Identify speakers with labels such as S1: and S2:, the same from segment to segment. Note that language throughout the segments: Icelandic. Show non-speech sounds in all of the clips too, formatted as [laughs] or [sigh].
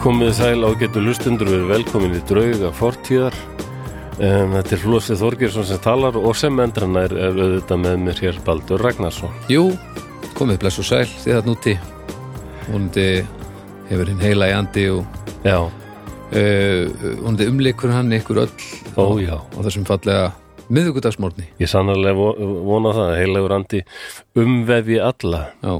S1: Komið sæl ágættu hlustundur við erum velkomin í drauga fortíðar um, Þetta er Flósið Þorgjursson sem talar og sem endranær er auðvitað með mér hér Baldur Ragnarsson
S2: Jú, komið bless og sæl þið þarna úti Húnandi hefur hinn heila í andi og
S1: Já,
S2: uh, húnandi umleikur hann ykkur öll
S1: ó já
S2: á þessum fallega miðvikudagsmorni
S1: Ég sannarlega vo- vona það að heilagur andi umvefi alla
S2: Já,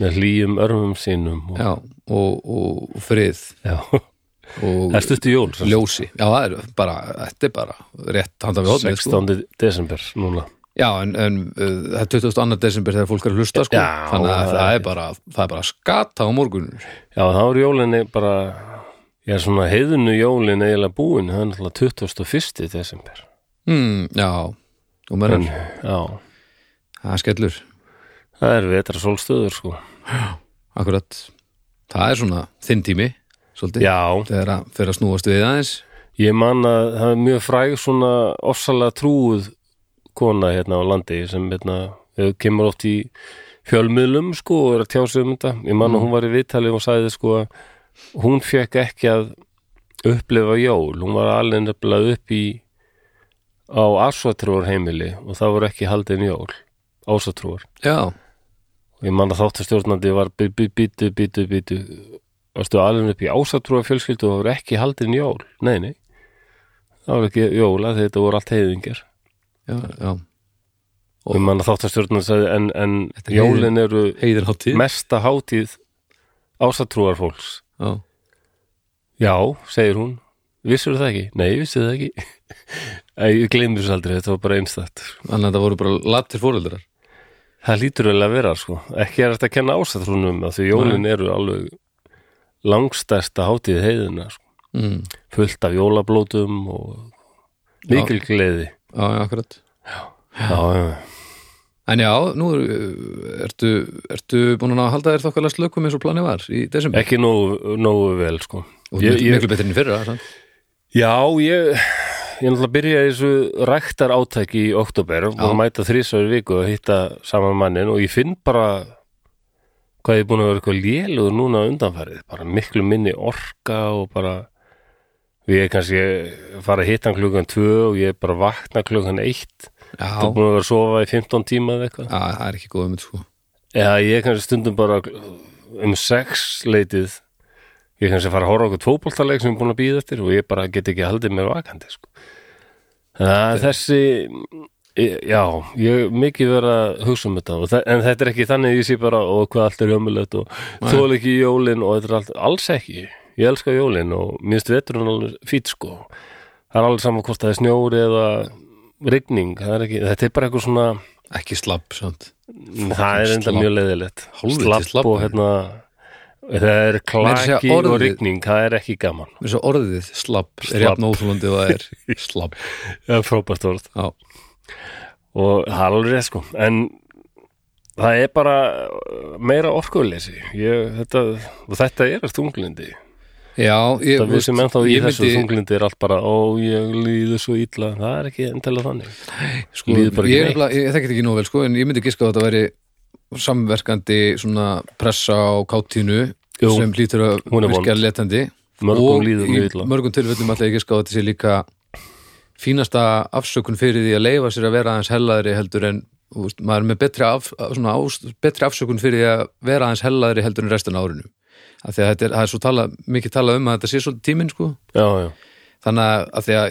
S1: með hlýjum örmum sínum og,
S2: já, og, og frið
S1: Já,
S2: og
S1: það er stutt í jól sem sagt.
S2: ljósi Já, það er bara, þetta er bara rétt handa við hóðni
S1: 16. desember núna
S2: Já, en, en uh, það er 22. desember þegar fólk er að hlusta sko
S1: Já,
S2: Þannig að
S1: það
S2: það er bara, það er bara skata á morgunur
S1: Já, þá er jólinni bara ég er svona heiðinu jólin eiginlega búin það er náttúrulega 21. desember
S2: hmm, Já, og
S1: En,
S2: menn,
S1: já,
S2: það er skellur
S1: það er vetra sólstöður sko
S2: Akkurat, það er svona þinn tími, svolítið,
S1: Já,
S2: þegar að fyrir að snúast við aðeins
S1: ég man að það er mjög fræg svona ofsalega trúið kona hérna á landi sem hérna eh, kemur oft í fjölmiðlum sko og er að tjá sig um þetta ég man að hún var í viðtalið og sagði sko að hún fekk ekki að upplifa jól, hún var alveg nefnilega upp í á ásatrúar heimili og það voru ekki haldin jól, ásatrúar
S2: Já,
S1: og ég man að þáttastjórnandi var bí- bí- bítu, bítu, bítu varstu alveg upp í ásatrúa fjölskyldu og það voru ekki haldin jól, nei, nei það voru ekki jóla þegar þetta voru allt heiðingar
S2: já, já
S1: og ég man að þáttastjórnandi sagði en, en
S2: Þetta er
S1: jólin eru
S2: Heiðin hátíð
S1: mesta hátíð ásatrúar fólks
S2: Já,
S1: já, segir hún vissur það ekki, nei, ég vissi það ekki [laughs] Æ, ég gleymur þessu aldrei, þetta var bara einstætt
S2: þannig að það voru bara latir fóreldrar
S1: það lítur vel að vera, sko ekki er þetta að kenna ásatrúnum af því jólin eru alveg langstærsta hátíð heiðina, sko
S2: mm.
S1: fullt af jólablótum og mikil gleði
S2: Já, já, akkurat
S1: já, já,
S2: En já, nú er, ertu, ertu búin að halda þér þokkalega slökum eins og planið var í desember
S1: ekki nógu, nógu vel sko.
S2: Og
S1: ég,
S2: ég,
S1: ég,
S2: miklu betri enn fyrra, sant?
S1: já, ég ég náttúrulega byrjaði þessu ræktar átæki í oktober og mæta þrísar viku að hitta saman mannin og ég finn bara hvað ég er búin að vera eitthvað lélugur núna að undanfærið, bara miklu minni orka og bara við erum kannski að fara að hitta hann klukkan tvö og ég er bara að vakna klukkan eitt
S2: Já,
S1: það er búin að vera að sofa í 15 tíma eða eitthvað
S2: já, það er ekki góðum þetta sko
S1: Já, ég er kannski stundum bara um sex leitið ég er kannski að fara að horfa á okkur tvoboltaleik sem ég er búin að býða eftir og ég bara get ekki haldið mér vakandi sko. það, þessi ég- já, ég er mikið verið að hugsa um þetta og það, en þetta er ekki þannig að ég sé bara og hvað allt er hjómulegt og þól ekki jólin og þetta er allt, alls ekki ég elska jólin og minnst veturinn alveg fýt sko, það er alveg saman hvort það er snjóri eða rigning það er ekki, þetta er bara eitthvað svona
S2: Ekki slapp, sant?
S1: Það er enda
S2: slabb.
S1: mjög leiðilegt
S2: Hálfviti slabb.
S1: Slapp og hérna Það er
S2: Meira að segja
S1: klaki og
S2: orðið.
S1: rigning Það er ekki gaman
S2: Mér svo orðið slapp, er
S1: Slabb.
S2: jafn óþólandi og það
S1: [laughs]
S2: er slapp
S1: Það er frábært orð
S2: Já,
S1: Og það er alveg rétt sko En það er bara uh, meira orkuðleysi ég, þetta, Og þetta er þunglindi
S2: já ég,
S1: Það við sem ennþá í
S2: ég
S1: þessu
S2: myndi-
S1: þunglindi er allt bara Ó, ég líður svo illa Það er ekki endilega þannig
S2: sko,
S1: Líður bara ekki
S2: ég,
S1: neitt.
S2: nefnilega- ég, ég þekki þetta ekki nóg vel sko, en ég myndi giska að þetta væri samverkandi svona pressa á káttínu
S1: Jú,
S2: sem lítur að
S1: hún er
S2: virka letandi
S1: Mörgum
S2: og
S1: líður
S2: í
S1: mjög illa.
S2: mörgum tilfellum alltaf ég giska að þetta sé líka fínasta afsökun fyrir því að leifa sér að vera aðeins hellaðri heldur en þú veist, maður er með betri, af, svona, ást, betri afsökun fyrir því að vera aðeins hellaðri heldur en restan árinu af því að þetta er, það er svo tala, mikið talað um að þetta sé svolítið tíminn sko
S1: Já, já,
S2: þannig að- að því að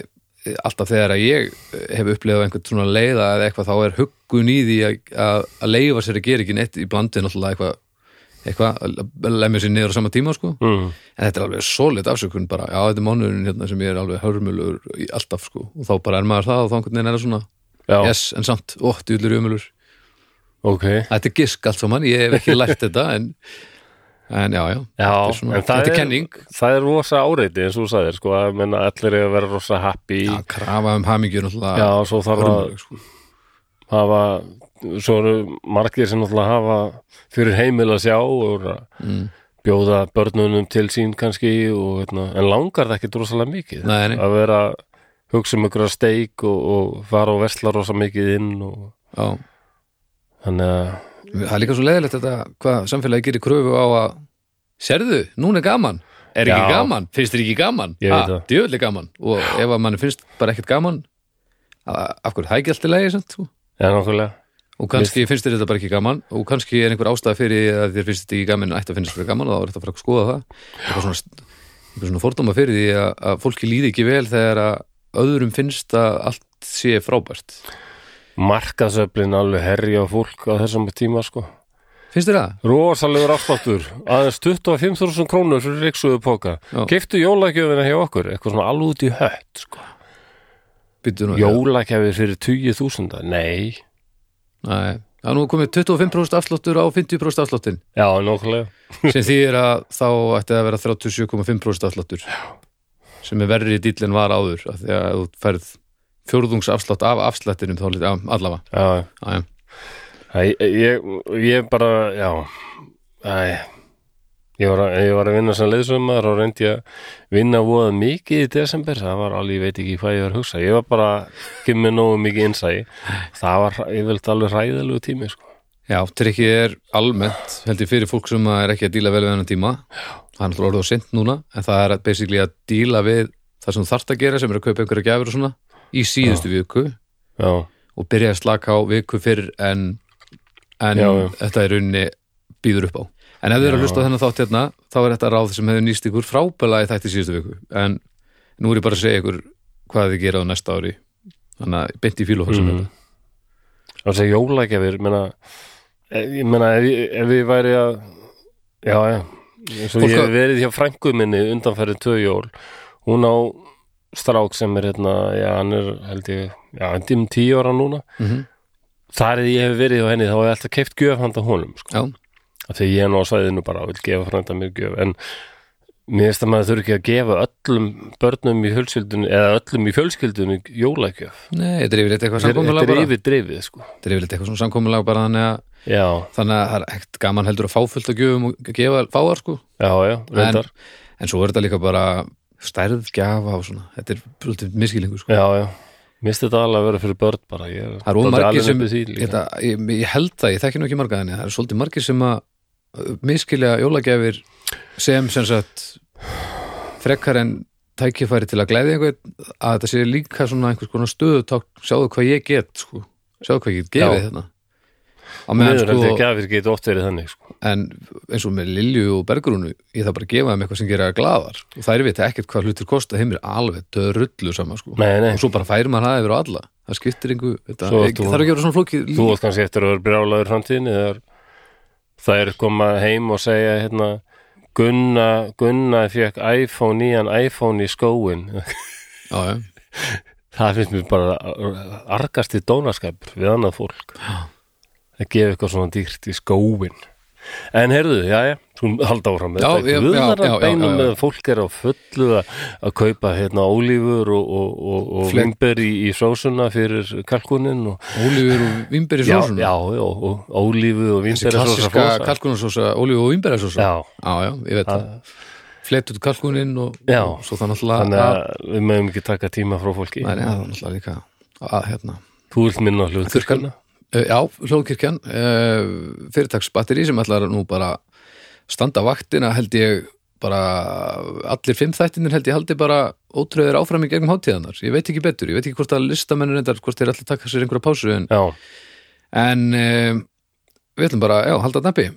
S2: eh, alltaf þegar að ég eh, hef upplifað einhvern svona leiða eða eitthvað þá er huggun í því að, að, að leiða sér að gera ekki neitt í blandin alltaf eitthvað, eitthvað að lemja sér niður á sama tíma sko
S1: mm.
S2: en þetta er alveg solid afsökun bara já þetta er mánuðurinn hérna sem ég er alveg hörmulur í alltaf sko og þá bara er maður það og þá einhvern veginn er það svona
S1: já
S2: yes en samt, ó, djúllur umulur
S1: ok
S2: þetta er gisk allt saman, ég hef ekki
S1: [laughs]
S2: lært þetta en, en já, já, þetta
S1: Já,
S2: er, svona,
S1: en það
S2: þetta er
S1: er-
S2: kenning
S1: Það er rosa áreiti eins og þú sagðir sko, að menna allir er að vera rosa happy
S2: já, krafa um hamingjur alltaf
S1: Já, svo þarf að
S2: sko.
S1: hafa, svo eru margir sem náttúrulega hafa fyrir heimil að sjá og eru að bjóða börnunum til sín kannski og, hérna, en langar það ekki drosalega mikið
S2: Nei, nei.
S1: að vera hugsa um ykkur að steik og, og fara og vesla rosa mikið inn og
S2: já
S1: þannig að
S2: Það er líka svo leiðilegt þetta hvað samfélagi gerir kröfu á að Serðu, núna er gaman er ekki
S1: Já.
S2: gaman, finnst þér ekki gaman
S1: Ég veit það.
S2: djöfli gaman og ef að mann finnst bara ekkert gaman a- af hverju er það ekki alltaf leiði samt, og-
S1: Já, nákvæmlega
S2: og kannski finnst þér þetta bara ekki gaman og kannski er einhver ástæða fyrir því að þér finnst þetta ekki gaman en ætti að finnst þetta gaman og þá er þetta að fara að skoða það eitthvað svona, eitthvað svona fordóma fyrir því að, að fólki líði ekki vel þegar að öðrum finnst að allt sé frábært
S1: Markaðsöflin alveg herja á fólk á þessum tíma sko
S2: finnst þér það?
S1: Rósalegur afsláttur, aðeins 25.000 krónur fyrir riksuðu póka
S2: Já.
S1: Giftu jólagjöfina hjá okkur, eitthvað svona alveg út í hött sko.
S2: Býttu nú-
S1: Jólagjöfir fyrir 20.000 Nei,
S2: Nei, það er nú komið 25% afsláttur á 50% afsláttin
S1: já, nákvæmlega
S2: sem þýðir að þá ætti það að vera 37,5% afsláttur sem er verri dýll en var áður af því að þú færð fjórðungsafslátt af afslættinum þá lítið, já, allavega
S1: Já,
S2: já, já.
S1: Æ, ég, ég bara, já Æ, ég, var, að- ég var að vinna sem leiðsömmar og reyndi að vinna voða mikið í desember, það var alveg, ég veit ekki hvað ég var að hugsa, ég var bara ekki með nógu mikið innsæi, það var ég vilt alveg hræðilegu tími, sko
S2: Já, trikki er almennt held ég fyrir fólk sem er ekki að díla vel við hennan tíma það er náttúrulega orðið á sint núna en það er að basically að díla við það sem þú þarft að gera sem er að kaupa einhverja gjafir og svona í síðustu viku
S1: Já,
S2: og byrja að slaka á viku fyrr en, en
S1: Já, já.
S2: þetta er unni býður upp á en ef þið eru að hlusta á þennan þátt hérna þá er þetta ráð sem hefur nýst ykkur frábæla í þætti síðustu viku en nú er ég bara að segja ykkur hvað þið gera á næsta ári þannig að beint í fílu mm.
S1: Mhm. og þessi jólagjafir, menna ég menna, ef, ég- ef ég væri að já, já eins og
S2: Fólk
S1: ég hef
S2: að-
S1: verið hjá frængu minni undanferði tvö jól, hún á strák sem er hérna, já, hann er held ég, já, hann er um tíu ára núna
S2: Mm
S1: þar eða ég hef verið hjá henni þá hef ég alltaf keift gjöf handa honum sko.
S2: Já,
S1: af því ég er nú á svæðinu bara og vil gefa frænda mér gjöf en mér finnst að maður þurfi ekki að gefa öllum börnum í fjölskyldunni eða öllum í fjölskyldunni jólagjöf
S2: nei, þetta er yfirleitt eitthvað
S1: þetta
S2: samkomulega
S1: er
S2: bara
S1: yfir drifið sko
S2: þetta er yfirleitt eitthvað svona samkomulega bara þannig að
S1: já,
S2: þannig að það er ekkert gaman heldur að fá fullt að gjöfum og gefa fáar sko
S1: já, já,
S2: en,
S1: reyndar
S2: en svo er þetta líka bara stærð gjafa og svona þetta er svolítið miskilingu sko
S1: já, já, mér finnst þetta alveg að vera fyrir börn bara ég,
S2: það er
S1: dálítið
S2: ómargir
S1: alinn
S2: sem
S1: upp í því líka.
S2: þetta, ég, ég held það, ég þekki nú ekki marga þannig það er svolítið margir sem að miskilja jólagjafir sem sem sagt frekar en tækifæri til að glæði einhvern að þetta sé líka svona einhvers konar stöðutákn, sjáðu hvað ég get sko. sjáðu hvað ég get
S1: Já.
S2: gefið þetta á meðan
S1: miður held ég að
S2: sko
S1: gafir geta oft verið þannig sko.
S2: en eins og með Lilju og Bergrúnu ég þarf bara að gefa þeim eitthvað sem gera þær glaðar og þær vita ekkert hvað hlutir kosta þeim er alveg dörrullu sama sko
S1: nei, nei,
S2: og svo bara færir maður það yfir á alla það skiptir einhver, þetta,
S1: Svo
S2: ekki,
S1: þú-
S2: þarf ekki að vera svona flókið
S1: þú átt kannski eftir að vera brjálaður framtíðin eða það er koma heim og segja hérna Gunna, Gunna fekk iPhone nýjan iPhone í skóin
S2: já, já.
S1: það finnst mér bara argasti dónaskapur við annað fólk að gefa eitthvað svona dýrt í skóin en heyrðu, já, já Hún halda áfram með
S2: Já,
S1: þetta,
S2: já,
S1: guðar
S2: já, já,
S1: að
S2: já,
S1: beinum
S2: já, já.
S1: með að fólk er á fullu að, að kaupa hérna ólífur og, og, og, og
S2: Flek-
S1: vimber í, í sósuna fyrir kalkunin og,
S2: Ólífur og vimberi
S1: já,
S2: sósun
S1: já, já, og ólífu og
S2: þessi
S1: vimber
S2: klassiska kalkunarsósa, ólífur og vimberi sósa
S1: Já,
S2: já, já, ég veit það flett út kalkuninn og,
S1: Já.
S2: og svo það náttúrulega
S1: þannig
S2: að,
S1: að við mögum ekki taka tíma frá fólki.
S2: að, að, að, náttúrulega líka að hérna
S1: Þú vilt minna á hlutverkuna?
S2: Eh, Já, hljóðkirkjan uh, fyrirtaksbatteri sem ætlar nú bara standa vaktina held ég bara allir fimm þættinir held ég haldi bara ótröður áfram í gegnum hátíðanar ég veit ekki betur, ég veit ekki hvort að listamennur reyndar hvort þeir allir taka sér einhverja pásu en,
S1: Já,
S2: en uh, við ætlum bara, já, halda nappi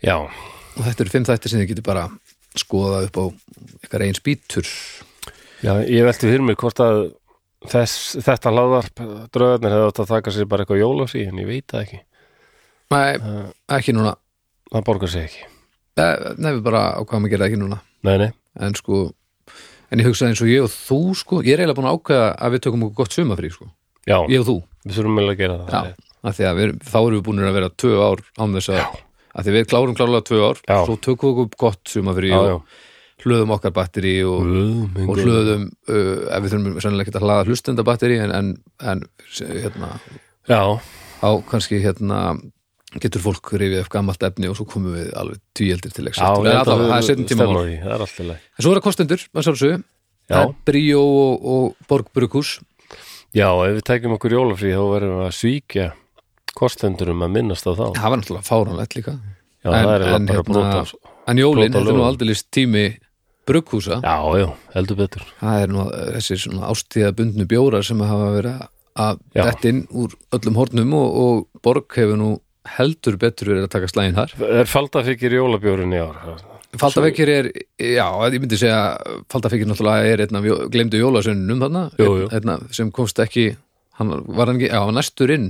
S1: já,
S2: og þetta eru fimm þættir sem þið getur bara skoða upp á ykkar eins bítur
S1: já, ég velti fyrir mig hvort að þess, þetta hlaðvarp draugarnir hefði átt að taka sér bara eitthvað jólafrí en ég veit það ekki.
S2: Nei,
S1: Það,
S2: ekki núna
S1: það borgar sér ekki.
S2: Eh, Nei, við bara ákvæðum að gera það ekki núna
S1: Nei, nei,
S2: en sko en ég hugsaði eins og ég og þú sko ég er eiginlega búin að ákveða að við tökum okkur gott sumafrí sko.
S1: já,
S2: ég og þú
S1: við þurfum meðlega að gera það.
S2: já, af því að við, erum- þá erum við búin að vera tvö ár án þess að af því við klárum klárlega tvö ár
S1: Já.
S2: svo tökum við okkur gott sumafrí
S1: já, já.
S2: og hlöðum okkar batteri og,
S1: Guð,
S2: og hlöðum uh, ef við þurfum sennilega ekki að hlaða hlustenda batteri en, en, en se- hérna,
S1: Já,
S2: á kannski hérna getur fólk rifið upp gamalt efni og svo komum við alveg tvíeldir til
S1: já,
S2: ekstra
S1: ég held að
S2: það
S1: við
S2: er setjum tíma
S1: stefnum að því, það er alltaf leið.
S2: En svo eru kostendur, maður sálsög
S1: Já.
S2: Það er Bríó og, og Borgbrukus
S1: Já, ef við tækjum okkur jólafrí þá verðum við að svíkja kostendurum að minnast á þá.
S2: Það var náttúrulega fáránlegt líka hérna,
S1: Já, það er eiginlega bara að brota
S2: En jólin,
S1: brota
S2: þetta er nú
S1: lögum.
S2: aldrei tími brugghúsa
S1: Já, já, heldur betur
S2: það er nú þessir svona ástíðabundnu bjórar sem hafa verið að
S1: Já.
S2: detta inn úr öllum hornum og, og Borg hefur nú heldur betur verið að taka slægin þar
S1: Er faldafikir jólabjórun í ár?
S2: Faldavekkir er, já, ég myndi segja Faldavekkir náttúrulega er einn af jó- gleymdu jólasönnum þarna,
S1: Jú, jú.
S2: einn af sem komst ekki, hann var hann ekki já, hann var næstur inn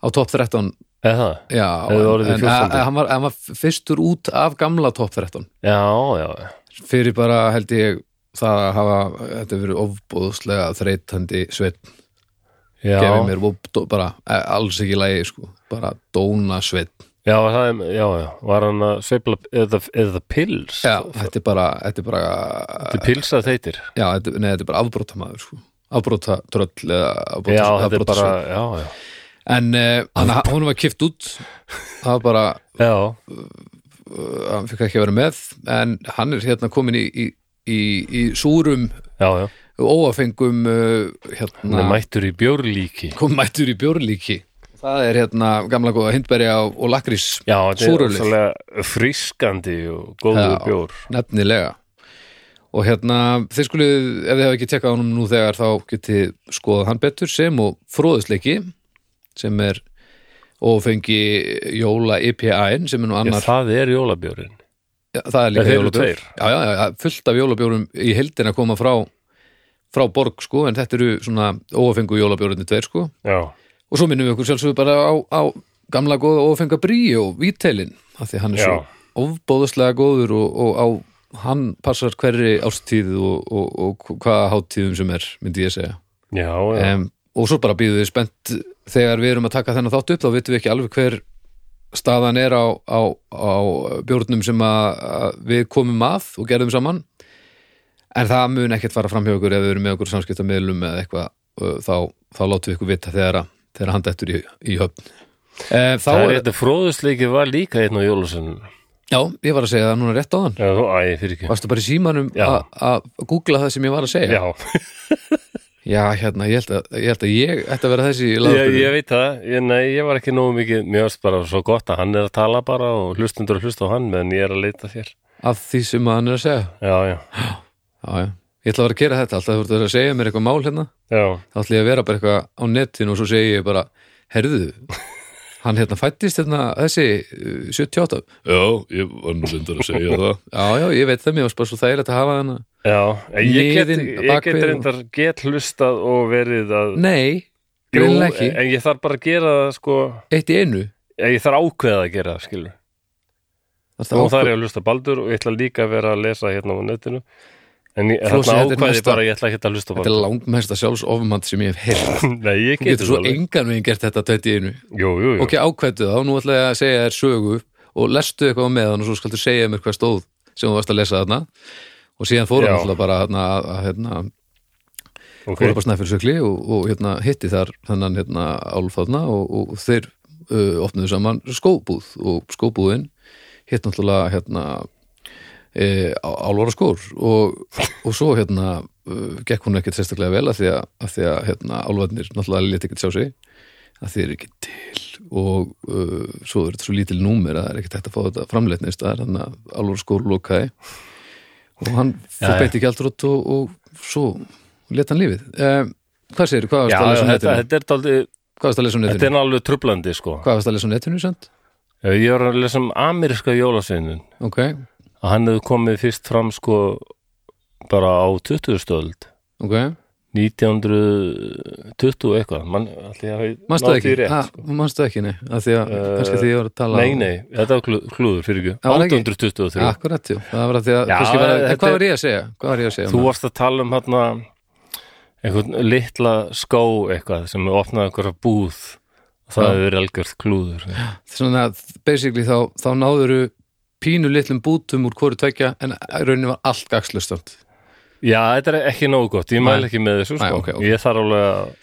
S2: á top 13
S1: Eða það?
S2: já,
S1: Hefði orðið
S2: en, en
S1: 14.
S2: hann, var, hann var fyrstur út af gamla top 13
S1: Já, já, já
S2: fyrir bara held ég það að hafa, þetta hefur verið ofbóðslega þreytandi sveinn, gefið
S1: Já,
S2: mér of, bara eh, alls ekki lægi, sko, bara dóna sveinn,
S1: já, það er, já, já Var hann að sveifla, eða, eða pils
S2: já, sko. þetta er bara þetta er bara
S1: Þetta er pils að þeitir
S2: Já, þetta, nei, þetta er bara afbróta maður sko. afbróta tröll eða afbróta,
S1: Já, þetta er
S2: afbróta
S1: bara,
S2: sveit.
S1: já, já
S2: en uh, hann, hún var kift út það var bara,
S1: Já,
S2: uh, hann fikk ekki að vera með en hann er hérna komin í, í, í, í súrum
S1: já, já
S2: óafengum uh,
S1: Hann er
S2: hérna,
S1: mættur í bjórlíki
S2: kom mættur í bjórlíki það er hérna gamla góða hindberja og, og lakrís
S1: Já, þetta er
S2: Súrullyf.
S1: ósvalega frískandi og góður
S2: Já.
S1: bjór
S2: nefnilega og hérna, þið skulið ef þið hafa ekki tekað honum nú þegar þá getið skoðað hann betur sem og fróðusleiki sem er ófengi jóla E IPA-in sem er nú
S1: Já,
S2: annar,
S1: það er jólabjórin
S2: það, er
S1: Þeir
S2: líka
S1: eru
S2: jólabjór
S1: tveir.
S2: já, já, já, já, fullt af jólabjórum í heildina koma frá frá borg sko, en þetta eru svona ófengu jólabjórunni tveir sko,
S1: Já,
S2: og svo minnum við okkur sjálfsögur bara á, á gamla góða ófenga bríi og vítelin, af því að hann er
S1: Já.
S2: svo ofbóðslega góður og, og á hann passar hverri ástíð og, og, og hvaða hátíðum sem er myndi ég segja
S1: já, já
S2: um, og svo bara býðum við spennt þegar við erum að taka þennan þátt upp þá vitum við ekki alveg hver staðan er á, á, á bjórnum sem að, að við komum að og gerðum saman en það mun ekkert fara fram hjá okkur ef við erum með okkur samskiptamiðlum eða eitthvað uh, þá, þá látum við ykkur vita þegar, að- þegar hann dettur í, í höfn Eh, þá
S1: Það
S2: er,
S1: er þetta fróðusleiki var líka einn á jólusunum
S2: já, ég var að segja það núna rétt á þann
S1: Já, þú, æ, fyrir ekki
S2: varstu bara í símanum
S1: Já.
S2: að- að googla það sem ég var að segja
S1: Já,
S2: hérna, ég held að ég, held að ég ætti að vera þessi í
S1: ég,
S2: laðarpinu.
S1: ég veit það ég, Nei, ég var ekki nógu mikið Mér varst bara svo gott að hann er að tala bara og hlustundur að hlusta á hann meðan ég er að leita þér
S2: að því sem að hann er að segja
S1: Já, já,
S2: Já, já. Ég ætla að vera að gera þetta alltaf, þú ert að segja mér eitthvað mál hérna
S1: já
S2: þá ætla ég að vera bara eitthvað á netinu og svo segi ég bara, herðu hann hérna fættist hérna þessi uh, 78 Já, ég var nú lindar að segja það [laughs] Já, já, ég veit það, mér var bara svo þægilegt að hafa hana
S1: Já, en ég get,
S2: Niðinn,
S1: ég
S2: bakvið
S1: get
S2: og-
S1: reyndar get hlustað og verið að
S2: Nei,
S1: Jú,
S2: greinlega ekki,
S1: En ég þarf bara að gera það sko
S2: eitt í einu
S1: Ég þarf ákveða að gera það, skilur
S2: Það
S1: Nú
S2: er
S1: þarf
S2: ákveð-
S1: ég að hlusta á Baldur og ég ætla líka að vera að lesa hérna á netinu En ég,
S2: Flósi,
S1: þarna
S2: þetta er
S1: ákveði
S2: næsta-
S1: ég bara að ég ætla ekki að hlusta á
S2: Þetta er
S1: Baldur
S2: langmesta sjálfsofumant sem ég hef heyrt
S1: [laughs] Nei, ég
S2: Þú getur
S1: getur
S2: svo
S1: það alveg.
S2: engan veginn gert þetta tveitt í einu
S1: Jú, jú, jú
S2: Ok, ákvættu þá, nú ætla ég að segja þér sögu og lestu eitthvað með hann og svo skaltu segja mér hvað stóð sem þú varst að lesa þarna og síðan fór hann
S1: Já.
S2: alltaf bara hérna, að, að, hérna,
S1: Ok.
S2: fór upp á snæfjölsökli og, og hérna, hitti þar þennan hérna, álf þarna og, og þeir uh, opnuðu saman skóbúð og skóbúðin hitt náttúrulega hérna, e, álvara skór og, og svo hérna uh, gekk hún ekkert sérstaklega vel af því að, af því að hérna, álvarnir náttúrulega leti ekkert sjá sig að þeir eru ekki til og uh, svo er þetta svo lítil númer að það er ekkert hægt að fá þetta framleitnist það er hann að alveg skóru lokaði og hann
S1: Já,
S2: fór
S1: já.
S2: beint í gjaldrótt og, og svo leta hann lífið eh, hvað segir, hvað varst
S1: Já,
S2: að lesa um
S1: þetta,
S2: netinu?
S1: þetta er daldið
S2: Hvað varst að lesa um
S1: Þetta
S2: netinu?
S1: er alveg trublandi sko
S2: Hvað varst að lesa um netinu, sent?
S1: Ég var að lesa um ameríska jólasveinin
S2: Ok,
S1: að hann hefði komið fyrst fram sko bara á 20. stöld
S2: ok, 1920
S1: eitthvað Man, ætli ég hafi
S2: manstu
S1: náð
S2: það ekki?
S1: því rétt,
S2: Ha,
S1: sko.
S2: manstu það ekki, nei, að því að
S1: Eh,
S2: kannski því ég var að tala
S1: Nei, nei, þetta var klú- klúður fyrir ekki
S2: Já, var það ekki? Ah,
S1: 1823
S2: Akkurat, jú, það var að því að
S1: Já,
S2: kannski var að,
S1: þetta-
S2: hvað var ég að segja? Hvað var ég að segja?
S1: Þú
S2: um það?
S1: varst að tala um hérna einhvern litla skó eitthvað sem opnaði einhverja búð það
S2: Já.
S1: hefur verið algjörð klúður
S2: svona að basically þá, þá náðuru pínu litlum bútum úr hvoru tvekja en í rauninni var allt gagslustand
S1: Já, þetta er ekki nógu gott, ég mæl
S2: Nei.
S1: ekki með þessu sko.
S2: Nei, ok, ok.
S1: Ég þarf alveg að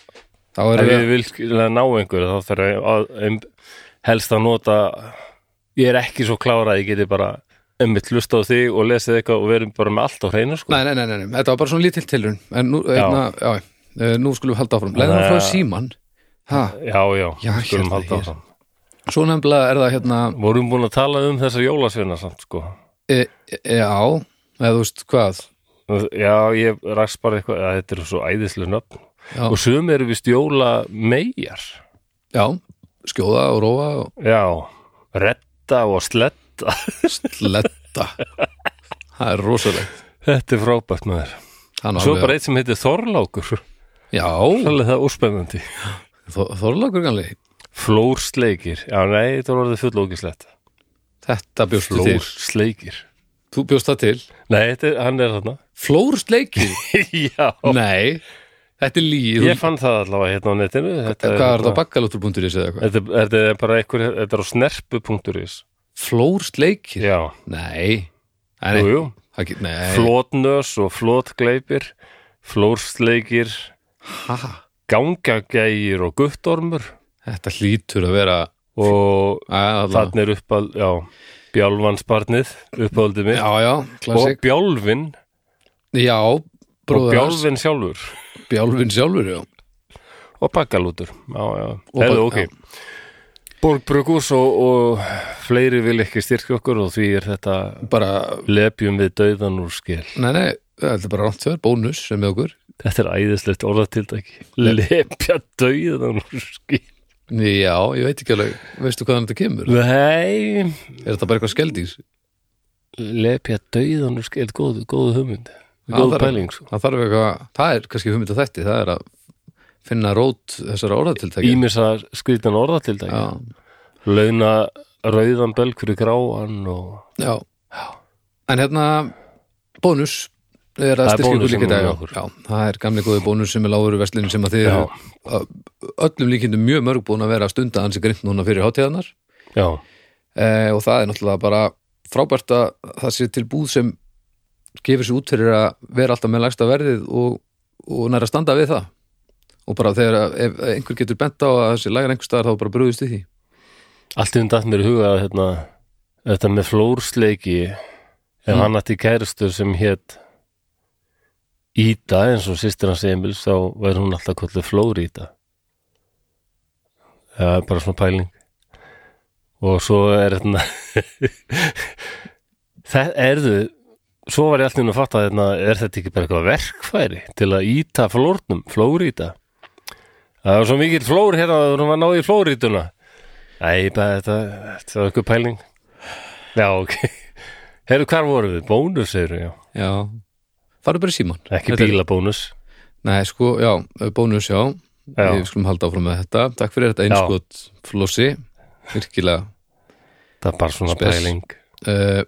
S2: þá erum
S1: ef
S2: við,
S1: ég vil skilja ná einhverju þá þarf ég að, um, helst að nota ég er ekki svo klára að ég geti bara ummitt hlusta á því og lesið eitthvað og verið bara með allt á hreinu sko.
S2: nei, nei, nei, nei, nei, þetta var bara svona lítill tilrun en nú, einna, já. Já, eh, nú skulum við halda áfram leiðan
S1: Þannig
S2: frá
S1: að-
S2: síman ha,
S1: Já, já,
S2: Já,
S1: skulum
S2: hérna
S1: halda
S2: hér.
S1: áfram
S2: svo nefnilega er það hérna
S1: Vorum búin að tala um þessar jólasveina samt sko
S2: e, e, já, eða þú veist hvað
S1: Já, ég rast bara eitthvað að þetta er svo æðislega nöfn
S2: Já.
S1: og sum eru við stjóla megar
S2: já, skjóða og róa og
S1: Já, retta og sletta [laughs]
S2: sletta það er rosalegt
S1: Þetta er frábært maður
S2: Hann á
S1: Svo
S2: alveg-
S1: bara eitt sem heitir Þorlákur [laughs]
S2: já,
S1: Svolítið það úrspennandi
S2: Þor- Þorlákur ganli
S1: Flórsleikir, já nei, þetta var orðið fullókislegt
S2: þetta bjóstu til,
S1: Flórsleikir
S2: þú bjóst það til
S1: Nei, þetta, er- hann er þarna [laughs]
S2: flórstleiki,
S1: Já,
S2: nei þetta er líð,
S1: ég fann það allavega hérna á netinu Þetta
S2: hvað er það
S1: hérna-
S2: bakkalútur.is eða eitthvað,
S1: Þetta, þetta er bara einhver, þetta er á snerpu.is
S2: flórstleiki
S1: Já,
S2: nei, nei,
S1: jú,
S2: nei,
S1: jú
S2: það get- nei.
S1: Flótnös og flótgleipir Flórsleikir
S2: Ha,
S1: Gangagægir og guttormur
S2: þetta hlýtur að vera
S1: Og
S2: að, að,
S1: þarna er uppal, já Bjálfansbarnið, uppáldið mitt
S2: já, já,
S1: Og
S2: klassik
S1: bjálfin
S2: já,
S1: Og
S2: bróður hans,
S1: bjálfin sjálfur
S2: bjálfin sjálfur já.
S1: Og bakkalútur Já, já,
S2: Og
S1: hefðu
S2: bak-
S1: ok
S2: já.
S1: Borg Bruggús og, og fleiri vil ekki styrkja okkur og því er þetta
S2: bara,
S1: lepjum við dauðan úr skil
S2: nei, nei þetta er bara rátt þjóður, bónus sem með okkur
S1: Þetta er æðislegt orðatildæki Lepja dauðan úr skil
S2: já, ég veit ekki alveg, veistu hvaðan þetta kemur
S1: Nei,
S2: er þetta bara eitthvað skeldís
S1: lepja dauðan úr skil Góð, góð hugmynd Góð
S2: það er-
S1: pæling sko
S2: það þarf eitthvað, það er kannski hugmynd að þætti það er að finna rót þessara orðatiltækja
S1: Ímis að skrýtan orðatildæki
S2: já,
S1: Launa rauðan belg fyrir gráan og
S2: já. en hérna bónus er að
S1: Það er
S2: styrkja ykkur
S1: bónus
S2: líka
S1: sem
S2: í dag
S1: er
S2: já.
S1: með okkur.
S2: Já, það er gamli góði bónus sem er lágur í verslinu sem að þið
S1: Já.
S2: eru að öllum líkindum mjög mörg búin að vera að stunda hans í grint núna fyrir hátíðanar
S1: Já,
S2: eh, og það er náttúrulega bara frábært að það sé til búð sem gefur sér út fyrir að vera alltaf með lægsta verðið og, og næra standa við það og bara þegar að, ef einhver getur bent á að þessi lægar einhver staðar þá bara brúðist í því
S1: allt um dætt mér í huga að hérna, þetta með flórsleiki ef
S2: Mm.
S1: hann ætti kærustu sem hétt Ída eins og sýstir hans Emils þá væri hún alltaf kvöldu flór Ída Það er bara svona pæling og svo er hérna [laughs] það erðu svo var ég alltaf inn að fatta hérna, er þetta ekki bara eitthvað verkfæri til að íta flórnum, flórýta það var svo mikill flór hérna það vorum að ná í flórýtuna Æ, bara þetta, þetta var eitthvað pæling Já, ok Herru, hvar vorum við? Bónus, heyrðu, já
S2: já, farðu bara í síman
S1: Ekki bílabónus
S2: nei, sko, já, bónus, já,
S1: Já.
S2: við skulum halda áfram með þetta takk fyrir þetta einskot flossi virkilega
S1: Það er bara svona
S2: Spes.
S1: pæling
S2: uh,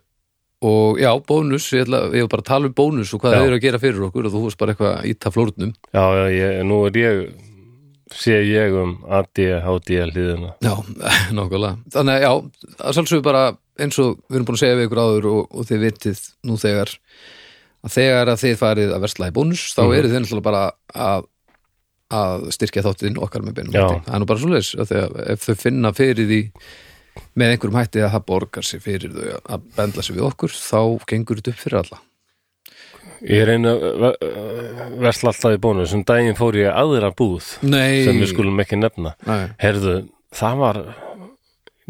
S2: og já, bónus, ég ætla, ég var bara að tala um bónus og hvað
S1: Já.
S2: þeir eru að gera fyrir okkur og þú varst bara eitthvað að íta flórnum
S1: Já, já, ég, nú er ég sé ég um ADHD hliðina
S2: Já, [laughs] nákvæmlega. Þannig að já, að sjálfsögur bara eins og við erum búin að segja við ykkur áður og, og þið vitið nú þegar að þegar að þið farið að versla í bónus þá
S1: Mhm.
S2: eru þið náttúrulega bara að, að styrkja þáttinn okkar með beinum
S1: Já.
S2: hætti. Það er nú bara svoleiðis að þegar, ef þau finna fyrir því með einhverjum hætti að það borgar sér fyrir þau að- að bendla sér við okkur þá gengur þetta upp fyrir alla.
S1: Ég reyna að ve- eh, versla alltaf í bónus um daginn fór ég í aðra búð
S2: Nei,
S1: sem við skulum ekki nefna
S2: Nei.
S1: Herðu, það var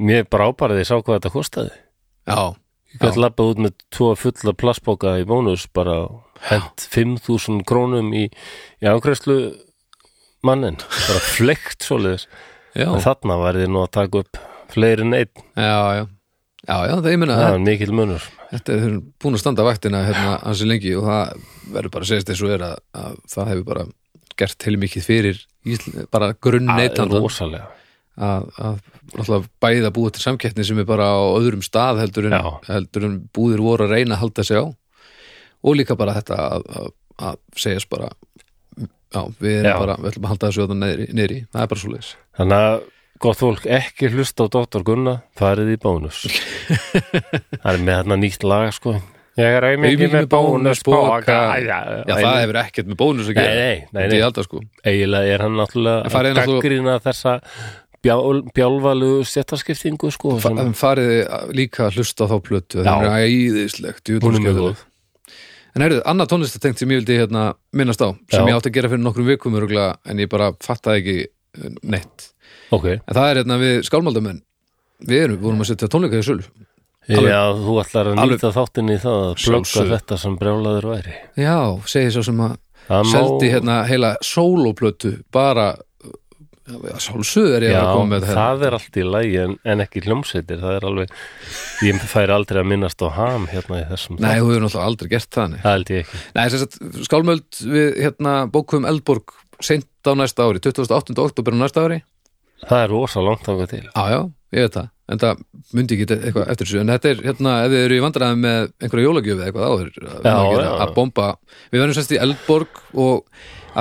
S1: mér brábarið ég sá hvað þetta kostaði
S2: Já,
S1: Ég gæti labbað út með tvo fulla plastbóka í bónus bara hent 5.000 krónum í, í ákreislu mannin, bara flekt svoleiðis,
S2: já,
S1: en þarna væri þið nú að taka upp fleiri en einn,
S2: já, já. Já, já, það ég meina,
S1: það er mikil munur
S2: Þetta er búin að standa vaktina hérna hansi lengi og það verður bara að segist eins og er að, að það hefur bara gert heil mikið fyrir Ísl, bara grunn
S1: það er
S2: neytandan
S1: rosalega
S2: að, að náttúrulega bæða búið til samkettni sem er bara á öðrum stað heldur en,
S1: Já.
S2: heldur en búðir voru að reyna að halda sig á og líka bara þetta að, að, að segjast bara já, við erum
S1: Já.
S2: bara, við ætlum að halda þessu þarna niðri, niðri, það er bara svo leis
S1: þannig að gott fólk ekki hlusta á Dr. Gunna, farið í
S2: [laughs]
S1: bónus það er með þarna nýtt lag sko, ég er auðmikið með bónus bóka
S2: Já, það hefur ekkert með bónus að
S1: Nei,
S2: gera
S1: nei, nei,
S2: Myndi
S1: nei.
S2: ég halda, sko.
S1: eiginlega er hann náttúrulega að
S2: farið inn á þú-
S1: gaggrina þessa bjál, bjálvalu settaskiptingu sko,
S2: Fa-
S1: sem,
S2: En farið þið líka að hlusta á þá plötu
S1: Já.
S2: það er æðislegt djöfull
S1: Hún er mjög
S2: skemmtileg. En heyrðu, annað tónlistatengt sem ég vildi hérna minnast á sem
S1: Já.
S2: ég átti að gera fyrir nokkrum vikum öruglega, en ég bara fattaði ekki eh, neitt
S1: ok,
S2: En það er hérna við skálmaldamenn Við erum, vorum að setja tónleika í sölu Alveg-
S1: Já, þú ætlar að
S2: alveg-
S1: nýta þáttinni í það að plugga
S2: Sjálfsögðu.
S1: þetta sem brjálaður væri
S2: já, segi svo sem að
S1: Það má-
S2: seldi hérna heila sólóplötu bara sálsöð er ég
S1: Já,
S2: að koma með þetta
S1: það er allt í lagi en, en ekki hljómsveitir, það er alveg ég fær aldrei að minnast á ham hérna í þessum
S2: Nei,
S1: þætti.
S2: þú hefur náttúrulega aldrei gert það nei.
S1: það held ég ekki
S2: Nei, sem sagt, skálmöld við hérna, bókum Eldborg seint á næsta ári, 28. oktober á næsta ári
S1: Það er rosa langt þangað til
S2: Já, já, ég veit það en það myndi ekki eitthvað eftir þessu en þetta er, hérna, ef þið eru í vandræðum með einhverja jólagjöfi eða eitthvað eh, áður að,
S1: Já,
S2: að,
S1: já.
S2: að bomba, við verðum semst í Eldborg og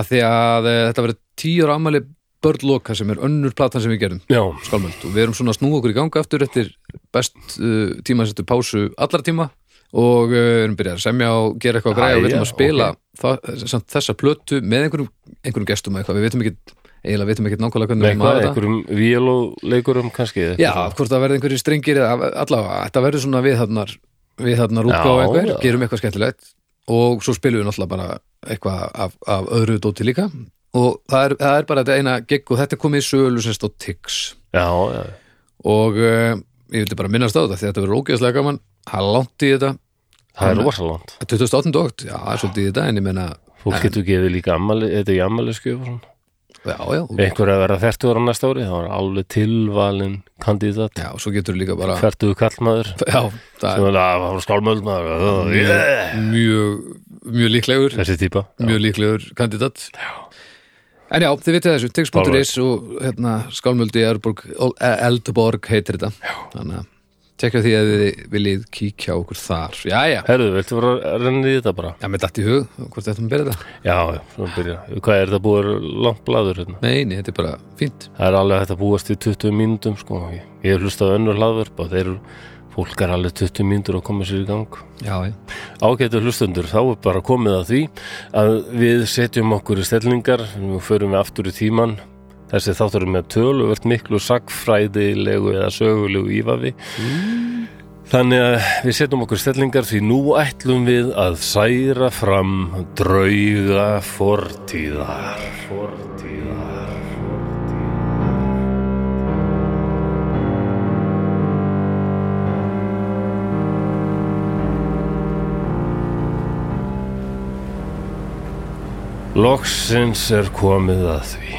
S2: að því að eh, þetta verður tíur ámæli börnloka sem er önnur platan sem við gerum
S1: Já,
S2: skálmöld og við erum svona að snúa okkur í ganga aftur eftir best uh, tímasettu pásu allra tíma og uh, erum byrjað að semja og gera eitthvað græja og við
S1: Jæja,
S2: ætlum að spila okay. það, þessa plötu með einhverjum, einhverjum gestum eða eitthvað, við veitum ekki eiginlega veitum ekki nákvæmlega
S1: með
S2: hvernig við
S1: eitthvað,
S2: maður þetta
S1: einhverjum vílóleikurum kannski eða
S2: Já,
S1: eitthvað.
S2: hvort það verði einhverjir strengir eða allavega, þetta verður svona við þarnar við þarnar útgáfa
S1: Já,
S2: einhver,
S1: já.
S2: gerum eitthvað skemmtilegt og svo spilum við náttúrulega bara eitthvað af, af öðru dóti líka og það er, það er bara þetta eina gig og þetta er komið í sölu sem stóð Tix
S1: já, já,
S2: og uh, ég vildi bara minnast á þetta því að þetta verður ógeðslega gaman það er langt í þetta
S1: það er rosa langt
S2: 2018 dótt, já, það er svolítið í þetta en ég menna,
S1: Fólk getur gefið líka ammali, þetta í ammaliðskjöf og svona.
S2: já, já og-
S1: Einhver að vera 40 ára næsta ári, þá er alveg tilvalin kandidat,
S2: já, og svo getur líka bara
S1: 40 kallmaður
S2: já, það
S1: sem er að hafa skálmöldmaður uh, yeah.
S2: er mjög mjög líklegur,
S1: þessi típa
S2: mjög líklegur kandidat en já, þið vitið þessu, tix.is og hérna, skálmöldi Erborg, Eldborg heitir þetta þannig að tekja því að þið viljið kíkja á okkur þar, já, já
S1: Herðu, viltu vera að renna í þetta bara?
S2: Já, mér datt í hug, hvort þetta maður berið það?
S1: Já, já, svona byrja Hvað er þetta búið að vera langt blaður hérna?
S2: Nei, nei, þetta er bara fínt.
S1: Það er alveg hægt að búast í 20 mínútum sko. Ég- Ég hef hlustað á önnur hlaðvörp og þeir eru fólk er alveg 20 mínútur að koma sér í gang
S2: Já, já.
S1: Ágætu hlustundur, þá er bara komið að því að við setjum okkur í stellingar og förum við aftur í tíman þessi þáttur er með töluvert miklu sagfræðilegu eða sögulegu ífafi Þannig að við setjum okkur í stellingar því nú ætlum við að særa fram drauga fortíðar Fortíðar Loksins er komið að því.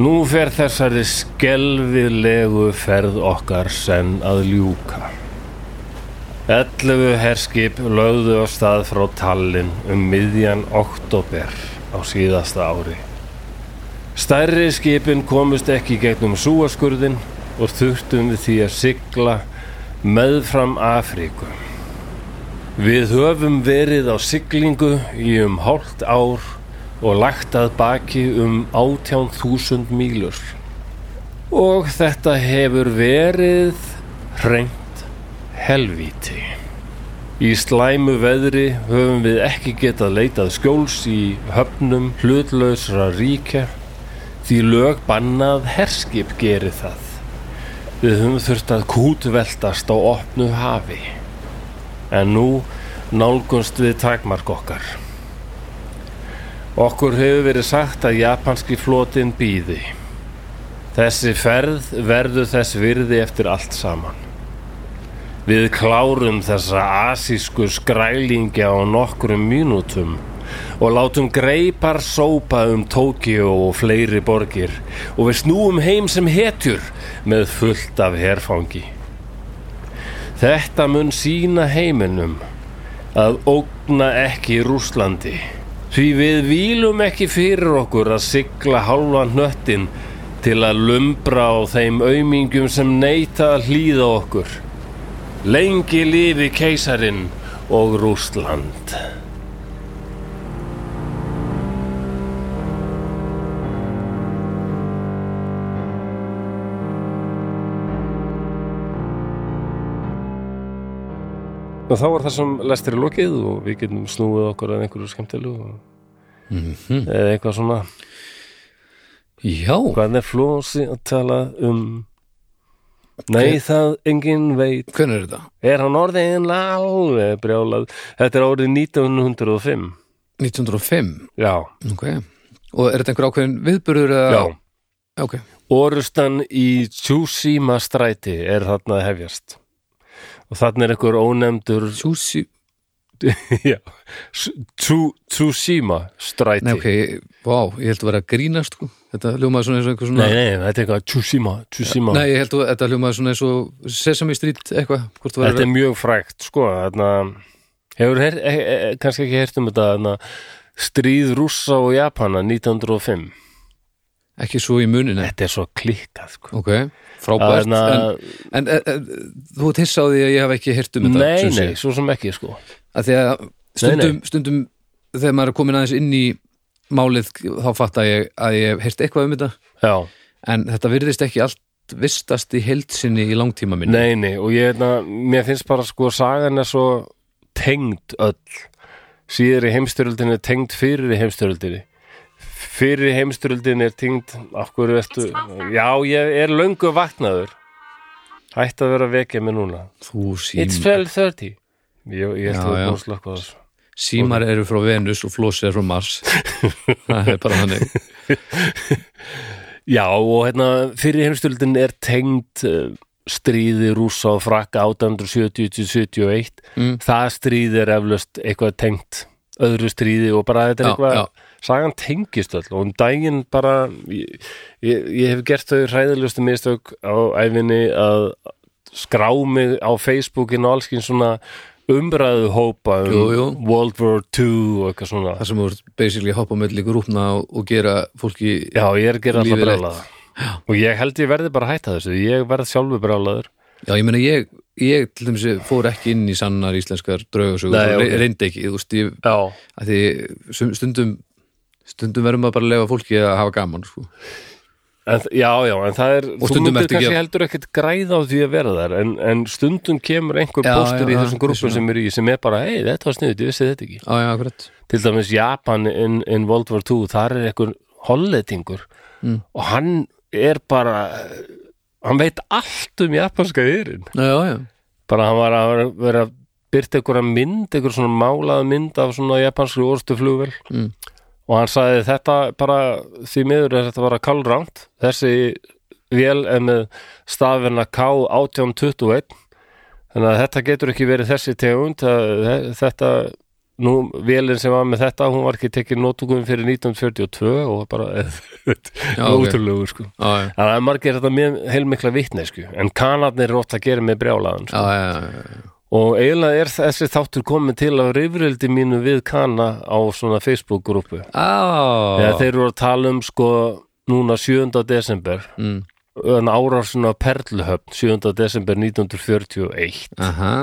S1: Nú fer þessari skelvilegu ferð okkar senn að ljúka. Ellugu herskip lögðu á stað frá Tallinn um miðjan oktober á síðasta ári. Stærri skipin komust ekki í gegnum súaskurðin og þurftum við því að sigla meðfram Afríku. Við höfum verið á siglingu í um hálft ár og lagt að baki um 18.000 mílur. Og þetta hefur verið hreint helvíti. Í slæmu veðri höfum við ekki getað leitað skjóls í höfnum hlutlausra ríkja því lög bannað herskip gerir það. Við höfum þurft að kútveltast á opnu hafi en nú nálgunst við takmark okkar. Okkur hefur verið sagt að japanski flotin býði. Þessi ferð verður þess virði eftir allt saman. Við klárum þessa asísku skrælingja á nokkrum mínútum og látum greipar sópa um Tókíó og fleiri borgir og við snúum heim sem hetjur með fullt af herfangi. Þetta mun sína heiminum að ógna ekki Rúslandi. Því við výlum ekki fyrir okkur að sigla hálfan hnöttin til að lumbra á þeim aumingjum sem neyta að hlýða okkur. Lengi lifi keisarin og Rúsland. Og þá var það sem lestir í lokið og við getum snúið okkur að einhverju skemmtilu og eða eitthvað svona.
S2: Já,
S1: Hvað er flósi að tala um? Nei, það enginn veit.
S2: hvernig er þetta?
S1: Er hann orðin alveg brjálað? Þetta er árið 1905.
S2: 1905,
S1: Já.
S2: ok. Og er þetta einhver ákveðin viðburður? Eða?
S1: Já.
S2: Já. Ok,
S1: Orustan í Tjúsíma stræti er þarna að hefjast. og þannig er einhver ónefndur
S2: [laughs] Tjúsi,
S1: já, S- Tsu- Tsushima stræti
S2: nei ok, ég- vá, ég held að vera að grínast sko. þetta hljómaði svona eins og einhver svona
S1: nei, nei, þetta er eitthvað Tsushima, Tsushima.
S2: Nei, ég held að þetta hljómaði svona eins og Sesame Street eitthvað, hvort þú
S1: þetta
S2: verður
S1: er mjög frægt sko, þarna hefur her, e, e, e- kannski ekki heyrt um þetta þarna, stríð Rússa og Japana 1905,
S2: ekki svo í muninu
S1: þetta er svo klikkað sko.
S2: Ok, frábært
S1: Þarna-
S2: En, en e, e, þú ert hissa á því að ég hef ekki heyrt um þetta
S1: nei,
S2: Susi.
S1: nei, svo sem ekki sko.
S2: Af Því að stundum, stundum þegar maður er komin aðeins inn í málið þá fatta ég að ég hef heyrt eitthvað um þetta
S1: já
S2: en þetta virðist ekki allt vistast í heild sinni í langtíma minni
S1: Nei, nei, og ég, na, mér finnst bara sko sagan er svo tengd öll síðar í heimstyröldinni er tengd fyrir í heimstyröldinni fyrir í heimstyröldinni er tengd af hverju ertu já, ég er löngu vaknaður hætt að vera að vekja mig núna
S2: Þú
S1: It's
S2: sím,
S1: 12.30 ég, ég ætti
S2: Já,
S1: að
S2: já.
S1: búin að slökka þessu
S2: símar eru frá Venus og flósi eru frá Mars
S1: [laughs]
S2: Það er bara þannig
S1: Já, og hérna fyrir heimstöldin er tengd eh, stríði rúsa og frakka 1870-71
S2: Mm.
S1: það stríði er eflaust eitthvað tengt öðru stríði og bara þetta er
S2: Já,
S1: eitthvað
S2: já.
S1: sagan tengist öll og um daginn bara ég, ég, ég hef gert þau hræðilustu mistök á æfinni að skrá mig á Facebookin og allskinn svona umræðu hópa um
S2: Jú, jú.
S1: World War II og eitthvað svona
S2: Það sem voru basically hoppa með líka rúpna og, og gera fólki
S1: Já, ég er að gera alltaf
S2: Lífið
S1: brjálaða Og ég held ég verði bara að hætta þessu Ég verð sjálfur brjálaður
S2: Já, ég meina, ég, ég til dæmis fór ekki inn í sannar íslenskar draugasögur
S1: Nei,
S2: og
S1: ok.
S2: reyndi ekki, þú veist, ég
S1: Já,
S2: að því sum- stundum stundum verðum að bara lefa fólki að hafa gaman sko.
S1: en, þ- já, já, en það er Þú myndir
S2: stundum ertu ekki
S1: kannski
S2: að-
S1: heldur ekkert græða á því að vera þar En, en stundum kemur einhver
S2: Já,
S1: póstur
S2: já,
S1: í
S2: já,
S1: þessum grúpum
S2: vissulega.
S1: sem er í sem er bara, hei, þetta var sniðut, ég vissi þetta ekki
S2: Já, já, akkurat
S1: Til dæmis Japan in, in World War II Þar er einhver hollendingur
S2: Mm.
S1: Og hann er bara Hann veit allt um japanska yðurinn
S2: Já, já, já,
S1: bara hann var að vera- vera að byrta einhverja mynd, einhver svona málaða mynd af svona japansku orstu flugvel
S2: Mm.
S1: og hann sagði þetta bara því miður er þetta bara kálránt þessi vél er með stafina K1821 þannig að þetta getur ekki verið þessi tegund að þetta nú vélinn sem var með þetta hún var ekki tekin nótugum fyrir 1942 og bara [laughs]
S2: Já, ok.
S1: ótrúlegu sko
S2: já, já,
S1: þannig að margir þetta með heilmikla vitnesku en kanarnir er ótt að gera með brjálaðan sko.
S2: já, já, já, já.
S1: Og eiginlega er þessi þáttur komin til af rifrildi mínu við Kana á svona Facebook-grúpu. Þegar
S2: Á,
S1: þeir eru að tala um sko núna 7. desember,
S2: mm,
S1: en árásuna Perlhöfn 7. desember 1941.
S2: aha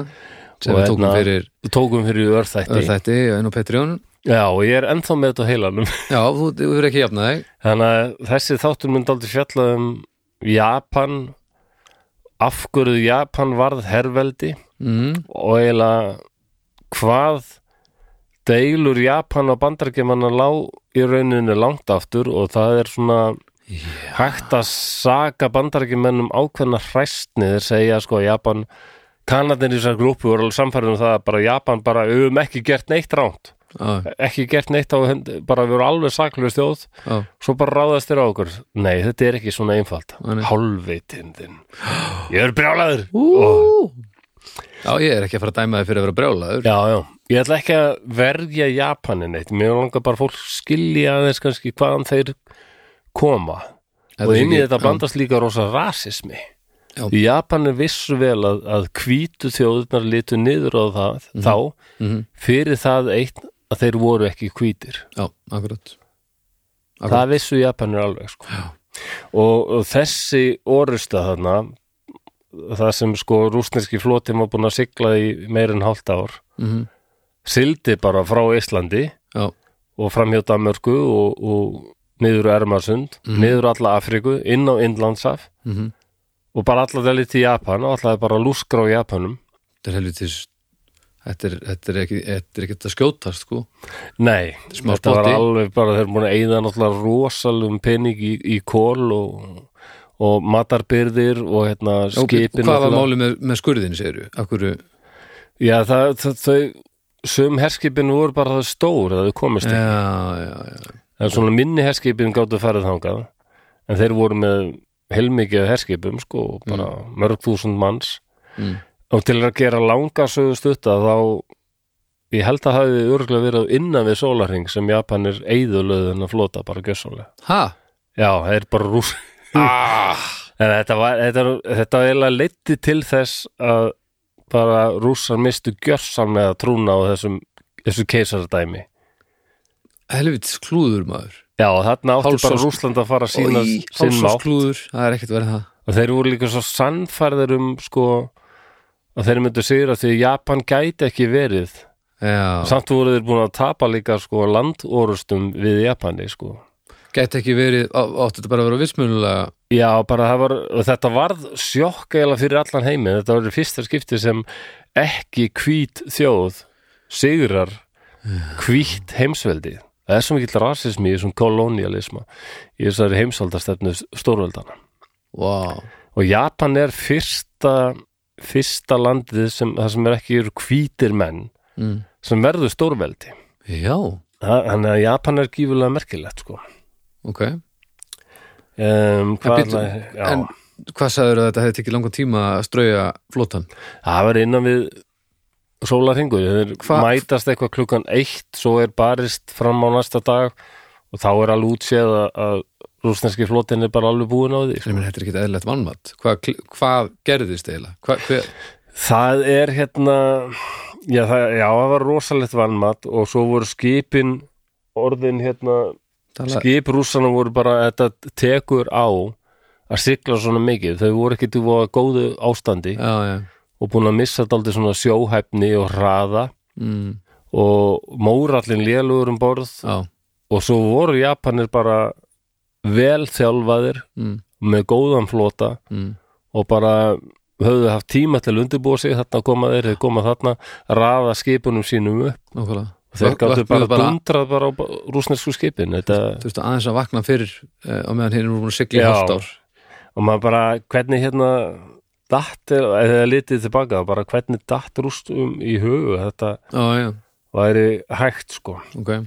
S2: sem
S1: Og
S2: við tókum
S1: hérna-
S2: fyrir eh,
S1: Tókum fyrir örþætti.
S2: þætti en á Patreon
S1: Já, og ég er ennþá með þetta á heilanum. [laughs]
S2: Já, þú þú verður ekki jafnað þig
S1: Þannig að þessi þáttur myndi aldrei fjalla um Japan, af hverju Japan varð herveldi
S2: mm,
S1: og eiginlega hvað deilur Japan og bandargemanna lág í rauninu langt aftur og það er svona hægt að saga bandargemennum ákveðna hræstni þeir segja sko Japan kanadinn í þessar grúpu voru alveg samfærið um það að bara Japan bara, við höfum ekki gert neitt ránt
S2: á,
S1: ekki gert neitt á hend bara við vorum alveg saklaus þjóð
S2: á,
S1: svo bara ráðast þér á okkur nei, þetta er ekki svona einfalt
S2: Nei, nei.
S1: hálfvitindin ég er brjálaður
S2: Ú, Já, ég er ekki að fara að dæma þig fyrir að vera brjálaður
S1: Já, já. Ég ætla ekki að verja Japanin eitt. Mér langar bara fólk skilja aðeins kannski hvaðan þeir koma.
S2: Þetta
S1: og
S2: er
S1: inn í
S2: ekki-
S1: þetta
S2: já.
S1: bandast líka rosa rasismi.
S2: Já.
S1: Í Japan er vissu vel að, að hvítu þjóðunar litu niður á það þá
S2: Mhm.
S1: fyrir það eitt að þeir voru ekki hvítir.
S2: Já, akkurat Akkurat.
S1: Það vissu Japanir alveg sko. og, og þessi orusta þarna það sem sko rúsneski flotin var búin að sigla í meir en hálft ár
S2: mm,
S1: sildi bara frá Íslandi
S2: Já,
S1: og framhjá Danmörku og, og niður Ermarsund, niður alla Afriku, inn á Indlandsaf
S2: mhm.
S1: og bara alla það lítið í Japan og alla það bara lúskra á Japanum.
S2: þetta er helvitis þetta er, þetta er ekki þetta er ekki að skjótast sko
S1: Nei,
S2: Smá
S1: þetta var
S2: spotti.
S1: alveg bara, þeir eru búin að eyða náttúrulega rosalum pening í, í kól og, og matarbyrðir og hérna
S2: og, og
S1: skipin.
S2: hvað var
S1: náttúrulega.
S2: málið með, með skurðin segir af hverju,
S1: Já, það, það, þau, sum herskipin voru bara það stór að þau komist
S2: já,
S1: í.
S2: já, já
S1: en svona minni herskipin gáttu farið þangað en þeir voru með heilmikið af herskipum sko, og bara mörg þúsund manns
S2: Mm.
S1: og til að gera langa sögu stutta þá ég held að hafi örgulega verið á innan við sólarhing sem Japanir eigðulöðu en að flota bara gjössalega
S2: Ha?
S1: já, það er bara rús
S2: Ah.
S1: [laughs] en þetta var, þetta, þetta eiginlega leiddi til þess að bara rússar mistu gjörsamlega trúna á þessum, þessu keisardæmi
S2: Helvits klúður maður
S1: já, þarna átti
S2: Hálfsás-
S1: bara Rússland að fara sína
S2: Í,
S1: sinn mátt
S2: hálfsásklúður, það er ekkert verið það
S1: og þeir voru líka svo sannfærðir um sko að þeir myndu sigra því að Japan gæti ekki verið
S2: Já,
S1: samt voru þeir búin að tapa líka sko landorustum við Japani sko
S2: gæti ekki verið, á- átti þetta bara að vera vissmjölulega
S1: Já, bara það var, og þetta varð sjokk eiginlega fyrir allan heiminn, þetta var fyrsta skipti sem ekki hvít þjóð sigrar hvít heimsveldi. Það er svo mikill rasismi í þessum kolonialisma í þessari heimsaldastefnu stórveldana.
S2: Vá,
S1: Og Japan er fyrsta, fyrsta landið sem, það sem er ekki eru hvítir menn
S2: mm.
S1: sem verður stórveldi.
S2: já,
S1: Þa- Þannig að Japan er gífulega merkilegt, sko.
S2: ok
S1: Um, hvað
S2: bíddu,
S1: er það? Já.
S2: En hvað sagður að þetta hefði tekið langan tíma að strauja flotan?
S1: Það var innan við sólarhingur, þeir
S2: Hva-
S1: mætast eitthvað klukkan eitt, svo er barist fram á næsta dag og þá er alveg útséð að, að rúsneski flotin er bara alveg búin á því.
S2: Ég meni, þetta er ekki eðlilegt vannmatt Hvað, kl- hvað gerðist eiginlega? Hvað, hver,
S1: Það er hérna, já það, já, það var rosalegt vannmatt og svo voru skipin orðin hérna,
S2: tala,
S1: skip rússana voru bara, þetta tekur á að sigla svona mikið, þau voru ekki til að góðu ástandi
S2: já, já
S1: og búin að missa daldið svona sjóhæfni og hraða
S2: mm,
S1: og mórallin lélugur um borð
S2: Já,
S1: og svo voru Japanir bara vel þjálfaðir
S2: mm,
S1: með góðan flota
S2: mm,
S1: og bara höfðu haft tíma til að undirbúa sig þarna koma þeir, þeir koma þarna raða skipunum sínum upp
S2: nákvæmlega
S1: og þeir gáttu
S2: Vöknuðu
S1: bara dundrað bara á rúsnesku skipin þetta,
S2: Þú veist aðeins að vakna fyrir eh, á meðan hinn er búin að sigla í
S1: Já.
S2: hálft ár
S1: og maður bara hvernig hérna datt eða litið tilbaka, bara hvernig datt rústum í hugu, þetta
S2: Já, já,
S1: væri hægt sko
S2: ok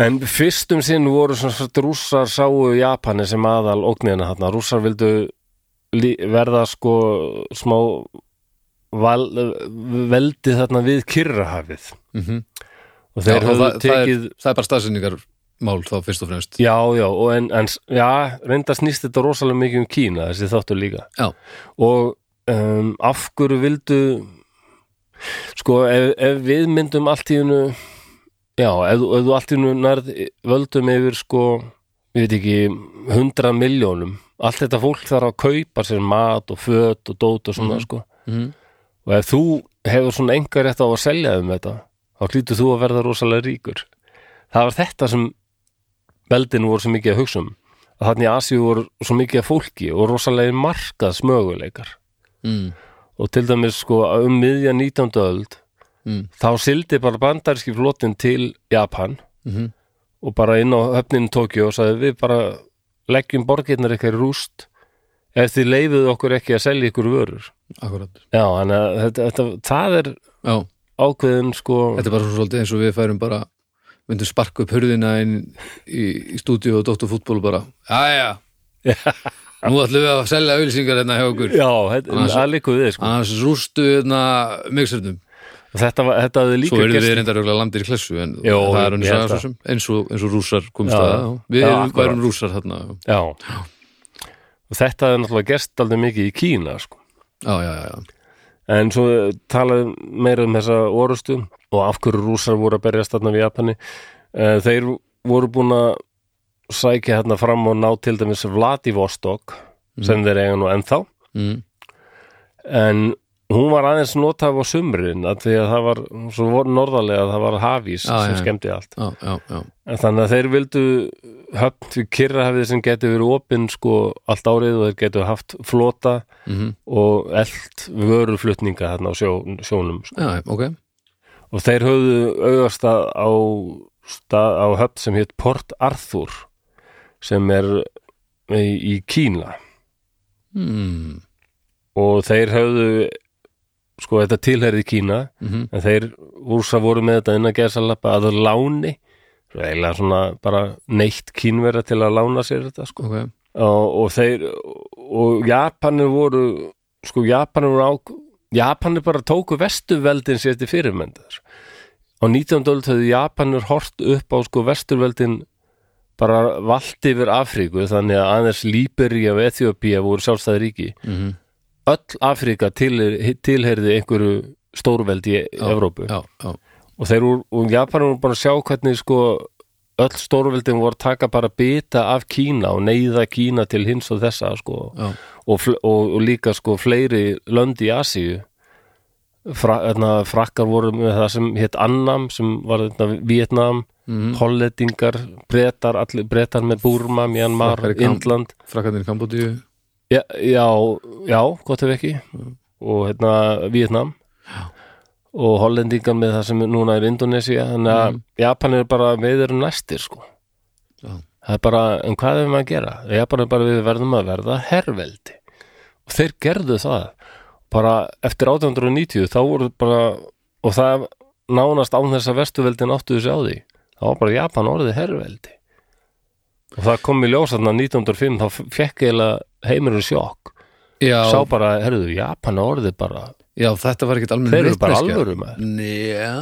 S1: En fyrstum sinn voru sem sagt rússar sáu Japani sem aðal ógnina þarna. Rússar vildu lí- verða sko smá val, veldi þarna við Kyrrahafið. Og
S2: mm
S1: Mhm. þeir
S2: já,
S1: höfðu
S2: það, það,
S1: tekið...
S2: er, það er bara staðsendingarmál þá fyrst og fremst
S1: Já, já, og en, en s- já, reynda snýst þetta rosalega mikið um Kína, þessi þáttu líka.
S2: Já,
S1: og um, af hverju vildu sko ef, ef við myndum allt í hennu já, ef, þú- ef þú allt í hennu nærð völdum yfir sko ég veit ekki, 100 miljónum allt þetta fólk þarf að kaupa sér mat og föt og dót og svona sko
S2: mm,
S1: og ef þú hefur svona engar rétt á að selja um þetta þá hlýtur þú að verða rosalega ríkur það var þetta sem veldin voru svo mikið að hugsa um að þannig að Asíu voru svo mikið að fólki og rosalega markaðsmöguleikar
S2: mm,
S1: og til dæmis sko um miðja 19. öld
S2: mm,
S1: þá sildi bara bandaríski flotin til Japan
S2: mm,
S1: og bara inn á höfnin Tokjó og sagði við bara leggjum borgirnar ykkar í rúst ef þið leifuðu okkur ekki að selja ykkur vörur
S2: akkurat
S1: já, þannig að þetta, þetta, það er
S2: Já,
S1: ákveðin sko
S2: þetta er bara svona svolítið eins og við færum bara myndum sparka upp hurðina inn í, í stúdíu og dóttu fútból bara Jæja, nú ætlum við að selja auðlýsingar hérna hjá okkur
S1: já, þetta,
S2: Annars-
S1: það líku við sko
S2: annars rústu hérna miksernum
S1: þetta, var- þetta hefði líka
S2: svo eru
S1: gerst-
S2: við reyndar örugglega landir í klessu en
S1: Jó,
S2: það er eins
S1: ég
S2: og,
S1: held
S2: eins og, eins og, eins og rússar komst
S1: Já,
S2: að
S1: já.
S2: já. við
S1: Já,
S2: erum,
S1: akkurat.
S2: værum rússar þarna já,
S1: já. og þetta hefði náttúrulega gerst aldrei mikið í Kína sko
S2: já, já, já, já.
S1: En svo talaði meira um þessa orustu og af hverju rússar voru að berjast þarna við Japani. Eh, Þeir voru búin að sækja hérna fram og ná til dæmis Vladivostok sem þeir eiga nú ennþá.
S2: Mm,
S1: En hún var aðeins notaf á sumrin að því að það var svo voru norðarlega að það var hafís
S2: Já,
S1: sem
S2: já.
S1: skemmti allt.
S2: já, já, já.
S1: En þannig að þeir vildu höfn fyrir kyrrahafið sem getur verið opinn sko allt árið og þeir getur haft flota
S2: Mm
S1: og eld vöruflutninga þarna á sjó, sjónum sko.
S2: já, ok
S1: og þeir höfðu augasta á, stað, á höfn sem hétt Port Arthur sem er í, í Kína
S2: mm,
S1: og þeir höfðu sko þetta tilherði Kína
S2: Mhm.
S1: en þeir úrsa voru með þetta innan geðsalappa að láni Svo eiginlega svona bara neitt kínverða til að lána sér þetta sko
S2: ok
S1: og, og þeir og Japanir voru sko Japanir voru á Japanir bara tóku vesturveldin sér til fyrirmyndaður á 19. öld höfðu Japanir hort upp á sko vesturveldin bara valdi yfir Afríku þannig að aðeins Líbería og Ethiopía voru sjálfstæði ríki
S2: Mhm.
S1: öll Afríka til, tilherði einhverju stórveldi í Evrópu
S2: já, já,
S1: og þeir úr, og Japanir voru búin að sjá hvernig sko öll stórveldin voru að taka bara bita af Kína og neyða Kína til hins og þessa sko
S2: já,
S1: og, fl- og, og líka sko fleiri lönd í Asíu Fra, öðna, frakkar voru með það sem hétt Annam sem var öðna, Vietnam
S2: Mhm.
S1: hollendingar, bretar, allir, bretar með Burma, Myanmar,
S2: Frakkar í Kam-
S1: Indland
S2: frakkandir í Kambodíu
S1: já, já, já, gott ef ekki og hérna Vietnam og hollendingar með það sem núna er Indonesia þannig að Japan er bara við erum næstir sko
S2: Já.
S1: það er bara, en hvað hefur maður að gera? Japan er bara við verðum að verða herveldi og þeir gerðu það bara eftir 1890 þá voru bara og það nánast án þess að vestuveldin áttuðu sig á því þá var bara Japan orðið herveldi og það kom í ljós þarna 1905 þá fekk eiginlega heimurinn sjokk
S2: já,
S1: sá bara, herruðu, Japan er orðið bara
S2: já, þetta var ekkert alveg
S1: þeir eru bara alvöru maður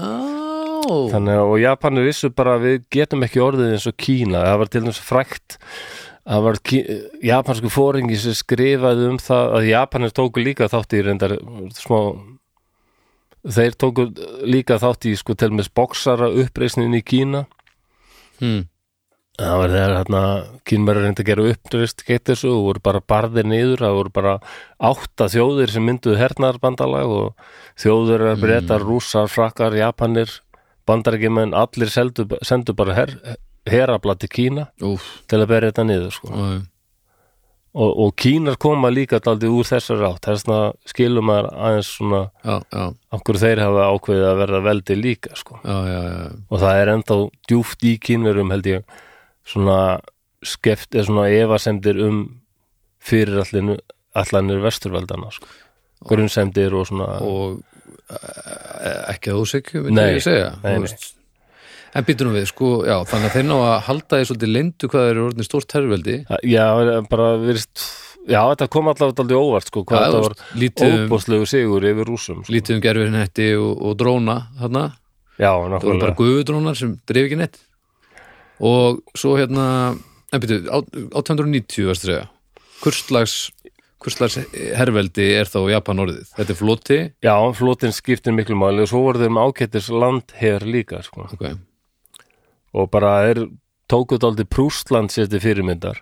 S2: já,
S1: Þannig að og Japanir vissu bara að við getum ekki orðið eins og Kína það var til dæmis frækt það var Kí- japansku fóringi sem skrifaði um það að Japanir tóku líka þátt í reyndar smá þeir tóku líka þátt í sko til með boksara uppreisnin í Kína
S2: Hmm.
S1: það var þegar hérna kínverður reyndi að gera uppreist gett þessu og voru bara barðir niður það voru bara átta þjóðir sem mynduðu hernaðarbandalag og þjóður er breytar, rússar, frakkar, japanir bandarækjumenn, allir seldu, sendu bara her, herabla til Kína
S2: úf
S1: til að berja þetta niður sko.
S2: já,
S1: og, og Kínar koma líka daldið úr þessar átt þessna skilum maður aðeins svona
S2: já, já,
S1: af hverju þeir hafa ákveðið að verða veldi líka sko.
S2: já, já, já.
S1: og það er ennþá djúft í kínverum held ég svona skeft eða svona efasemdir um fyrirallinu allanir vesturveldana sko. grunnsemdir og svona
S2: og eh, ekki að ósekju
S1: Nei,
S2: myndi ég segja
S1: nei,
S2: þú
S1: nei.
S2: veist. en býtum við sko, já, þannig að þeir ná að halda því svolítið leyndu hvað þeir eru orðin stórt herrveldi
S1: já, bara virist já, þetta kom allavega aldrei óvart sko, hvað
S2: Já,
S1: þetta
S2: þú
S1: var
S2: veist, lítið um-
S1: óbúslegu sigur yfir rúsum sko.
S2: lítið um gerfirnetti og, og dróna þarna,
S1: já,
S2: það voru
S1: nákvæmlega
S2: bara guðudrónar sem dreif ekki nett og svo hérna en býtum, 890 varstu að segja kurslags, kurslags herrveldi er þá Japan orðið þetta er floti
S1: já, flotin skiptir miklu máli og svo voru þeir með ákettis landher líka sko.
S2: okay.
S1: og bara þeir tókuð aldrei Prúsland sér til fyrirmyndar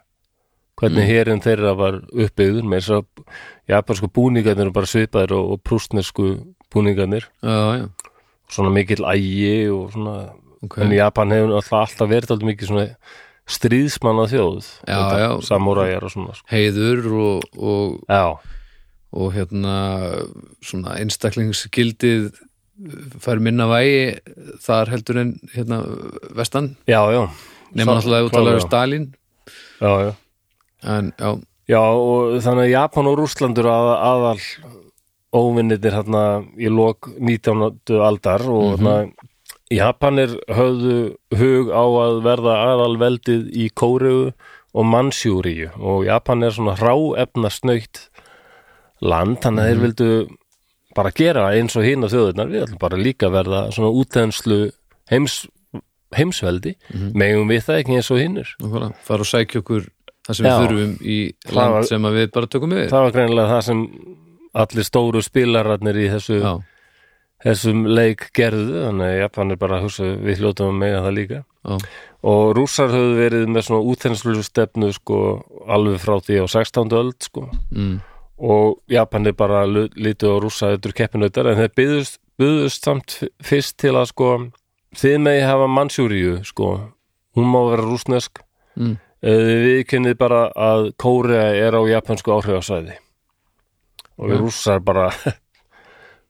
S1: hvernig mm. herin þeirra var uppbyggður með þess að japansku búningarnir eru bara svipaðir og, og prústnesku búningarnir
S2: já, já,
S1: svona mikill ægi og svona
S2: ok
S1: en Japan hefur alltaf, alltaf verið aldrei mikið svona stríðsmanna þjóð
S2: Já, já.
S1: samúræjar og svona sko.
S2: heiður og, og
S1: já,
S2: og hérna svona einstaklingsgildið fær minna vægi þar heldur en hérna vestan
S1: já, já
S2: nema náttúrulega út að
S1: klárlega.
S2: lara Stalin
S1: já, já.
S2: en já,
S1: já, og þannig að Japan og Rússlandur að, aðal óvinnitir hérna í lok 19. aldar og mm Japanir höfðu hug á að verða aðalveldið í Kóreu og Mansjúríu og Japan er svona hráefnasnöytt land, þannig að þeir vildu bara gera eins og hina þjóðurnar við ætlum bara líka að verða svona útenslu heims, heimsveldi megum við það ekki eins og hinnur
S2: nákvæmlega, fara og sækja okkur það
S1: Já.
S2: sem við þurfum í land
S1: var-
S2: sem að við bara tökum við
S1: það var greinilega það sem allir stóru spilararnir í þessu
S2: já,
S1: þessum leik gerðu þannig að Japan er bara að hugsa við hljótum að mega það líka
S2: já,
S1: og rússar höfðu verið með svona útþenslu stefnu sko alveg frá því á 16. öld sko
S2: mm,
S1: og Japan er bara lítið á rússa yttur keppinautar en þeir byðust, byðust samt f- fyrst til að sko þið megi hafa Mansjúríu sko hún má vera rússnesk
S2: mm,
S1: við kynnið bara að Kórea er á japansku áhrifasæði og við rússar bara [laughs]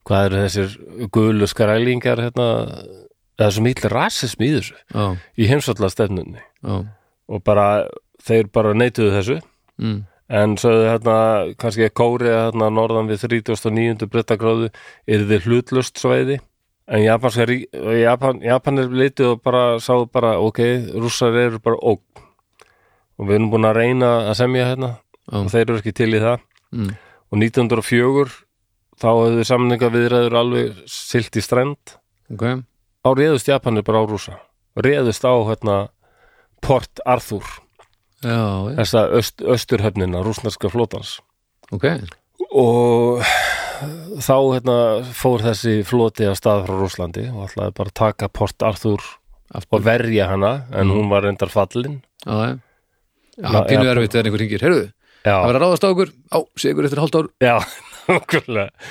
S1: hvað eru þessir gulu skrælingar hérna það er svo mikil rasism í þessu
S2: já,
S1: í heimsalla stefnunni
S2: já
S1: og bara þeir bara neituðu þessu
S2: mm,
S1: en sögðu hérna kannski að Kórea hérna norðan við 39. brettagráðu er þið hlutlust svæði en japanska rík Japan, Japanir litið og bara sáu bara ok, rússar eru bara ógn og við erum búin að reyna að semja hérna
S2: Já.
S1: og þeir eru ekki til í það
S2: mm,
S1: og 1904 þá hefðu samninga viðræður alveg silt í strend
S2: ok,
S1: á réðust Japanir bara á rúsa réðust á hérna Port Arthur,
S2: já, já.
S1: þessa öst, östurhöfnina rúsnarska flótans
S2: ok
S1: og þá hérna fór þessi floti af stað frá Rúslandi og ætlaði bara að taka Port Arthur og
S2: aftur,
S1: verja hana
S2: Mm.
S1: en hún var reyndar fallin
S2: já, já Já, pínu
S1: já,
S2: erfitt eða einhver ringir, heyrðu, það
S1: Já,
S2: verður að ráðast á okkur, á, sé ykkur eftir hálft ár,
S1: já, [laughs] nákvæmlega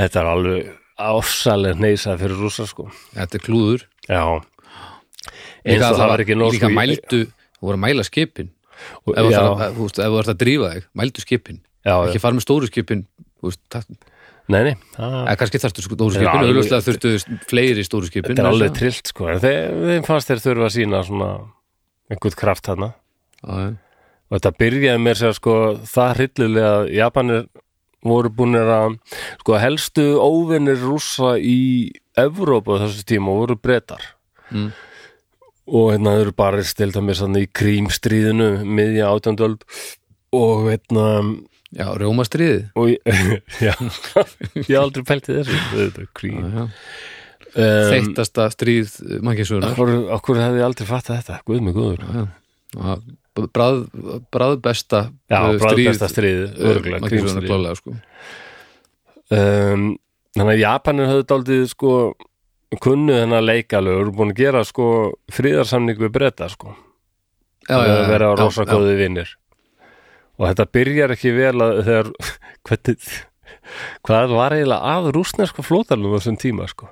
S1: Þetta er alveg ásælega neysa fyrir rúsa sko
S2: þetta er klúður.
S1: Já eins
S2: Líka,
S1: og það
S2: allavega-
S1: var ekki nóg
S2: líka
S1: sko í-
S2: mældu, þú voru að mæla skipin,
S1: og-
S2: ef þú
S1: Já,
S2: ætlar að- þú veist, ef þú ert að drífa þig, mældu skipin,
S1: já, já,
S2: ekki fara með stóru skipin, þú veist, það,
S1: nei, nei það-
S2: eða kannski þarftu sko stóru
S1: Þetta er
S2: skipin,
S1: alveg-
S2: auðvitað þurftu fleiri stóru skipin.
S1: Þetta er alveg
S2: þess
S1: trillt sko en þeir, þeir fannst þeir þurfa að sína svona einhvern kraft hana
S2: að- Já, já.
S1: og þetta byrjaði mér sér sko það hryllilega að Japanir voru búinir að sko helstu óvinnir rússa í Evrópu á þessu tíma voru brettar
S2: Mm.
S1: og hérna þau eru bara stilt að mér sannig í krímstríðinu miðja átjöndöld og hérna
S2: Já, rjómastriðið.
S1: og ég, [laughs] já, ég hef aldrei pælt í þessu þetta er krím
S2: Já, já.
S1: um,
S2: Þeittasta stríð eh, mannkynsugunar.
S1: okkur, okkur hefði ég aldrei fatt að þetta, guð mig guður
S2: Bráð, bráð besta
S1: já, bráðbesta stríð, örgulega
S2: mannkynsugunar
S1: krímstríð
S2: klálega, eh, sko.
S1: um, þannig að Japanir höfðu daldið sko kunnu þennan leikalög og eru búin að gera sko fríðarsamning við breyta sko
S2: Já, já, já,
S1: að vera
S2: já,
S1: rosa
S2: já.
S1: góði vinnir og þetta byrjar ekki vel að þegar [laughs] hvernig, hvað var eiginlega að rúsneska flótalum á þessum tíma sko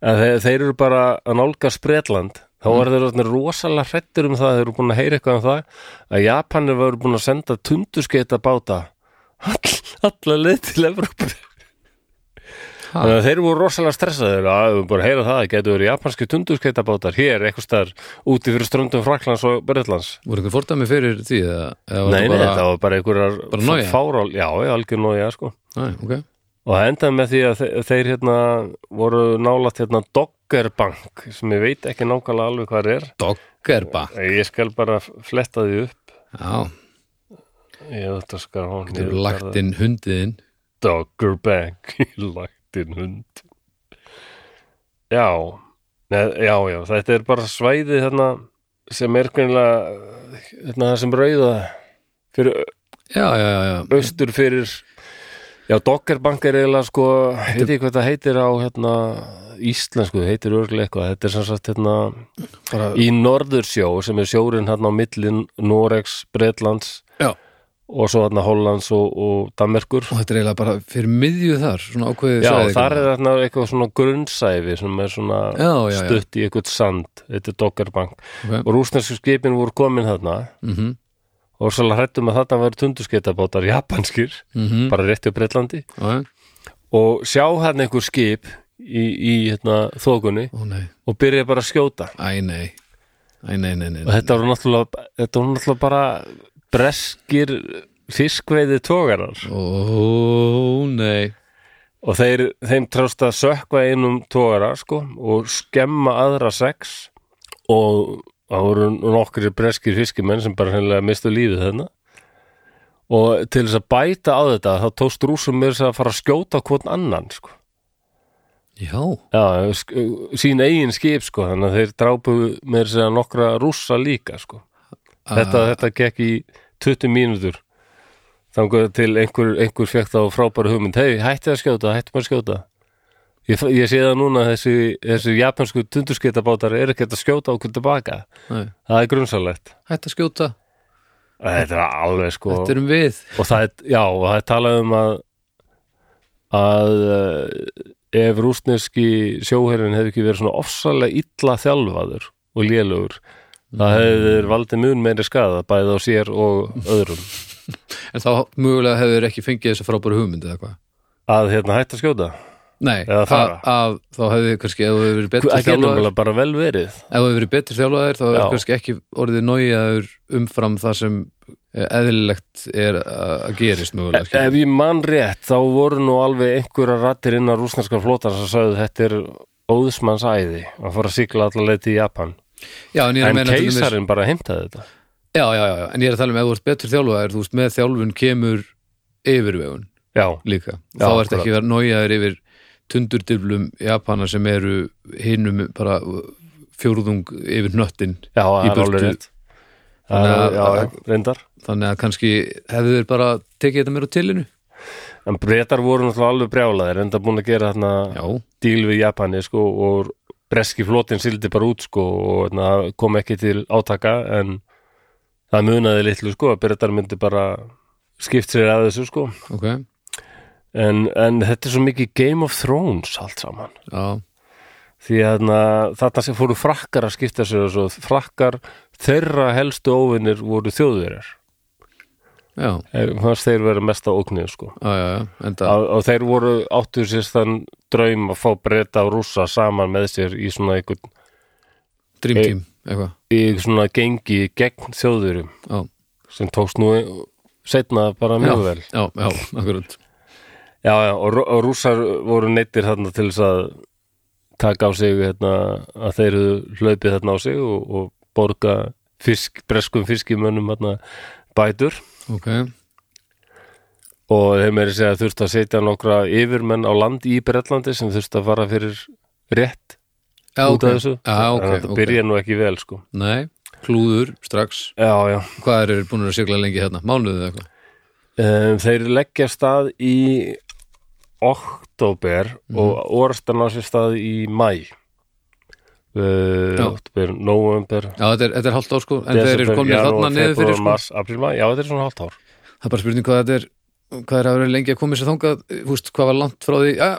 S1: að þeir, þeir eru bara að nálga spretland þá
S2: Mm.
S1: var þeir orðnir rosalega hrettur um það þeir eru búin að heyra eitthvað um það að Japanir voru búin að senda tunduskeita báta [laughs] all, allar leið til Evrópu
S2: Ha.
S1: Þannig að þeir voru rosalega stressaðir að við bara heyra það, getur verið japanski tundurskeitabátar hér, eitthvað staðar úti fyrir ströndum Fraklands og Bretlands
S2: Voru einhver fordæmi fyrir því? Eða, eða var
S1: Nei, nei,
S2: bara-
S1: þetta var bara einhverjar
S2: Bara nója?
S1: fá- fárál, já, já, algjör nója, sko
S2: Nei, ok.
S1: og það endaði með því að þe- þeir hérna voru nálaðt hérna Doggerbank, sem ég veit ekki nákvæmlega alveg hvað er,
S2: Doggerba.
S1: ég skal bara fletta því upp
S2: Já,
S1: ég þetta skar hún
S2: þú eru lagt inn hundiðinn.
S1: [laughs] Doggerbank ég lagt inn hund já neð, já, já, þetta er bara svæði hérna sem er greinlega hérna það sem rauða fyrir
S2: Já, já, já, já.
S1: austur fyrir já, Doggerbank er eiginlega sko heiti hvað það heitir á hérna íslensku, það heitir örglega eitthvað þetta er sem sagt hérna
S2: Bara,
S1: í Norðursjó sem er sjórin hérna á millin Noregs, Bretlands
S2: já.
S1: og svo hérna Hollands og, og Danmerkur
S2: Og þetta er eiginlega bara fyrir miðju þar, svona ákveðið
S1: Já,
S2: svæði,
S1: þar
S2: ekki?
S1: er þarna eitthvað svona grunnsæfi sem er svona
S2: Já, já, já.
S1: stutt í eitthvað sand, þetta er Doggerbank
S2: Ok.
S1: og rúsnesku skipin voru komin þarna
S2: Mhm,
S1: og svo hrættum um að þarna væri tundurskeitabátar japanskir,
S2: mhm,
S1: bara rétti á Bretlandi
S2: já, já.
S1: og sjá hann einhver skip í, í hérna, þókunni
S2: Ó, nei.
S1: og byrja bara að skjóta
S2: Æ, nei. Æ, nei, nei, nei.
S1: og þetta voru náttúrulega, þetta voru náttúrulega bara breskir fiskveiði tógarar
S2: Ó, nei.
S1: og þeir, þeim trást að sökva einum tógara sko og skemma aðra sex og það voru nokkri breskir fiskimenn sem bara hennilega mistu lífið þarna og til þess að bæta á þetta þá tókst rúsum mér að fara að skjóta hvort annan sko
S2: Já,
S1: Já, sk- sín eigin skip sko, þannig að þeir drápu með þess að nokkra rússa líka sko. Þetta, þetta gekk í 20 mínútur þangur til einhver, einhver fekk þá frábæra hugmynd, hei, hætti að skjóta, hætti maður að skjóta. Ég, f- ég sé það núna að þessi, þessi japansku tundurskeitabátar er ekkert að skjóta okkur tilbaka.
S2: nei.
S1: Það er grunnsalegt.
S2: Hætt að skjóta.
S1: Þetta er alveg sko
S2: Þetta erum við.
S1: og það er, já, og það er talað um að að eh, ef rústneski sjóherin hefði ekki verið svona ofsalega illa þjálfaður og lélugur
S2: Mm.
S1: það hefði þeir valdið mun meiri skada bæði á sér og öðrum
S2: En þá mögulega hefur ekki fengið þessa frábæru hugmynd eða hvað.
S1: að hérna hætta að skjóta
S2: Nei,
S1: Eða fara.
S2: að, að þá hefði kannski, ef þú hefur verið betur
S1: það getur
S2: þjálfaður,
S1: náttúrulega bara vel verið
S2: ef þú hefur verið betur þjálfaðir þá er
S1: Já.
S2: kannski ekki orðið nógiðaður umfram það sem eh, eðlilegt er að að gerist mögulega
S1: ef
S2: skilur.
S1: ég man rétt þá voru nú alveg einhverja rattir innan rústneska flótar sem sagði þetta er óðsmanns æði að fara að sigla allar leið til Japan
S2: já, en ég er að
S1: en
S2: meina til dæmis-
S1: keisarin bara heimtaði þetta
S2: já, já, já, já, en ég er að tala um ef þú ert betur þjálfaðir, þú veist, með þjálfun kemur yfirvegun
S1: já,
S2: líka
S1: Já,
S2: þá ert
S1: akkurat.
S2: ekki verið nójaður yfir tundurdiflum Japana sem eru hinnum bara fjóruðung yfir nöttin
S1: já, það er
S2: burtu.
S1: alveg rétt Það
S2: Þannig
S1: er-
S2: að-
S1: já, já, reyndar
S2: þannig að kannski hefðu þeir bara tekið þetta mér á tilinu
S1: en breytar voru náttúrulega alveg brjálaðir enda búin að gera þarna
S2: já,
S1: díl við Japani sko og breski flotin sildi bara út sko og na, kom ekki til átaka en það munaði litlu sko að breytar myndi bara skipt sér að þessu sko
S2: ok já,
S1: en, en þetta er svo mikið Game of Thrones allt saman því að na, þarna sem fóru frakkar að skipta sér og svo frakkar þeirra helstu óvinnir voru þjóðverjar
S2: já,
S1: Eh, fannst þeir vera mesta ógnið sko
S2: já, já, já. enda
S1: og, og þeir voru áttu sér þann draum að fá breyta og rússa saman með sér í svona einhvern
S2: Dream Team, eitthvað
S1: í svona gengi gegn þjóðurum
S2: já,
S1: sem tókst nú setna bara mjög
S2: já,
S1: vel
S2: já, já, akkurat
S1: já, já, og, rú- og rússar voru neittir þarna til þess að taka á sig hérna, að þeir höfðu hlaupið þarna á sig og, og borga fisk, breskum fiskimönnum hérna, bætur
S2: ok,
S1: og þeir meiri segja að þurfti að setja nokkra yfirmenn á land í Bretlandi sem þurfti að fara fyrir rétt
S2: já,
S1: út
S2: ok,
S1: af þessu
S2: já, ok,
S1: en þetta
S2: ok.
S1: byrja nú ekki vel sko
S2: nei, klúður, strax
S1: já, já,
S2: hvað er búin að sigla lengi hérna, mánuðið eitthvað
S1: Um, þeir leggja stað í oktober
S2: Mhm.
S1: og orðstan á sér stað í mæ
S2: Já.
S1: uh, oktober, november
S2: já, þetta er, þetta er hálft ár sko, en þeir eru komnir þarna niður fyrir sko
S1: mars, april, mæ, já þetta er svona hálft ár
S2: það er bara spurning hvað þetta er hvað er að vera lengi að koma sér þangað húst, hvað var langt frá því ja,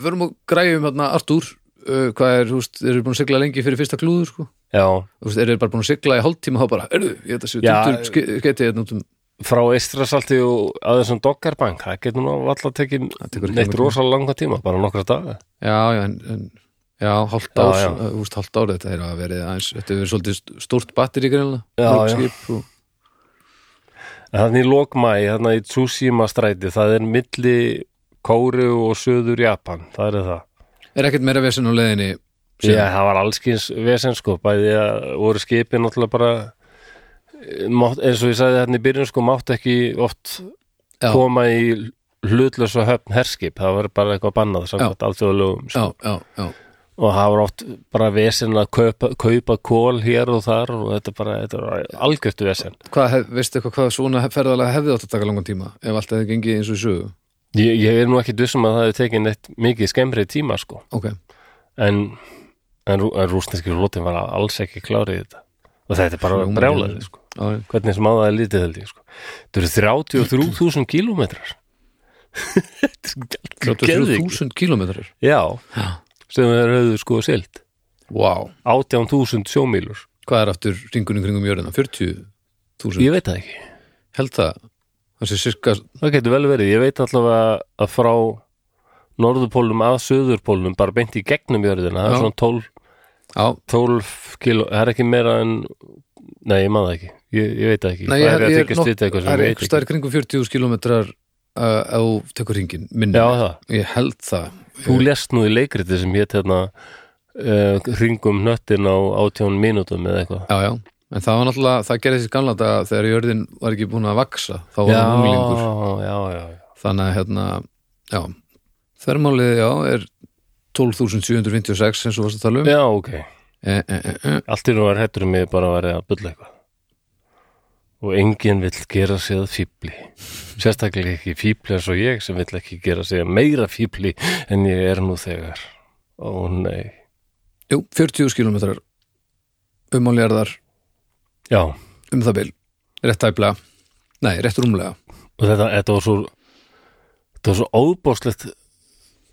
S2: verum og græjum hérna Artúr uh, hvað er, húst, þeir eru búin að sigla lengi fyrir fyrsta klúður sko?
S1: já,
S2: húst, þeir eru bara búin að sigla í hálftíma þá bara, erðu, ég ætla að séu
S1: Já,
S2: tundur skeiti hérna út um,
S1: frá Eistrasalti og aðeins um Doggerbank, það getur nú alltaf tekið neitt
S2: tekur ekki langan tíma.
S1: rosalega langa tíma, bara nokkra daga
S2: já, já, en, en já, hálft
S1: Já,
S2: ár,
S1: já.
S2: uh, húst, hálft ár þetta er að verið aðeins, þetta er svolítið stórt batteri
S1: Já,
S2: greinlega,
S1: já.
S2: mörg skip og,
S1: En þannig í lókmæ, þannig í Tsushima stræti það er milli Kóru og Suður Japan, það er það
S2: er ekkert meira vesinn á leiðinni sem-
S1: Já, það var allskins vesen sko, bæði að voru skipin náttúrulega bara eh, mátt, eins og ég sagði hérna í byrjun sko, mátt ekki oft
S2: Já.
S1: koma í hlutlösa höfn herskip, það var bara eitthvað bannað samkvæmt alþjóðlegum sko.
S2: já, já, já,
S1: og það var oft bara vesen að kaupa, kaupa kól hér og þar og þetta bara, þetta var algjörtu vesen
S2: hvað, hef, veistu eitthvað hvað svona ferðalega hefði átt að taka langan tíma ef allt hefði gengið eins og í sögu
S1: ég, ég er nú ekki dussum að það hefði tekið neitt mikið skemmri tíma sko,
S2: ok,
S1: en en, rú- en rúsneski flotin var alls ekki klárið þetta og þetta er bara
S2: Hljómar
S1: brjálæði
S2: vel.
S1: sko
S2: já, já
S1: hvernig sem á það er lítið held ég sko. þetta eru 33.000
S2: [laughs]
S1: kílómetrar þetta er geðvik
S2: 33.000 kílómetrar
S1: já,
S2: Já.
S1: sem þeir höfðu sko silt
S2: wow.
S1: 18.000 sjómílur
S2: hvað er aftur ringurinn kringum jörðina? 40.000
S1: ég veit það ekki,
S2: held það það sé sirka
S1: það getur vel verið ég veit allavega að frá norðupólum að söðurpólum bara beint í gegnum jörðina það
S2: Já.
S1: er svona 12,
S2: á,
S1: 12 kíló, það er ekki meira en nei, ég maður það ekki, ég, ég veit það ekki
S2: nei,
S1: það
S2: ég,
S1: er
S2: ég,
S1: að
S2: ég,
S1: þykja stýta eitthvað sem
S2: það
S1: ég
S2: er
S1: veit
S2: einhver
S1: ekki
S2: staðar í kringum 40.000 kílómetrar uh, á tekur ringin minni
S1: já, það
S2: ég held það
S1: Þú lest nú í leikriti sem hétt hérna uh, ringum nöttin á 18 mínútum eða eitthvað.
S2: já, já. en það var náttúrulega, það gerði sér gamla þetta þegar jörðin var ekki búin að vaksa þá var
S1: já,
S2: hann unglingur
S1: já, já, já.
S2: þannig að hérna, já þermálið, já, er 12.756 eins og varst að tala um
S1: Já, ok.
S2: e, e, e, e.
S1: Allt í nú var hættur um mig bara að vera að bulla eitthvað. Og enginn vill gera sig að fíbli. Sérstaklega ekki fíbli eins og ég sem vill ekki gera sig að meira fíbli en ég er nú þegar. Ó nei.
S2: Jú, 40 kilometrar umáljarðar
S1: Já,
S2: um það bil rétt tæplega, nei, rétt rúmlega
S1: og þetta, þetta var svo þetta var svo óbóðslegt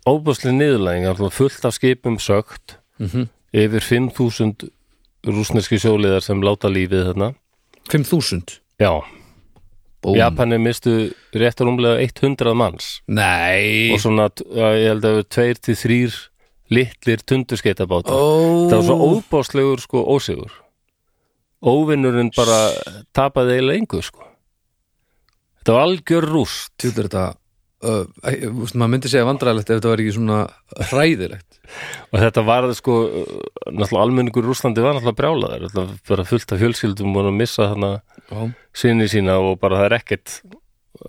S1: óbóðsleg niðurlæðing alltaf fullt af skipum sögt
S2: mm -hmm.
S1: yfir 5.000 rúsneski sjóliðar sem láta lífið þarna
S2: 5.000
S1: Já,
S2: Búm.
S1: Japanir mistu réttar umlega 100 manns
S2: Nei
S1: og svona, t- að ég held að við tveir til þrýr litlir tundurskeitabáta
S2: Ó,
S1: Það var svo óbáslegur sko ósigur Óvinnurinn bara tapaði eiginlega engu sko Þetta var algjör rúst
S2: tjúlar þetta uh, æ, úst, maður myndi segja vandræðilegt ef þetta var ekki svona hræðilegt
S1: og þetta var sko uh, náttúrulega almenningur í Rúslandi var náttúrulega brjálaður náttúrulega bara fullt af fjölskyldum voru að missa þarna
S2: Já,
S1: sinni sína og bara það er ekkert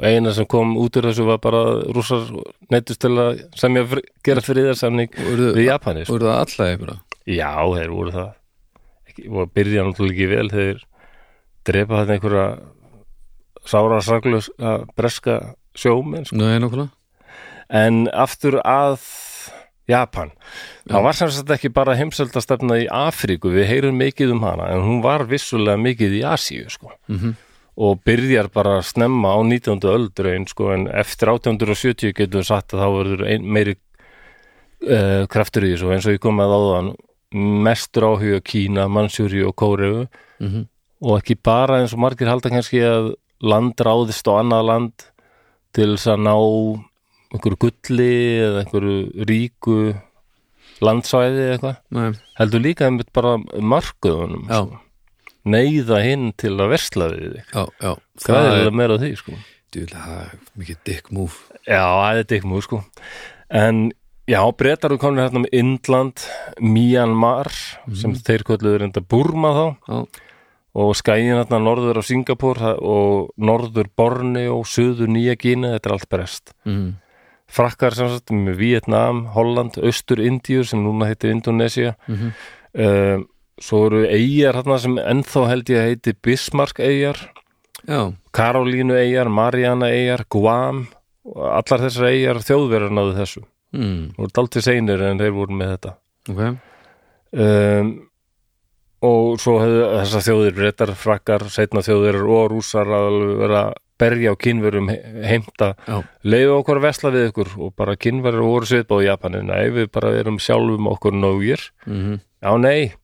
S1: eina sem kom út úr þessu var bara að rússar neittust til að semja fri, gera friðarsamning
S2: Og eru-
S1: við Japanir sko.
S2: Þú eru það allægi bara
S1: Já, þeir voru það ekki, og byrja náttúrulega ekki vel þeir drepa þetta einhverja sára saklaus að breska sjómenn sko.
S2: Nú er nokkulega
S1: en aftur að Japan það var sem sagt ekki bara heimsöldastefna í Afríku, við heyrum mikið um hana en hún var vissulega mikið í Asíu sko.
S2: Mhm.
S1: og byrjar bara að snemma á 19. öldrein sko, en eftir 1870 getum við sagt að þá verður ein, meiri uh, kraftur í þessu eins og ég kom að áðan mestur áhuga Kína, Mansjúri og Kóreu
S2: Mhm.
S1: og ekki bara eins og margir halda kannski að land ráðist á annað land til þess að ná einhverju gulli eða einhverju ríku landsvæði eða eitthvað
S2: Nei,
S1: heldur líka einmitt bara markuðunum
S2: já,
S1: neyða hinn til að versla við þig
S2: já, já
S1: hvað er
S2: er
S1: alveg meira á því sko
S2: djúlega, það er mikið dick move
S1: Já, það er dikkmú sko En já, breytar eru komin hérna með Indland, Myanmar sem þeir kölluður enda Burma þá
S2: Já,
S1: og skæin hérna norður á Singapur það- og norður Borni og suður Nýja Gína, þetta er allt brest
S2: mm.
S1: Frakkar sem sagt með Vietnam, Holland, Östur Indíu sem núna heitir Indonesia
S2: Mhm.
S1: um, Svo eru eigjar hérna sem ennþá held ég heiti Bismarck eigjar
S2: já,
S1: Karolínu eigjar, Mariana eigjar, Guam og allar þessar eigjar þjóðverður náðu þessu
S2: mm.
S1: voru daldið seinir en þeir voru með þetta
S2: ok
S1: um, og svo hefðu þessar þjóðir brettar, frakkar, setna þjóðir og rússar að alveg vera að berja á kynverum heimta
S2: Já.
S1: leiðu okkur að vesla við ykkur og bara kynverur voru sveipa á Japanina ef við bara erum sjálfum okkur nógir
S2: mm.
S1: já nei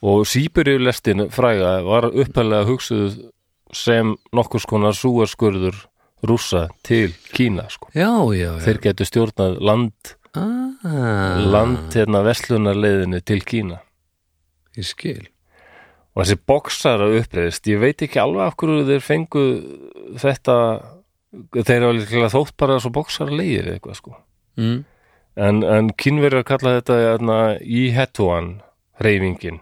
S1: og Sýbyrjulestin fræga var uppalega hugsuð sem nokkurs konar súaskurður rússa til Kína sko.
S2: Já, já, já
S1: þeir getur stjórnað land
S2: ah,
S1: land hérna veslunarleiðinu til Kína
S2: Ég skil
S1: og þessi boksar að uppreðist ég veit ekki alveg af hverju þeir fengu þetta þeir eru líklega þótt bara svo boksar leiðir eða eitthvað sko
S2: mm.
S1: en, en kínverjar kalla þetta hérna, í hetuan reyfingin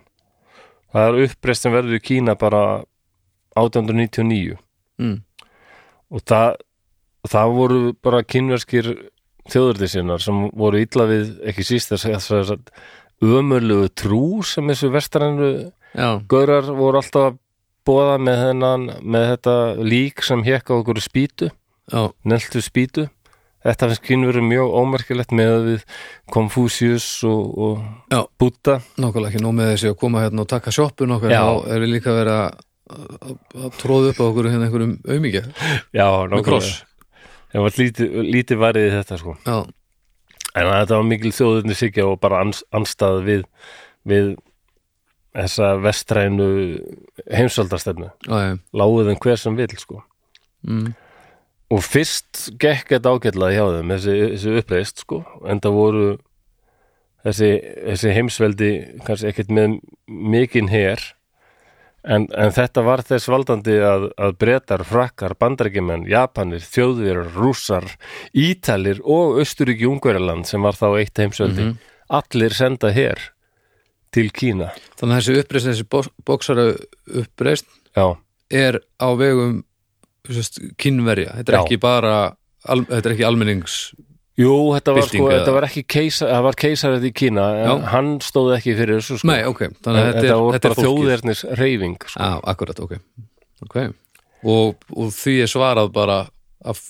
S1: það er uppreist sem verður í Kína bara 1899
S2: Mm.
S1: og það, það voru bara kínverskir þjóðurðisinnar sem voru illa við ekki síst þess að þess að ömurlegu trú sem þessu vestarennu
S2: Já,
S1: gaurar voru alltaf að bóða með, hennan, með þetta lík sem hekka okkur spýtu
S2: já,
S1: neltu spýtu þetta finnst kynveru mjög ómerkilegt með að við Confucius og,
S2: Já.
S1: og Buddha
S2: nákvæmlega ekki nóg með þessi að koma hérna og taka sjoppu nokkuð
S1: Já.
S2: þá er líka verið að að- að tróða upp á okkur hérna einhverjum auðmíkja
S1: já,
S2: með kross
S1: það var lítið, lítið varðið þetta sko
S2: Já,
S1: en þetta var mikil þjóðurni sigja og bara ans, anstað við, við þessa vestrænu heimsöldastefnu
S2: já, já
S1: láguð en hver sem vil sko
S2: mm.
S1: og fyrst gekk þetta ágætlega hjá þeim þessi, þessi uppreist sko en það voru þessi, þessi heimsveldi kannski ekkert með mikinn her en, en þetta var þess valdandi að, að bretar, frakkar, bandarækjumenn japanir, þjóðverur, rússar ítalir og austuríki ungverjaland sem var þá eitt heimsveldi
S2: Mhm.
S1: allir senda her til Kína
S2: Þannig að þessi uppreist, þessi boksara uppreist
S1: já,
S2: er á vegum sest, kynverja, þetta er
S1: Já.
S2: ekki bara al, þetta er ekki almennings
S1: Jú, þetta var,
S2: Bylting
S1: sko,
S2: eða-
S1: þetta var ekki keisar, það var keisarið í Kína en
S2: Já.
S1: hann stóð ekki fyrir þessu sko.
S2: Nei, ok, þannig að
S1: þetta,
S2: þetta er,
S1: voru
S2: þetta er
S1: bara
S2: fólkið
S1: þjóðernis reyfing sko.
S2: Já, akkurat, ok, okay. Og, og því er svarað bara af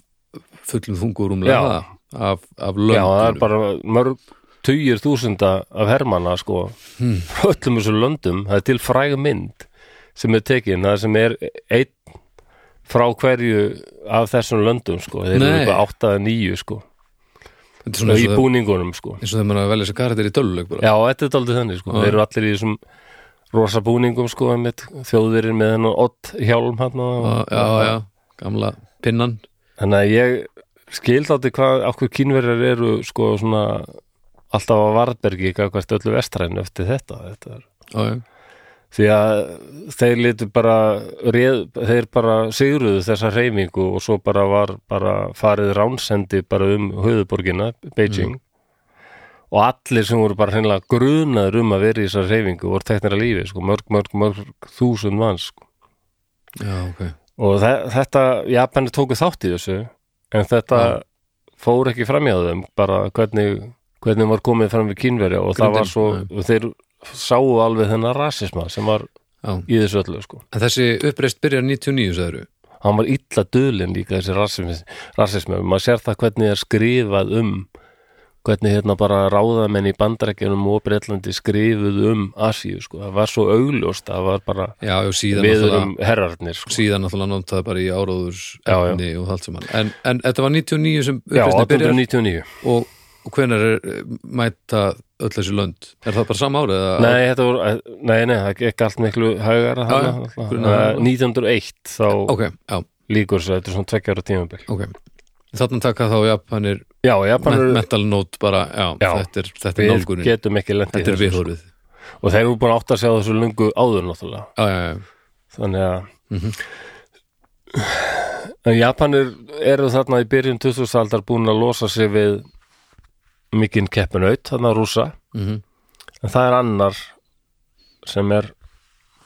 S2: fullum þungurumlega
S1: Já.
S2: það, af, af
S1: já, það er
S2: löndunum
S1: bara mörg tugir þúsunda af hermanna sko,
S2: Hmm.
S1: frá öllum þessu löndum það er til fræg mynd sem er tekin, það sem er einn frá hverju af þessum löndum sko, þeir eru
S2: Nei.
S1: eitthvað 8 að 9 sko,
S2: Þetta er svona
S1: í
S2: eins og það-
S1: búningunum sko.
S2: eins og þeim er að velja sér karakter í döluleik bara
S1: Já, þetta er daldið þannig sko.
S2: Já.
S1: Þeir eru allir í þessum rosa búningum sko, einmitt, þjóðverið með hennan odd hjálm hann
S2: Já, já, já, gamla pinnan
S1: Þannig að ég skil þátti hvað okkur kínverjar eru sko svona alltaf á varbergi hvert öllu vestræn eftir þetta, þetta er.
S2: Já, já,
S1: því að þeir litu bara réð, þeir bara sigruðu þessa reymingu og svo bara var bara farið ránsendi bara um höfuborgina, Beijing og allir sem voru bara hreinlega grunaður um að vera í þessa reyfingu voru teknir að lífi, sko, mörg, mörg, mörg þúsund manns, sko
S2: já, ok
S1: og þe þetta, Japanir tóku þátt í þessu en þetta
S2: Já.
S1: fór ekki fram hjá þeim bara hvernig, hvernig var komið fram við kínverja og það
S2: Grundin,
S1: var svo, og þeir sáu alveg þennan rasisma sem var
S2: Já. En
S1: í þessu öllu sko.
S2: þessi uppreist byrjar 99, sagður
S1: hann var illa dulinn líka þessi rasismi, rasismi. maður sér það hvernig er skrifað um hvernig hérna bara ráðamenn í bandarækjunum og Breitlandi skrifuð um Asíu sko, það var svo augljóst það var bara
S2: Já, og síðan
S1: viður
S2: náttúrulega-
S1: um herrarnir sko.
S2: síðan náttúrulega náttúrulega bara í áróðurs
S1: Já, já.
S2: efni og allt saman en, en þetta var 99 sem
S1: Já,
S2: uppreistin byrjar
S1: 1899
S2: og, og hvenær er, eh, mæta öll þessi lönd? Er það bara sama árið? eða-
S1: Nei, þetta voru, nei, nei, það gekk allt miklu hægara
S2: Já,
S1: hana,
S2: já,
S1: alltaf.
S2: grunna-
S1: Eh, 1901 þá
S2: Ok, já,
S1: líkur svo, þetta er svona tveggja ára tímabil
S2: ok Þannig taka þá Japanir
S1: Já, Japanur,
S2: me- metal note bara, já,
S1: Já.
S2: þetta er, þetta er
S1: við
S2: nálgunin
S1: getum ekki lent í
S2: Þetta er
S1: þessu
S2: viðhorfið
S1: og þeir eru búin að átt að sjá þessu lungu áður náttúrulega
S2: Já, já, já,
S1: þannig að
S2: Mhm.
S1: en Japanir eru þarna í byrjun 2000 aldar búin að losa sig við mikinn keppinaut, þarna rúsa
S2: Mhm.
S1: en það er annar sem er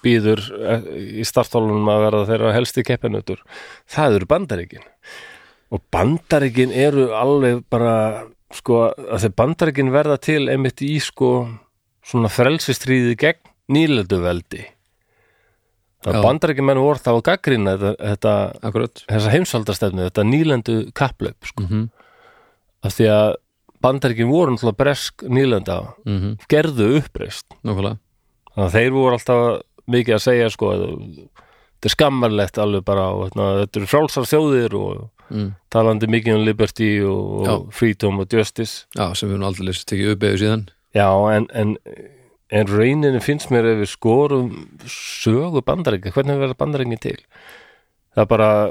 S1: býður eh, í startálunum að verða þeirra helsti keppinautur það eru bandaríkin og bandaríkin eru alveg bara sko, að þeir bandaríkin verða til einmitt í sko svona frelsistríði gegn nýlöldu veldi Það
S2: Já.
S1: bandarækjumenn voru þá að gaggrina þetta, þetta,
S2: akkurat
S1: þessa heimsaldastefnu, þetta nýlendu kapplaup, sko.
S2: mm -hmm.
S1: Af því að bandarækjum voru náttúrulega bresk nýlenda,
S2: Mm
S1: gerðu uppreist.
S2: Nákvæmlega,
S1: Þannig að þeir voru alltaf mikið að segja, sko, að þetta er skammarlegt alveg bara, og, þarna, þetta eru frálsar þjóðir og
S2: Mm.
S1: talandi mikið um liberty og, og freedom og justice.
S2: já, sem við erum aldrei lýst tekið uppeyðu síðan
S1: Já, en, en, en reyninu finnst mér ef við skorum sögu bandarækja, hvernig verða bandarækja til? Það er bara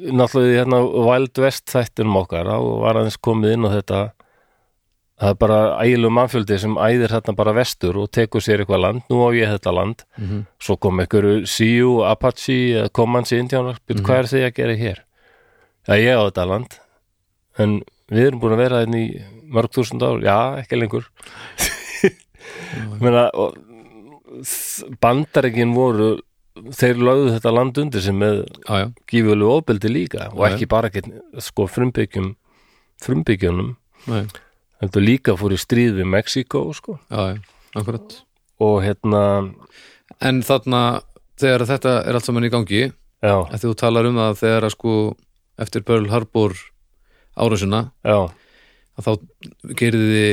S1: náttúrulega í hérna Wild West þættinum okkar þá var aðeins komið inn á þetta það er bara ægilegum mannfjöldi sem æðir þarna bara vestur og tekur sér eitthvað land, nú á ég þetta land
S2: Mhm.
S1: svo kom einhverju Sioux, Apache eða Comanche indjánar, mm hvað er þið að gera hér? Já, ég á þetta land en við erum búin að vera þetta í mörg þúsund ár, já, ekki lengur Meina, og, bandaríkin voru þeir lögðu þetta land undir sem með
S2: Já, já,
S1: gífulegu ofbeldi líka og
S2: Já, já.
S1: ekki bara ekki, sko frumbyggjum frumbyggjunum
S2: nei,
S1: heldur líka fór í stríð við Mexíkó sko
S2: já, já, akkurat
S1: og hérna
S2: En þarna, þegar þetta er allt saman í gangi
S1: já,
S2: að þú talar um það þegar að sko eftir Pearl Harbor árásuna
S1: já,
S2: að þá gerði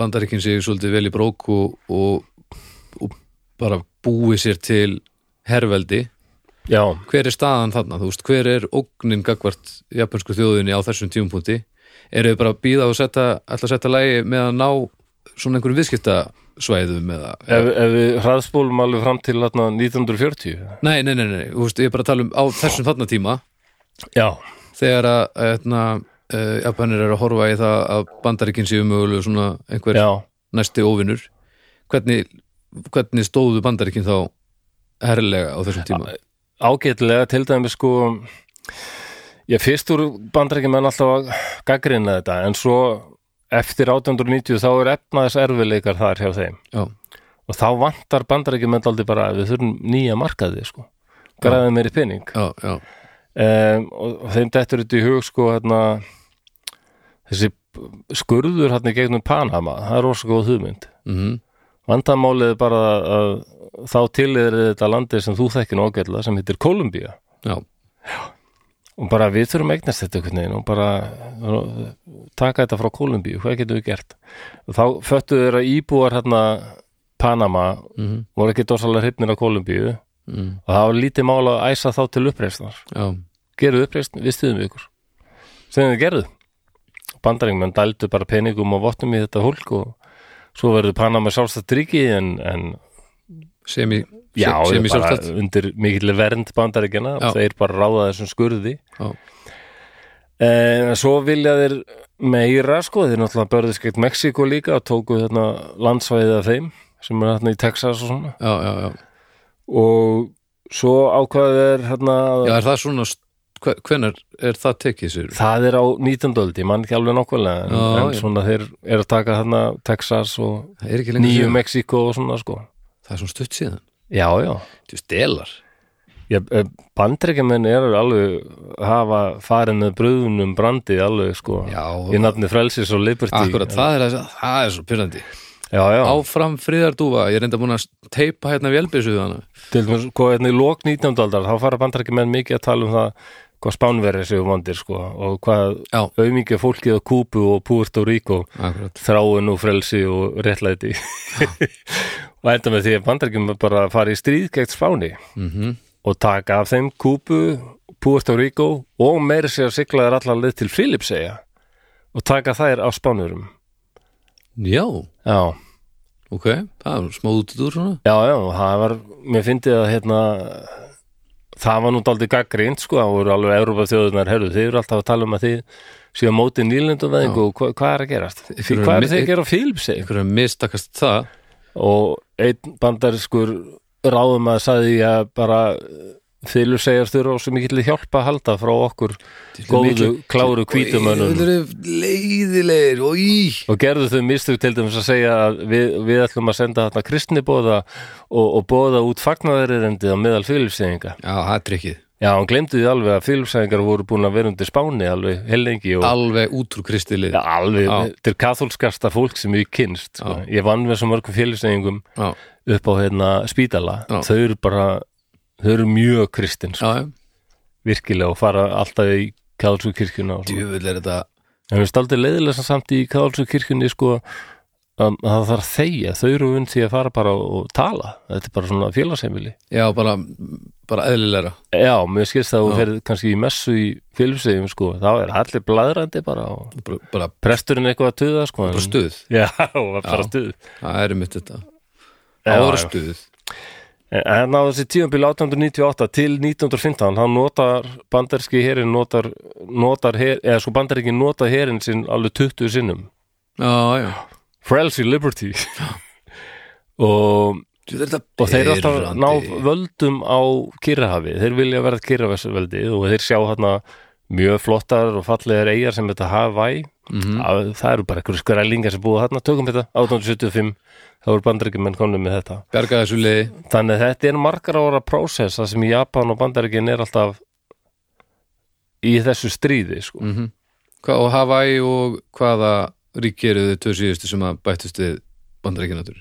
S2: bandaríkinn sig svolítið vel í brók og, og, og bara búið sér til herveldi
S1: já
S2: hver er staðan þarna, þú veist, hver er ógnin gagvart japansku þjóðinni á þessum tímpúnti eru þau bara að býða og setja ætla að setja lægi með að ná svona einhverjum viðskiptasvæðum eða,
S1: ef, ef við hraðspólum alveg fram til hérna, 1940
S2: nei, nei, nei, nei, þú veist, ég er bara að tala um á þessum þarna tíma
S1: já,
S2: þegar að eitna, uh, Japanir eru að horfa í það að bandaríkinn séu mögulega svona einhver
S1: já
S2: næsti óvinnur hvernig, hvernig stóðu bandaríkinn þá herrlega á þessum tíma
S1: ágætlega til dæmi sko ég fyrst úr bandaríkjum en alltaf að gaggrina þetta en svo eftir 1890 þá er efnaðis erfileikar þar hjá þeim
S2: já,
S1: og þá vantar bandarækjum aldrei bara að við þurfum nýja markaði sko, græðið meiri pening
S2: já, já,
S1: um, og, og þeim dettur þetta í hug sko hérna þessi skurður hérna í gegnum Panama það er rosa góð hugmynd
S2: mm
S1: vandamálið er bara að þá tilýðir þetta landi sem þú þekkir nú ágætlega sem heitir Kolumbía
S2: já
S1: og bara við þurfum að eignast þetta einhvern veginn og bara uh, taka þetta frá Kolumbíu, hvað getum við gert og þá föttu þeir að íbúar hérna Panama
S2: Mhm.
S1: voru ekki dósalega hrifnir á Kolumbíu
S2: mm,
S1: og það var lítið mál að æsa þá til uppreisnar
S2: já,
S1: gerðu uppreisn, við stuðum við ykkur sem þið gerðu bandaringmenn dældu bara peningum og vottum í þetta hólk og svo verður Panama sjálfstætt ríki en, en
S2: sem í
S1: já,
S2: sem í
S1: bara
S2: sjálfstætt
S1: undir mikill vernd bandaríkjana
S2: Já.
S1: og þeir bara ráða þessum skurði
S2: Já.
S1: en svo vilja þeir meira sko, þeir náttúrulega börðist gegn Mexíko líka og tóku þarna landsvæðið af þeim sem er hérna í Texas og svona
S2: já, já, já,
S1: og svo ákvaðið er hérna að-
S2: já, er það svona hve- hvenær er það tekið sér
S1: það er á 19. öld, ég man ekki alveg nákvæmlega en,
S2: Já,
S1: en
S2: já.
S1: svona þeir eru að taka þarna Texas og
S2: það er ekki lengur
S1: Nýju
S2: síðan
S1: Mexíko og svona sko
S2: það er svona stutt síðan,
S1: já, já,
S2: þú stelar
S1: Já, bandreikamenn eru alveg hafa farið með bröðunum brandi alveg sko
S2: Já.
S1: í nafni frelsis og liberty
S2: Akkurat, það er, það- það er svo pyrrandi
S1: Já, já,
S2: Áfram friðardúfa, ég er enda búin að teipa hérna vélbyrsuð hana
S1: til dæmis hvað hérna í lok 19. aldar þá fara bandreikamenn mikið að tala um það hvað spánverið séu vandir sko og hvað
S2: Já,
S1: auðmikið fólkið á Kúbu og Puerto Rico
S2: akkurat
S1: þráin og frelsi og réttlæti [laughs] og enda með því að bandarækjum bara fara í stríð gegn Spáni og taka af þeim Kúbu, Puerto Rico og meiri sér að sigla þær allar leið til Filipseyja og taka þær á Spánurum
S2: Já,
S1: Já,
S2: ok, það er smá út úr svona
S1: já, já, það var mér fyndið að hérna það var nú daldið gaggrind sko, það voru alveg Európa þjóðunar, herru, þið eru alltaf að tala um að þið séu á móti nýlendumveðingu og hva, hvað er að gerast?
S2: Ykkur eru
S1: Hvað er
S2: mi-
S1: þið að gera á Filipseyja?
S2: Ykkur er mistakast það
S1: og einn bandariskur ráðum að sagði ég að bara þýlu segjast þurfa og sem ég getið hjálpa að halda frá okkur góðu, kláru
S2: Þau
S1: hvítumönnum
S2: eru leiðilegir og í
S1: og gerðu þau mistug til dæmis að segja að við, við ætlum að senda þarna kristnibóða og, og bóða út fagnaðarirendið á meðal fylfsæðinga.
S2: Já, það er trikkið
S1: Já, hann glemdi því alveg að fylfsæðingar voru búin að vera undir spáni alveg hellengi og
S2: Alveg út úr kristilið
S1: ja, alveg,
S2: Já.
S1: þetta er katholskasta fólk sem ég kynst. Sko. Ég vann með svo mörgum fylfsæðingum
S2: Já,
S1: upp á hérna spítala
S2: Já.
S1: þau eru bara, þau eru mjög kristin sko,
S2: já, já.
S1: virkilega og fara alltaf í Káðalsú kirkjuna og svona.
S2: djúvill er þetta
S1: en við staldið leiðilega samt í Káðalsú kirkjunni sko um, að það þarf að þegja, þau eru unn því að fara bara og tala, þetta er bara svona félagsheimili
S2: Já, bara, bara eðlilegra
S1: já, mér skilst það að þú ferð kannski í messu í félagsheimum sko, þá er allir bladrandi bara og
S2: bara, bara,
S1: presturinn eitthvað að tuða sko
S2: bara stuð
S1: já, [laughs] og var bara stuð
S2: Það er mitt þetta
S1: Já,
S2: Það voru
S1: já.
S2: stuð
S1: En- En á Eh, þessi tíðanbíl 1898 til 1915, hann notar bandarski herin, notar, notar her, eða sko bandaríkin nota herin sinn alveg 20 sinnum.
S2: Já, já
S1: Frelsi Liberty. [laughs] og,
S2: Djú, þetta
S1: og þeir alltaf ná
S2: pirrandi.
S1: völdum á Kyrrahafi. Þeir vilja verða Kyrrahafi og þeir sjá hérna mjög flottar og fallegar eigar sem þetta Hawaii.
S2: Mhm.
S1: Að- Það eru bara einhverju skrælingar sem búið þarna. Tökum þetta 1875, þá eru bandaríkjumenn konum með þetta.
S2: Bjarga þessu liði
S1: Þannig að þetta er margar ára prósess það sem í Japan og Bandaríkin er alltaf í þessu stríði sko.
S2: mm Hva, Og Hawaii og hvaða ríki eru þau tvö síðustu sem að bættust við bandaríkinatur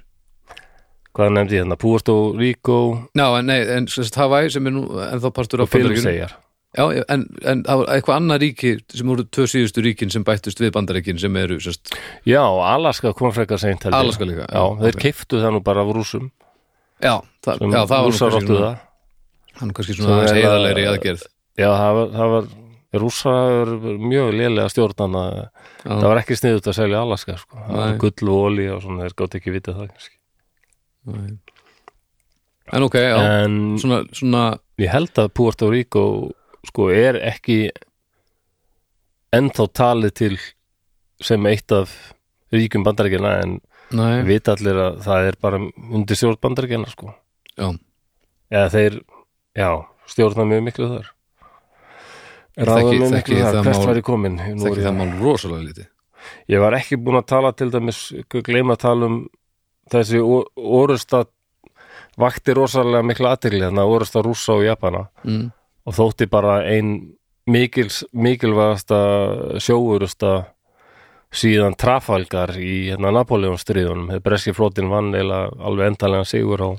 S1: Hvað nefndi ég hérna? Puerto Rico
S2: Ná, en nei, en sem sagt, Hawaii sem er nú ennþá partur
S1: og
S2: af bandaríkinum
S1: Filipseyjar
S2: Já, já, en, en það var eitthvað annað ríki sem voru tvö síðustu ríkin sem bættust við bandaríkin sem eru sérst,
S1: Já, Alaska kom frekar seint held ég.
S2: Alaska líka,
S1: Já,
S2: já,
S1: þeir
S2: ok.
S1: okay. keiftu það nú bara af rúsum
S2: já, það, já, það var nú
S1: Rússar áttu
S2: svona,
S1: það
S2: hann kannski
S1: Svo
S2: svona aðeins
S1: er það-
S2: heiðalegri aðgerð
S1: Já, það var, það var rússar eru mjög lélega stjórnana
S2: Já.
S1: Það var ekki sniðut að selja Alaska sko. Það var
S2: Nei.
S1: gull og olí og svona þeir gátt ekki vitað það kannski.
S2: En ok, já,
S1: En
S2: svona, svona
S1: ég held að Puerto Rico sko er ekki ennþá talið til sem eitt af ríkum bandaríkjana en
S2: Nei,
S1: vita allir að það er bara undir stjórn bandaríkjana sko
S2: já,
S1: eða þeir, já, stjórna mjög miklu þar
S2: Ég þekki-
S1: ráða mjög
S2: þekki
S1: miklu þar,
S2: það
S1: hvert
S2: mál-
S1: var ég komin Nú er
S2: þekki
S1: ég-
S2: það mál rosalega lítið
S1: ég var ekki búin að tala til dæmis gleyma að tala um þessi orusta vakti rosalega miklu aðtegli þannig að orusta rússa og japana
S2: mm.
S1: og þótti bara ein mikils, mikilvægasta sjóurusta síðan trafalgar í hérna, Napoleons stríðunum. Þegar breski flotin vann eða alveg endalega sigur á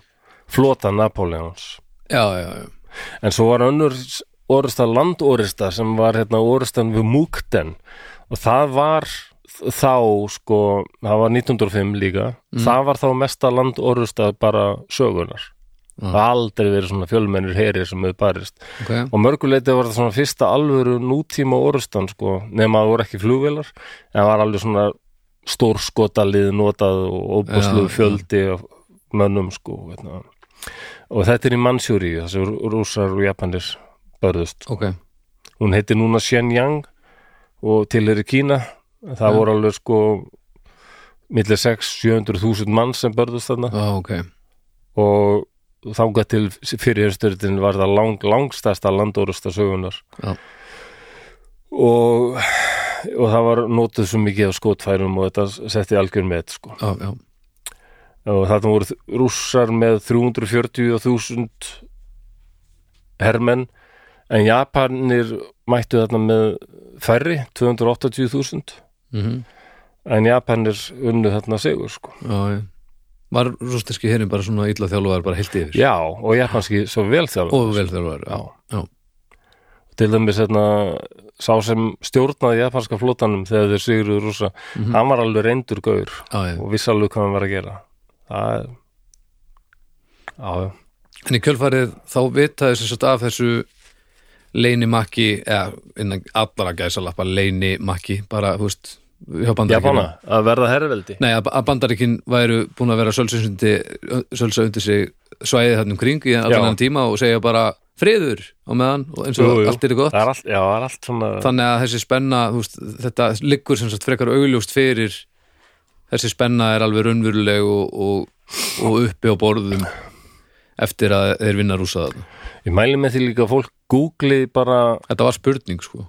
S1: flota Napoleons.
S2: Já, já, já,
S1: En svo var önnur s- orusta landorista sem var hérna orustan við Múkten og það var þ- þá sko, það var 1905 líka það var þá mesta landorusta bara sögunar það
S2: Mm.
S1: var aldrei verið svona fjölmennir heri sem hefur barist
S2: ok
S1: og mörguleiti var það svona fyrsta alvöru nútíma orustan sko, nema það voru ekki flugvélar en það var alveg svona stórskotalið notað og óbúsluðu
S2: Já,
S1: fjöldi af mönnum sko veitna. og þetta er í Mansjúri þessi rússar og japanir börðust
S2: Ok,
S1: hún heitir núna Shenyang og til er í Kína það voru alveg sko millir 6-700.000 mann sem börðust þarna
S2: já, ok
S1: og þangað til fyrirhjörstyrtin var það lang, langstæsta landórusta sögunar
S2: Já.
S1: og, og það var notuð svo mikið af skotfærum og þetta setti algjör með sko.
S2: Já, já,
S1: og þarna voru þ- rússar með 340.000 hermenn en Japanir mættu þarna með færri, 280.000
S2: mm -hmm.
S1: en Japanir unnu þarna sigur sko.
S2: já, já. Var rústinski hérinn bara svona illa þjálfaðar bara heilt yfir
S1: Já, og japanski svo vel þjálfur
S2: og vel þjálfaðar, já, já.
S1: til dæmis hérna, sá sem stjórnaði japanska flotanum þegar þeir sigurðu rúsa hann var alveg reyndur gaur
S2: Já, já.
S1: og vissi alveg hvað hann var að gera Það er Já, já
S2: En í kjölfarið þá vitaði sem sagt af þessu leynimakki, eða innan allara gæsalappa leynimakki, bara, þú veist hjá Bandaríkjunum.
S1: Japana, að verða herraveldi
S2: Nei, að, að Bandaríkin væru búin að vera sölsa undir, sölsa undir sig svæðið þarna um kring í
S1: Já.
S2: allan hann tíma og segja bara friður á meðan og eins og
S1: Jú, jú.
S2: allt er gott
S1: Það er allt, já, það er allt svona
S2: þannig að þessi spenna, þú veist, þetta liggur sem sagt frekar augljóst fyrir þessi spenna er alveg raunveruleg og, og, og uppi á borðum eftir að þeir vinna rúsa þarna
S1: Ég mæli með því líka að fólk googli bara
S2: Þetta var spurning sko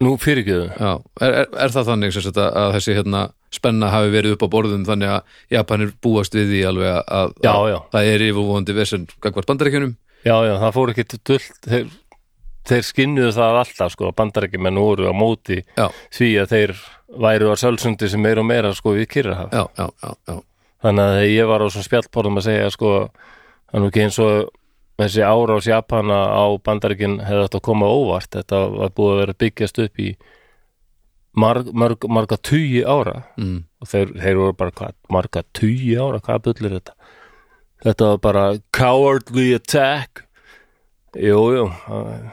S1: Nú fyrirgjöðu
S2: Já, er, er, er það þannig sem sagt að, að þessi hérna spenna hafi verið upp á borðum þannig að Japanir búast við því alveg að, að
S1: Já, já,
S2: það er yfirvóðandi vesend gagvart bandaríkjunum
S1: já, já, það fór ekki til dullt Þeir, þeir skinnuðu það alltaf sko, bandarækjumenn voru á móti
S2: já,
S1: því að þeir væru á sölsundi sem meira og meira sko við Kyrrahaf
S2: já, já, já, já,
S1: þannig að ég var á svona spjallborðum að segja sko, hann ekki eins og þessi árás Japana á bandaríkin hefði átt að koma á óvart þetta var búið að vera að byggjast upp í marg, marg, marga tugi ára
S2: mm,
S1: og þeir, þeir voru bara hvað, marga tugi ára hvað bullir þetta þetta var bara cowardly attack jú, jú það-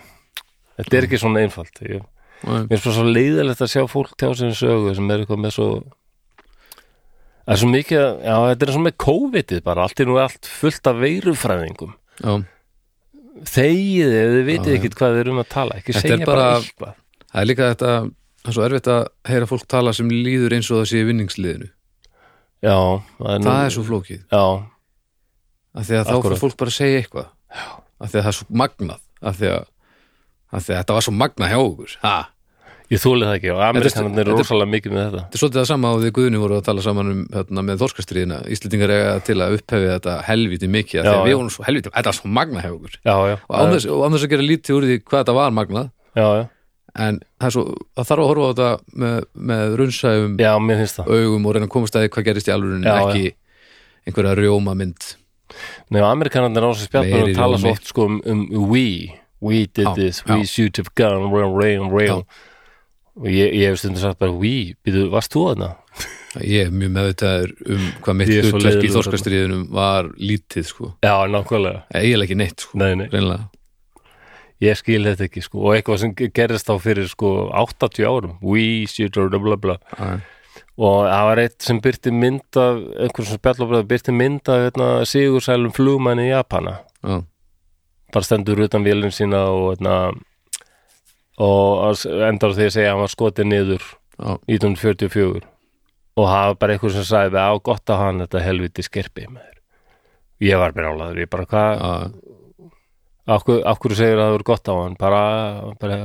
S1: þetta er ekki svona einfalt ég,
S2: já,
S1: Mér er bara svo leiðilegt að sjá fólk tjá sinni sögu sem er eitthvað með svo það er svo mikið að- já, þetta er svo með COVID-ið bara, allt er nú allt fullt af veirufræðingum
S2: já.
S1: þegið ef þið vitið
S2: Já, já.
S1: ekkit hvað þið eru um að tala ekki
S2: Þetta er
S1: segja bara,
S2: bara-
S1: eitthvað
S2: það er líka þetta það er svo erfitt að heyra fólk tala sem líður eins og það sé í vinningsliðinu
S1: já, það er, nú-
S2: það er svo flókið,
S1: já,
S2: af því að þá
S1: Akkúrat.
S2: fyrir fólk bara að segja eitthvað af því að það er svo magnað af því að, af því að þetta var svo magnað hjá okkur ha.
S1: ég þúlið það ekki og amerikanarnir
S2: þetta
S1: eru
S2: er-
S1: rosalega mikið með þetta
S2: þetta er svolítið það sama á því Guðni voru að tala saman um hérna, með þorskastriðina, Íslendingar eiga til að upphefi þetta helviti mikið, af því
S1: Já,
S2: að við
S1: já.
S2: vorum svo helviti þetta var svo magnað hjá okkur
S1: já, já,
S2: og án þess, og án þess að gera lítið úr því hvað þetta var magnað
S1: já, já,
S2: en það, er svo, það þarf að horfa á þetta með, með runnsæfum
S1: já, mér finnst það
S2: augum og reyna að komast að því hvað gerist í alvörunni
S1: Já,
S2: ekki einhverja rjóma mynd
S1: Nei, amerikanarnir á þessu
S2: Meiri
S1: spjallbæðum tala svo
S2: rómi.
S1: oft sko um, um we, we did
S2: Já,
S1: this,
S2: já.
S1: we shoot a gun, rail, rail, rail og ég, ég hef stundum sagt bara we, býðu, varst þú þarna?
S2: ég er mjög meðvitaður um hvað mitt
S1: Ég er svo
S2: hlutverk í
S1: leiðinlegur
S2: þorskastriðunum var lítið sko,
S1: Já, nákvæmlega,
S2: Eða eiginlega ekki neitt sko,
S1: nei, nei,
S2: reynilega
S1: ég skil þetta ekki sko, og eitthvað sem ge- gerðist þá fyrir sko 80 árum, we shoot a bla bla bla
S2: Já,
S1: og það var eitt sem byrti mynd af einhverjum sem spjallbæðum byrti mynd af hérna, sigursælum flugmanni í Japana
S2: já,
S1: bara stendur utan vélum sína og, hérna, og endar á því að segja að hann var skotið niður
S2: já,
S1: 1944 og það var bara einhver sem sagði á gott að hann þetta helviti skerpi maður. ég var bara álaður ég bara hvað,
S2: já,
S1: af hverju- af hverju segir að það voru gott á hann bara, bara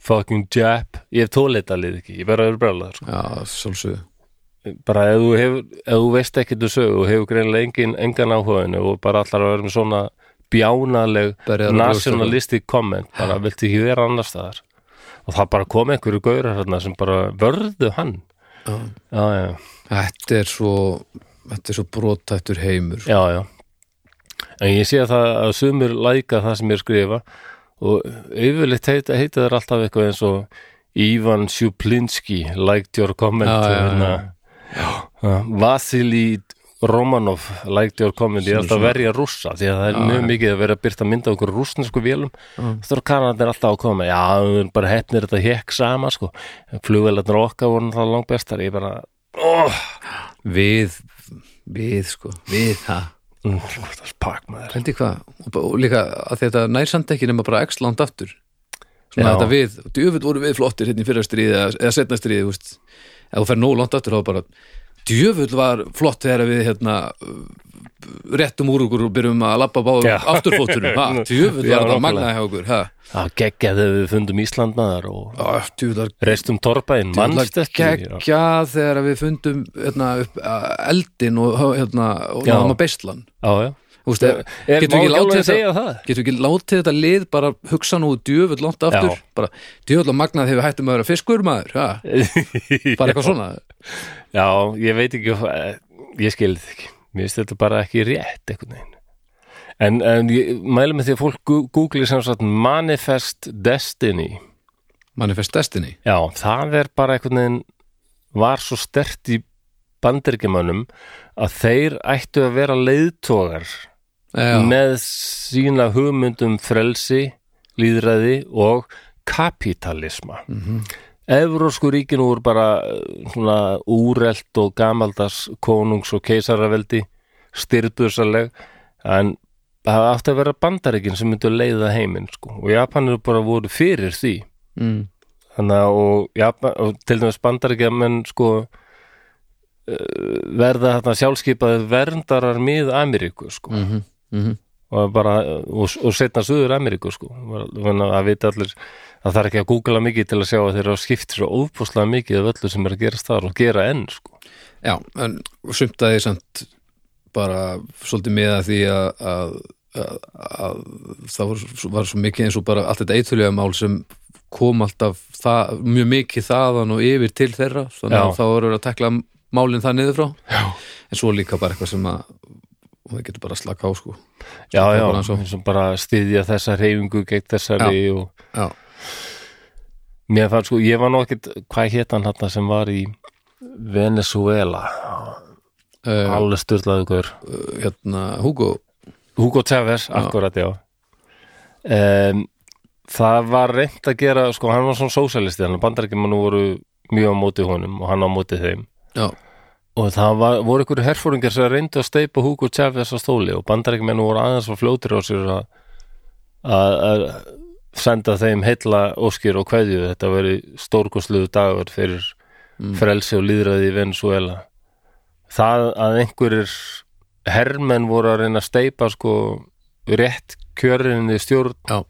S1: fucking jap ég hef tólið þetta lið ekki, ég bara er brjálaður sko.
S2: já, svolsöðu
S1: bara ef þú, hefur, ef þú veist ekkert þú sögu og hefur greinilega engin, engan áhugaðinu og bara allar að vera með svona bjánaleg
S2: Berjaðar á brjóstinu.
S1: nationalistic comment bara viltu ekki vera annars staðar og það bara kom einhverju gaurar hérna sem bara vörðu hann já, já, já
S2: þetta er svo þetta er svo brotættur heimur sko.
S1: Já, já. En ég sé að það að sumir læka það sem ég skrifa og yfirleitt heita, heita þeir alltaf eitthvað eins og Ivan Sjuplinski liked your comment hérna.
S2: Já, já, já.
S1: já. Vasili Romanov liked your comment ég er alltaf að verja rússa því að það er mjög mikið að vera að byrta mynda okkur rússnesku vélum þá eru kanarnir alltaf að koma já, við erum bara hefnir þetta hekk sama sko. flugvelarnir okkar voru það langbestar ég bara, óh
S2: við, við sko við það
S1: mm, það er pakk maður
S2: Pældi hvað, og, bara- og líka að þetta nær samt ekki nema bara x land aftur
S1: Já.
S2: svona þetta við, djöfull voru við flottir hérna í fyrra stríði eða, eða setna stríði þú veist. ef þú fer nóg langt aftur þá bara djöfull var flott þegar við hérna uh, réttum úr okkur og byrjum að labba báðum
S1: Já.
S2: afturfótturum,
S1: [laughs]
S2: ha,
S1: Já,
S2: djöfull var þetta
S1: nákvæmlega.
S2: magnað hjá okkur, ha
S1: Það geggjaði við fundum Ísland maður og
S2: Á, djöfull var
S1: reistum torpaðin, mannst ekki Já,
S2: geggja þegar við fundum hérna, upp, uh, eldin og, hérna, og
S1: Já.
S2: náðum að beistlan
S1: já, já,
S2: Þú veist, eh,
S1: Er, er
S2: getum við ekki
S1: má
S2: látið
S1: ekki að
S2: þetta
S1: segja það?
S2: getum við ekki látið þetta lið bara hugsa nú djöfull langt aftur
S1: Já.
S2: bara djöfull og magnað hefur hættum að vera fiskur maður ha? [laughs] bara eitthvað svona
S1: Já, ég veit ekki hvað- ég skilði ekki, mér finnst þetta bara ekki rétt einhvern veginn en, en ég mæli með því að fólk gu- googli sem sagt Manifest Destiny
S2: Manifest Destiny
S1: Já, það er bara einhvern veginn var svo stert í bandaríkjumönnum að þeir ættu að vera leiðtogar
S2: Já,
S1: með sína hugmyndum frelsi, líðræði og kapitalisma mm -hmm. Evrósku ríkin voru bara eh, svona úrelt og gamaldas konungs og keisaraveldi styrbuðsaleg en það átti að vera bandaríkin sem myndu leiða heiminn sko. og Japanir bara voru fyrir því
S2: mm,
S1: þannig að og, Japan, og til dæmis bandaríkja menn sko eh, verða þarna sjálfskeipaði verndarar mið Ameríku sko
S2: mm -hmm,
S1: og, bara, og, og setna Suður Ameríku sko. þannig að vita allir að það er ekki að googla mikið til að sjá að þeir eru að skipta svo óbúslega mikið af öllu sem er að gerast þar og gera enn sko.
S2: Já en sumt að ég samt bara svolítið með að því að, að, að, að það var, svo- var svo mikið eins og bara allt þetta eitulja mál sem kom alltaf það, mjög mikið þaðan og yfir til þeirra þannig að
S1: Já.
S2: þá voru að tekla málin það niður frá Já. en svo líka bara eitthvað sem að og það getur bara að slaka á sko
S1: já, já,
S2: bara eins og-
S1: eins og bara styðja þessa reyfingu gegn þessari og
S2: Já,
S1: mér fann sko, ég var nú ekkit hvað hétt hann hann sem var í Venezuela
S2: uh,
S1: alveg styrlaðu hver
S2: hérna Hugo
S1: Hugo Chavez, akkurat já um, það var reynd að gera, sko, hann var svona sósalisti, hann bandarækjumann voru mjög á móti honum og hann á móti þeim
S2: Já,
S1: og það var, voru ykkur herfóringar sem reyndu að steipa Hugo Chavez á stóli og bandarækjumenn voru aðeins að fljótir á sér að- að að senda þeim heilla óskir og kveðju þetta veri stórkostluðu dagur fyrir frelsi og líðræði í Venezuela það að einhverjir hermenn voru að reyna að steipa sko rétt kjörinni stjórn
S2: já,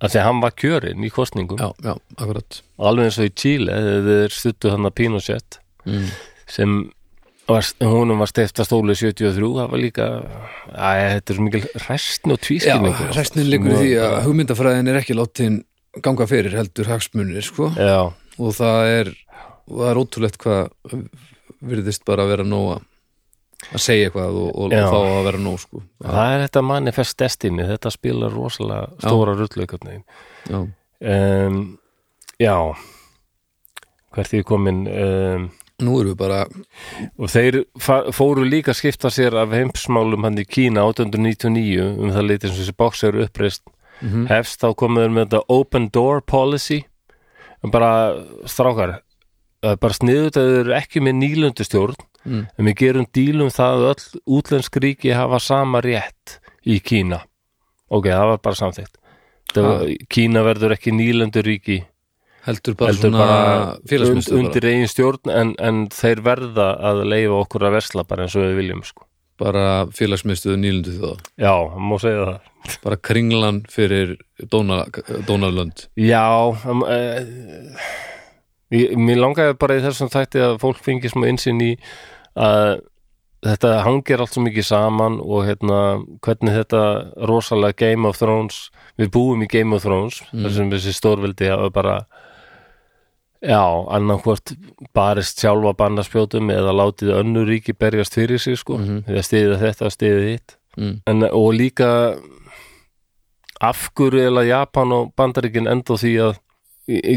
S1: af því að hann var kjörinn í kostningum
S2: já, já, akkurat
S1: alveg eins og í Chile þegar þeir stuttu hann að Pinochet
S2: mm.
S1: sem var, honum var steifta stóli 73 það var líka æ, þetta er svo mikil ræstn og
S2: Já,
S1: tvískilningur
S2: restin liggur í því að hugmyndafræðin er ekki látin ganga fyrir heldur hagsmunir, sko
S1: já,
S2: og það er, og það er ótrúlegt hvað virðist bara að vera nóg að að segja eitthvað og, og,
S1: Já.
S2: og þá að vera nóg, sko
S1: það er þetta manifest destiny þetta spilar rosalega stóra rullu
S2: Já,
S1: um, já hvert ég komin um,
S2: nú erum við bara
S1: Og þeir fa- fóru líka að skipta sér af heimsmálum hann í Kína 899 um það litið sem þessi bóks eru uppreist
S2: Mhm.
S1: hefst þá komuður með þetta open door policy en bara strákar það er bara sniðut að þau eru ekki með nýlöndustjórn
S2: Mm.
S1: en við gerum dílum það að öll útlensk ríki hafa sama rétt í Kína ok, það var bara samþykkt Þetta var, Kína verður ekki nýlönduríki
S2: heldur bara
S1: heldur
S2: svona
S1: bara und,
S2: félagsmyndstöð
S1: undir eigin stjórn en, en þeir verða að leifa okkur að versla bara eins og við viljum sko.
S2: bara, bara félagsmyndstöð nýlundu þjóða,
S1: já, hann má segja það
S2: bara kringlan fyrir Dóna- Dónalönd
S1: já um, uh, ég, mér langaði bara í þessum þætti að fólk fengi smá einsinn í að þetta hangir allt svo mikið saman og hérna, hvernig þetta rosalega Game of Thrones við búum í Game of Thrones þar sem þessi stórveldi hafa bara já, annarkvort barist sjálfa bannarspjótum eða látið önnur ríki berjast fyrir sig sko, mm -hmm. eða stiðið þetta, stiðið hitt
S2: Mm.
S1: en, og líka af hverju eða Japan og Bandaríkin enda á því að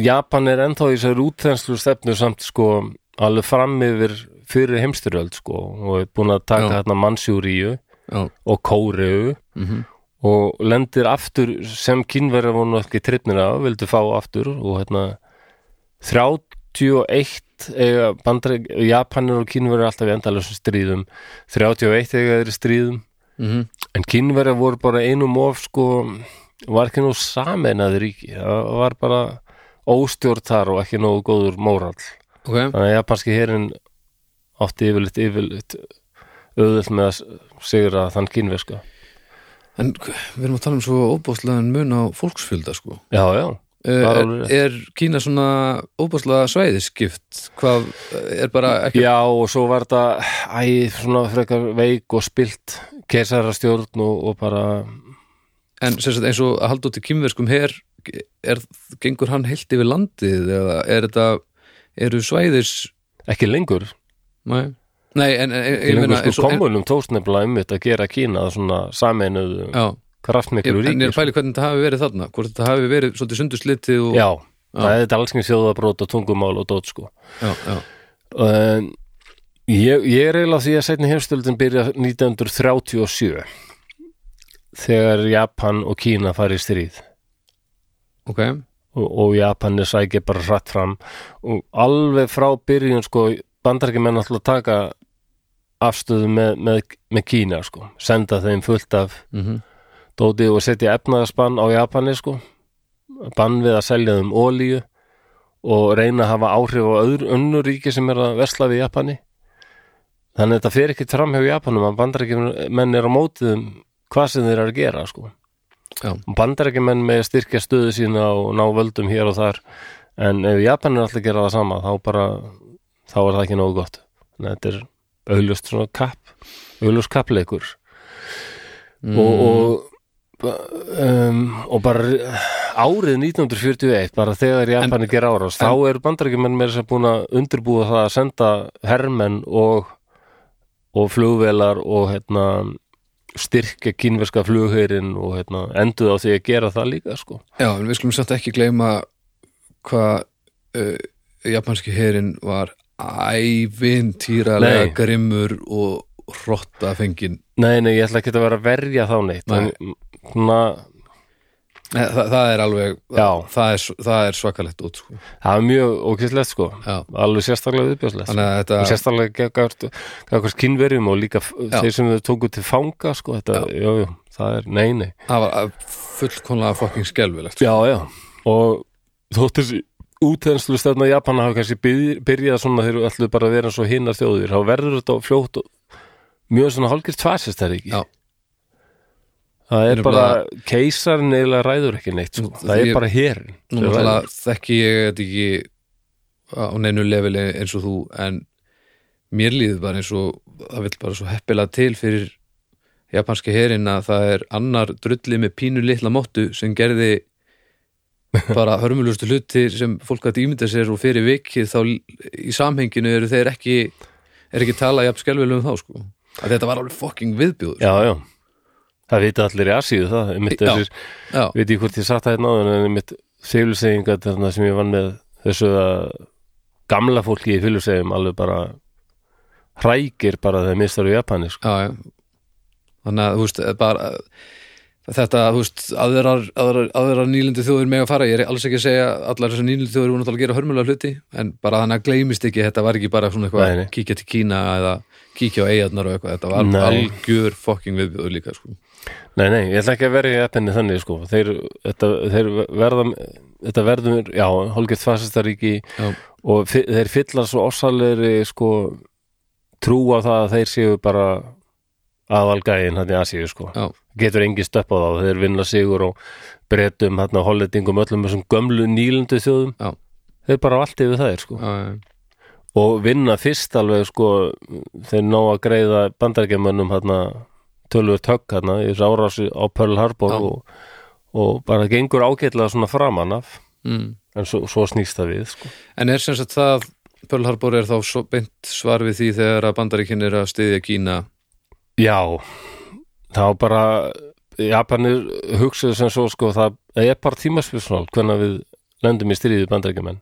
S1: Japan er ennþá í þessari útþenslu stefnu samt sko alveg fram yfir fyrir heimstyrjöld sko og er búin að taka
S2: Já.
S1: hérna Mansjúríu
S2: Já,
S1: og Kóreu
S2: mhm,
S1: og lendir aftur sem kynverjar voru nú ekki trippnir af, vildu fá aftur og hérna 31 eiga bandar, Japanir og kynverjar alltaf í endalusum stríðum 31 eiga þeir í stríðum
S2: mhm
S1: en kynverjar voru bara einum of sko var ekki nú sameinað ríki það var bara óstjórn þar og ekki nógu góður mórall
S2: Ok,
S1: þannig að japanski herin átti yfirleitt yfirleitt auðvöld með að sigra þann sko. kynverska
S2: En við erum að tala um svo óbáslegan mun á fólksfjölda sko.
S1: já, já,
S2: Er,
S1: er alveg rétt.
S2: er Kína svona óbáslega svæðiskipt? Hvað eh, er bara ekki...
S1: já og svo var þetta æ, svona frekar veik og spilt keisarastjórn og, og bara
S2: en sem sagt, eins og að halda út í kýmverskum her er, gengur hann heilt yfir landið eða er þetta eru svæðis
S1: ekki lengur
S2: nei, nei en, en
S1: Ég
S2: ég
S1: lengur
S2: meina
S1: sko kommunum tókst nefnilega einmitt að gera Kína að svona sameinuðu
S2: já,
S1: kraftmiklu
S2: ég, en ég
S1: ríki
S2: er pæli hvernig þetta hafi verið þarna hvort þetta hafi verið svolítið sunduslitið og,
S1: Já, það er alls kynns þjóðabrót og tungumál og dót sko
S2: já, já,
S1: en, ég, ég er eiginlega á því að setni heimstöldin byrja 1937 þegar Japan og Kína fari í stríð
S2: ok
S1: og, og Japan er sækja bara hratt fram og alveg frá byrjun sko, bandarki menn alltaf taka afstöðu með, með, með Kína sko, senda þeim fullt af
S2: mm
S1: dóti og setja efnaðarsbann á Japani sko bann við að selja þeim olíu og reyna að hafa áhrif á öðru önnur ríki sem er að versla við Japani þannig að þetta fer ekki fram hjá Japanum að bandarækjumenn er á mótiðum hvað sem þeir eru að gera sko
S2: Já.
S1: og bandarækjumenn með styrkja stöðu sína og ná völdum hér og þar en ef Japan er alltaf að gera það sama þá bara, þá er það ekki nógu gott þannig að þetta er auðlust svona kapp, auðlust kappleikur og, og Um, og bara árið 1941 bara þegar Japani gera árás þá eru bandarækjumenn með þess að búin að undirbúa það að senda hermenn og, og flugvelar og hérna, styrkja kínverska flugheirin og hérna, enduð á því að gera það líka sko.
S2: já, en við skulum satt ekki gleyma hvað uh, japanski herin var ævintýralega
S1: Nei.
S2: grimmur og hrottafengin
S1: Nei, nei, ég ætla ekki að vera að verja þá neitt
S2: Nei.
S1: en, svona,
S2: Þa, það, það er alveg
S1: Já.
S2: það er, það er svakalegt út sko.
S1: það er mjög ókistlegt sko,
S2: Já.
S1: alveg sérstaklega viðbjörslega
S2: þannig að þetta
S1: og sérstaklega gagvart gagvart kynverjum og líka f-
S2: Já.
S1: þeir sem þau tóku til fanga sko, þetta, já, já, það er, nei, nei
S2: Það var fullkonlega fucking skelvilegt
S1: já, já, og þótt þessi útenslu stefna Japana hafa kannski byr- byrjað svona þegar þau ætluðu bara að vera eins og hinna þjóðir, þá verður þetta fljótt og mjög svona hálfgjörst fasist það er ekki
S2: Já.
S1: það er
S2: Nefnilega-
S1: bara, keisarinn eiginlega ræður ekki neitt, sko, það
S2: Ég-
S1: er bara herin
S2: Nú náttúrulega þekki ég þetta ekki á neinu leveli eins og þú en mér líður bara eins og það vill bara svo heppilega til fyrir japanski herin að það er annar drulli með pínu litla móttu sem gerði bara hörmulustu hluti sem fólk að ímynda sér og fyrir vikið þá í samhenginu eru þeir ekki er ekki tala jafn skelvilegum þá sko að þetta var alveg fucking viðbjóður
S1: já, já, það vita allir í Asíu það, einmitt
S2: Já.
S1: þessir
S2: Já,
S1: veit ég hvort ég satt það hérna áður en mitt fylgsegingat þarna sem ég vann með þessu að gamla fólki í fylgsegum alveg bara hrækir bara þegar mistar í Japani sko.
S2: já, já. þannig að þú veist eh, bara, eh, þetta, þú veist aðrar, aðrar, aðrar nýlendu þjóður með að fara, ég er alls ekki að segja að allar þessar nýlendu þjóður voru náttúrulega að gera hörmulega hluti en bara þannig að gleymist ekki, þetta var ekki bara svona
S1: Nei,
S2: eitthvað,
S1: nei.
S2: kíkja til Kína eða kíkja á eigarnar og eitthvað, þetta var
S1: Nei.
S2: algjör fokking viðbjöður líka, sko
S1: Nei, nei, ég ætla ekki að vera í Japani þannig sko. þeir, þetta, þeir verða þetta verður, já, hálfgett fasistaríki
S2: Já.
S1: og fi, þeir fylla svo ossalegri sko, trú á það að þeir séu bara aðalgæðin hann í Asíu sko.
S2: Já.
S1: getur engi stöpp á það þeir vinna sigur og breytum hérna, hollendingum öllum þessum gömlu nýlendu þjóðum
S2: Já.
S1: þeir bara á allt yfir það sko.
S2: Já, já,
S1: og vinna fyrst alveg sko, þeir ná að greiða bandargemönnum hérna, tölvöld högg hérna, í rárási á Pearl Harbor
S2: Já.
S1: og, og bara gengur ágætlega svona framan af
S2: mm.
S1: en svo, svo snýst það við sko.
S2: En er sem sagt það Pearl Harbor er þá svo beint svar við því þegar að bandaríkinn er að styðja Kína
S1: Já, þá bara Japanir hugsaðu sem svo sko það er bara tímaspjörsmál hvernig við lendum í stríðið bandarækjumenn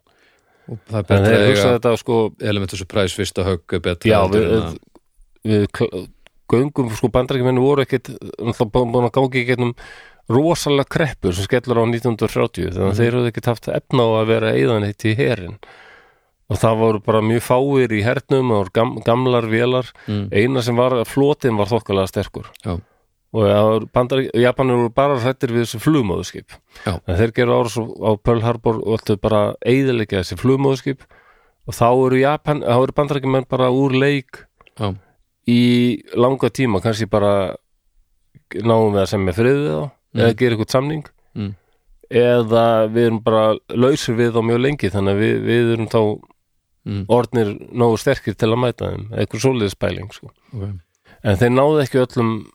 S2: og það er
S1: en
S2: betra
S1: þeir
S2: að
S1: hugsaðu
S2: eiga
S1: þetta sko
S2: elementu surprise fyrsta högg er hérna- betra
S1: já,
S2: heldur
S1: við,
S2: en að-
S1: við, við kl- göngum sko bandarækjumenn voru ekkit náttúrulega bú- búin að gangi í gegnum rosalega kreppur sem skellur á 1930 þannig að
S2: Mhm.
S1: þeir höfðu ekkit haft efna á að vera eðan heitt í herin og það voru bara mjög fáir í hernum og gam, gamlar vélar
S2: Mm.
S1: eina sem var, flotin var þokkalega sterkur
S2: Já.
S1: og það voru bandar, Japanir voru bara hrættir við þessi flugmóðuskip
S2: Já.
S1: en þeir gerðu árás á Pearl Harbor og ættu bara eiðilega þessi flugmóðuskip og þá eru, Japan, þá eru bandarækjumenn bara úr leik
S2: Já.
S1: í langa tíma kannski bara náum við að semja friðið þá eða gera eitthvað samning
S2: Mm.
S1: eða við erum bara lausir við þá mjög lengi þannig að við, við erum þá
S2: Mm.
S1: orðnir nógu sterkir til að mæta þeim eitthvað svoleiðis pæling sko.
S2: Ok.
S1: en þeir náðu ekki öllum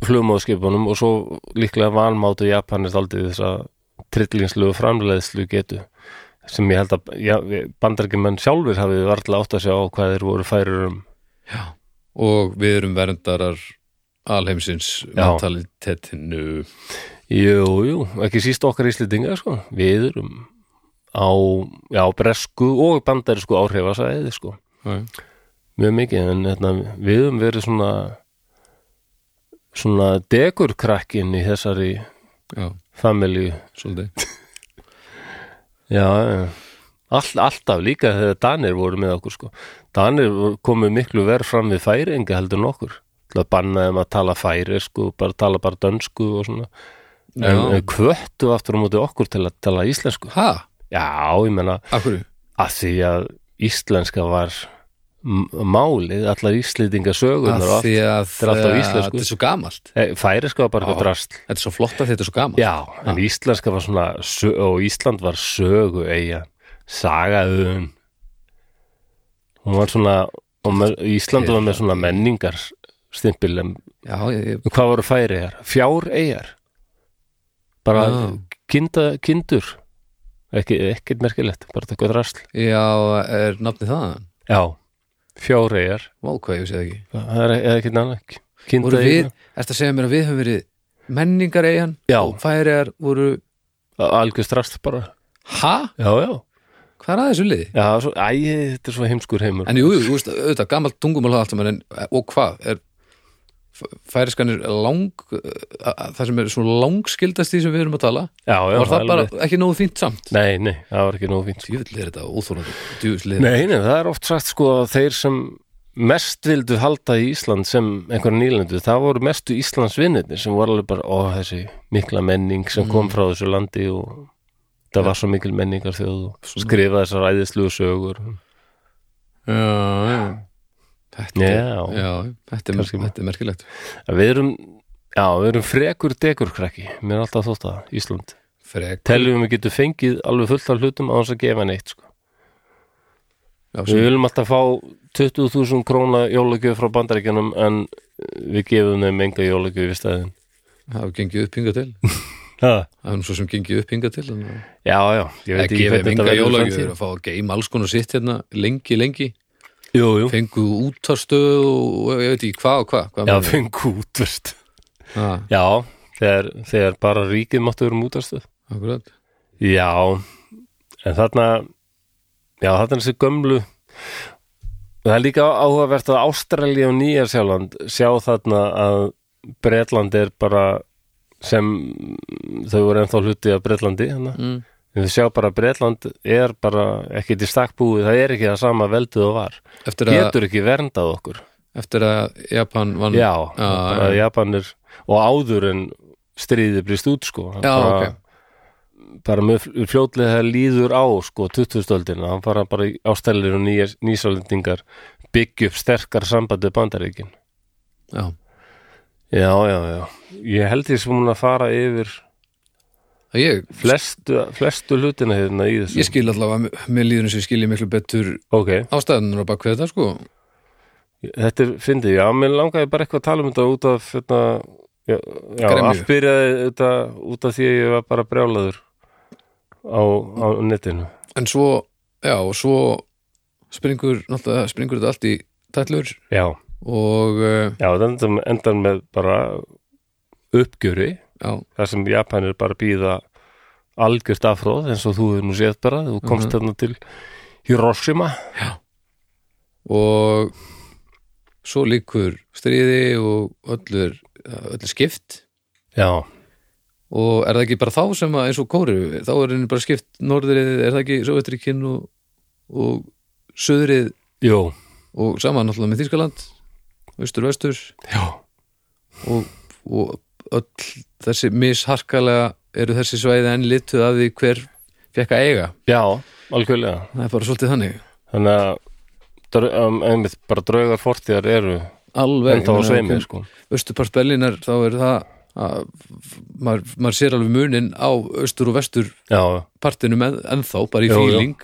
S1: flugmóðskipunum og svo líklega vanmátu Japanir aldrei þess að trillingslugu framleiðslu getu sem ég held að já, bandarkimenn sjálfur hafið varla átt að sjá hvað þeir voru færir um
S2: og við erum verndarar alheimsins
S1: Já.
S2: mentalitetinu
S1: Jú, jú, ekki síst okkar íslendinga sko. við erum á já, bresku og bandarisku áhrifasæði sko. mjög mikið en hérna, við höfum verið svona svona dekurkrakkin í þessari
S2: já,
S1: familju
S2: svolítið
S1: já, já. all, alltaf líka þegar Danir voru með okkur sko. Danir voru- komu miklu verð fram við færinga heldur nokkur til að banna þeim að tala færi sko, bara tala bara dönsku og svona en
S2: Já.
S1: en hvöttu aftur á móti okkur til að tala íslensku
S2: ha,
S1: já, ég menna
S2: af hverju?
S1: að því að íslenska var m- málið, allar íslendinga sögurnar
S2: af
S1: og allt.
S2: því að
S1: er allt á
S2: eh,
S1: íslensku.
S2: þetta er svo gamalt
S1: Eh, færiska var bara eitthvað drast
S2: þetta er svo flott að þetta er svo gamalt
S1: Já, en íslenska var svona sö- og Ísland var sögu eiga sagaðun hún var svona og með, Ísland var með svona menningar stimpil en
S2: já, ég, ég,
S1: hvað voru færi eigar? Fjár eigar bara
S2: Já.
S1: kinda, kindur ekki, ekkert merkilegt, bara eitthvað drasl
S2: já, er nafnið það?
S1: Já, fjár eigar
S2: Vá, hvað ég vissi það ekki
S1: það er eða ekkert annað
S2: voru
S1: kinda
S2: við,
S1: eigar,
S2: ertu að segja mér að við höfum verið menningar eigin
S1: Já.
S2: og færiðar voru
S1: algjör drasl bara
S2: ha?
S1: Já, já,
S2: Hvað er að þessu liði?
S1: já svo, æ, þetta er svo heimskur heimur
S2: En jú, jú, þú veist, auðvitað, gamalt tungumál það allt saman, en, eh, og hvað, er f- færiskan er lang eh, að- það sem er svo langskildast í sem við erum að tala,
S1: Já, já,
S2: var það
S1: alveg
S2: bara ekki nógu fínt samt?
S1: Nei, nei, það var ekki nógu fínt sko.
S2: Djúvill er þetta óþólandi, djúvill er
S1: Nei, nei, það er oft sagt sko að þeir sem mest vildu halda í Ísland sem einhverja nýlendu, það voru mestu Íslands vinnirnir sem voru alveg bara, ó, þessi mikla menning sem
S2: Mm.
S1: kom frá þessu landi og það var svo mikil menningar þjóð og skrifa þessar æðislu sögur
S2: Já, já. Þetta,
S1: Já.
S2: já, þetta, er,
S1: Kannski-
S2: þetta er merkilegt
S1: að Við erum, já, við erum frekur dekurkrakki, mér er alltaf þótt að Ísland
S2: Frek,
S1: Teljum við getum fengið alveg fullt af hlutum á þess að gefa neitt sko.
S2: já,
S1: Við
S2: sem,
S1: viljum alltaf fá 20.000 króna jólagjöf frá bandaríkjanum en eh, við gefum þeim enga jólagjöf í stæðin.
S2: það hafa gengið upp hingað til
S1: Ha.
S2: það er nú svo sem gengið upp hingað til Eh, þannig að
S1: Já, já, ég veit
S2: að
S1: ekki
S2: gefa þeim enga
S1: verður í
S2: jólagjöfur
S1: framtíðinni.
S2: að fá að geima alls konar sitt hérna lengi, lengi,
S1: Jú, jú,
S2: fengu útarstöð og ég veit ekki hvað og hvað, hvað
S1: já,
S2: meinaru?
S1: fengu útvist.
S2: Ah,
S1: Já, þegar, þegar bara ríkið máttu vera um útarstöð.
S2: akkurat.
S1: Já, en þarna, já, þarna er þessi gömlu. Það er líka áhugavert að Ástralja og Nýjarsjáland sjá þarna að Bretland er bara sem þau voru ennþá hluti af Bretlandi hana.
S2: Mm.
S1: En við sjá bara að Bretland er bara ekkit í stakkbúið, það er ekki það sama veldið og var.
S2: Eftir, að,
S1: Getur ekki verndað okkur.
S2: eftir að Japan vann
S1: Já,
S2: já,
S1: bara
S2: já.
S1: Japanir og áður en stríðið brist út sko.
S2: Já,
S1: bara,
S2: ok.
S1: bara með fl- fljótlega það líður á sko 2000-öldina, hann fara bara í ástælir og nýja- nýsálendingar byggja upp sterkar sambandi bandaríkin.
S2: Já.
S1: Já, já, já. Ég held ég sem hún að fara yfir
S2: Það Ég,
S1: flestu, flestu hlutina hérna í þessu.
S2: ég skil allavega með líðunum sem skil ég miklu betur
S1: Ok.
S2: ástæðunar á bakvið þetta sko
S1: Þetta er, fyndið, já, mér langaði bara eitthvað að tala um þetta út af þetta, já, já
S2: Gremju.
S1: allt byrjaði þetta út af því að ég var bara brjálaður á, á netinu.
S2: en svo, já, og svo springur, náttúrulega springur þetta allt í tætlur
S1: Já,
S2: og eh,
S1: já, þetta endar, endar með bara uppgjöri,
S2: já,
S1: þar sem Japanir bara býða algjört afróð eins og þú hefur nú séð bara, þú komst þarna til Hiroshima.
S2: og svo líkur stríði og öllu er, öllu er skipt
S1: Já,
S2: og er það ekki bara þá sem að eins og kóru þá er henni bara skipt norðrið er það ekki Sovjetrikinn og, og söðrið
S1: jú,
S2: og saman náttúrulega með Þýskaland austur vestur
S1: já,
S2: og, og öll þessi misharkalega eru þessi svæði enn lituð að því hver fekk að eiga
S1: já, algjörlega.
S2: það er bara svolítið þannig
S1: Þannig að, dra- um, einmitt, bara draugar fortíðar eru
S2: alveg
S1: enda á sveimið, sko.
S2: austurpart Berlínar þá er það að maður, maður sér alveg munin á austur og vestur
S1: Já, já.
S2: partinu með ennþá bara í
S1: Jú, jú.
S2: fíling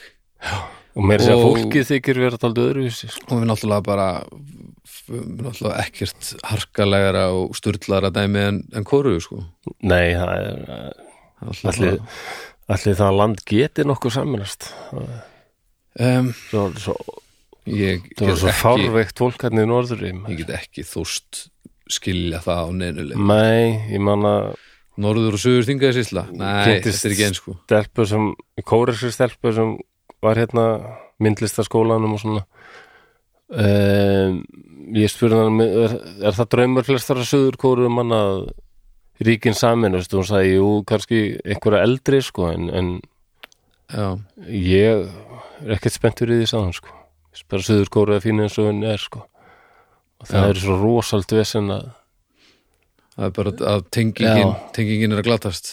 S1: Og mér sé að
S2: Og-
S1: fólkið þykir vera taldi öðruvísi sko.
S2: og við náttúrulega bara náttúrulega ekkert harkalegra og sturlara dæmi en, en koru sko.
S1: Nei, það er
S2: Allir,
S1: allir, allir það land geti nokkuð saminast
S2: um,
S1: svo, svo,
S2: ég, get
S1: Það var svo
S2: ekki,
S1: fárveikt fólk hérna í norðri
S2: ég get ekki þúst skilja það á neinuleg
S1: Nei, ég manna
S2: Norður og Suður þingaði sísla Nei,
S1: Getist-
S2: þetta er ekki eins sko
S1: stelpur sem, kóresir stelpur sem var hérna myndlistaskólanum og svona um, ég spurði hann er, er það draumur flestara sögur kórum hann að ríkin samin, veistu, hún sagði jú, kannski einhverja eldri, sko, en, en
S2: Já,
S1: ég er ekkert spenntur í því sáðan, sko bara sögur kóru að fína eins og henni er, sko og það
S2: Já.
S1: er svo rosalt vesen að
S2: það er bara að tengingin, tengingin er að glatast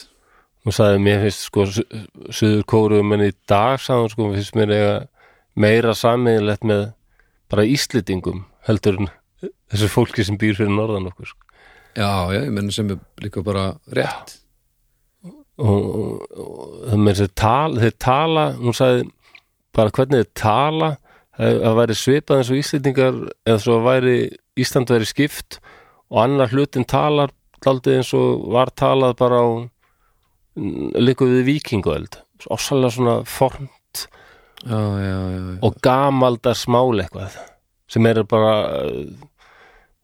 S1: hún sagði mér finnst sko suður kóru menn í dag sagði hún sko mér finnst mér eiga meira sammeðilegt með bara íslitingum heldur en þessu fólki sem býr fyrir norðan okkur sko.
S2: Já, já, ég menn sem er líka bara rétt
S1: og, og, og það með þessi tal þeir tala, hún sagði bara hvernig þeir tala það það væri svipað eins og íslitingar eða svo væri Ísland væri skipt og annar hlutin talar daldið eins og var talað bara á líku við vikinguöld ósalega svona formt
S2: Já, já, já, já.
S1: og gamaldars mál eitthvað sem eru bara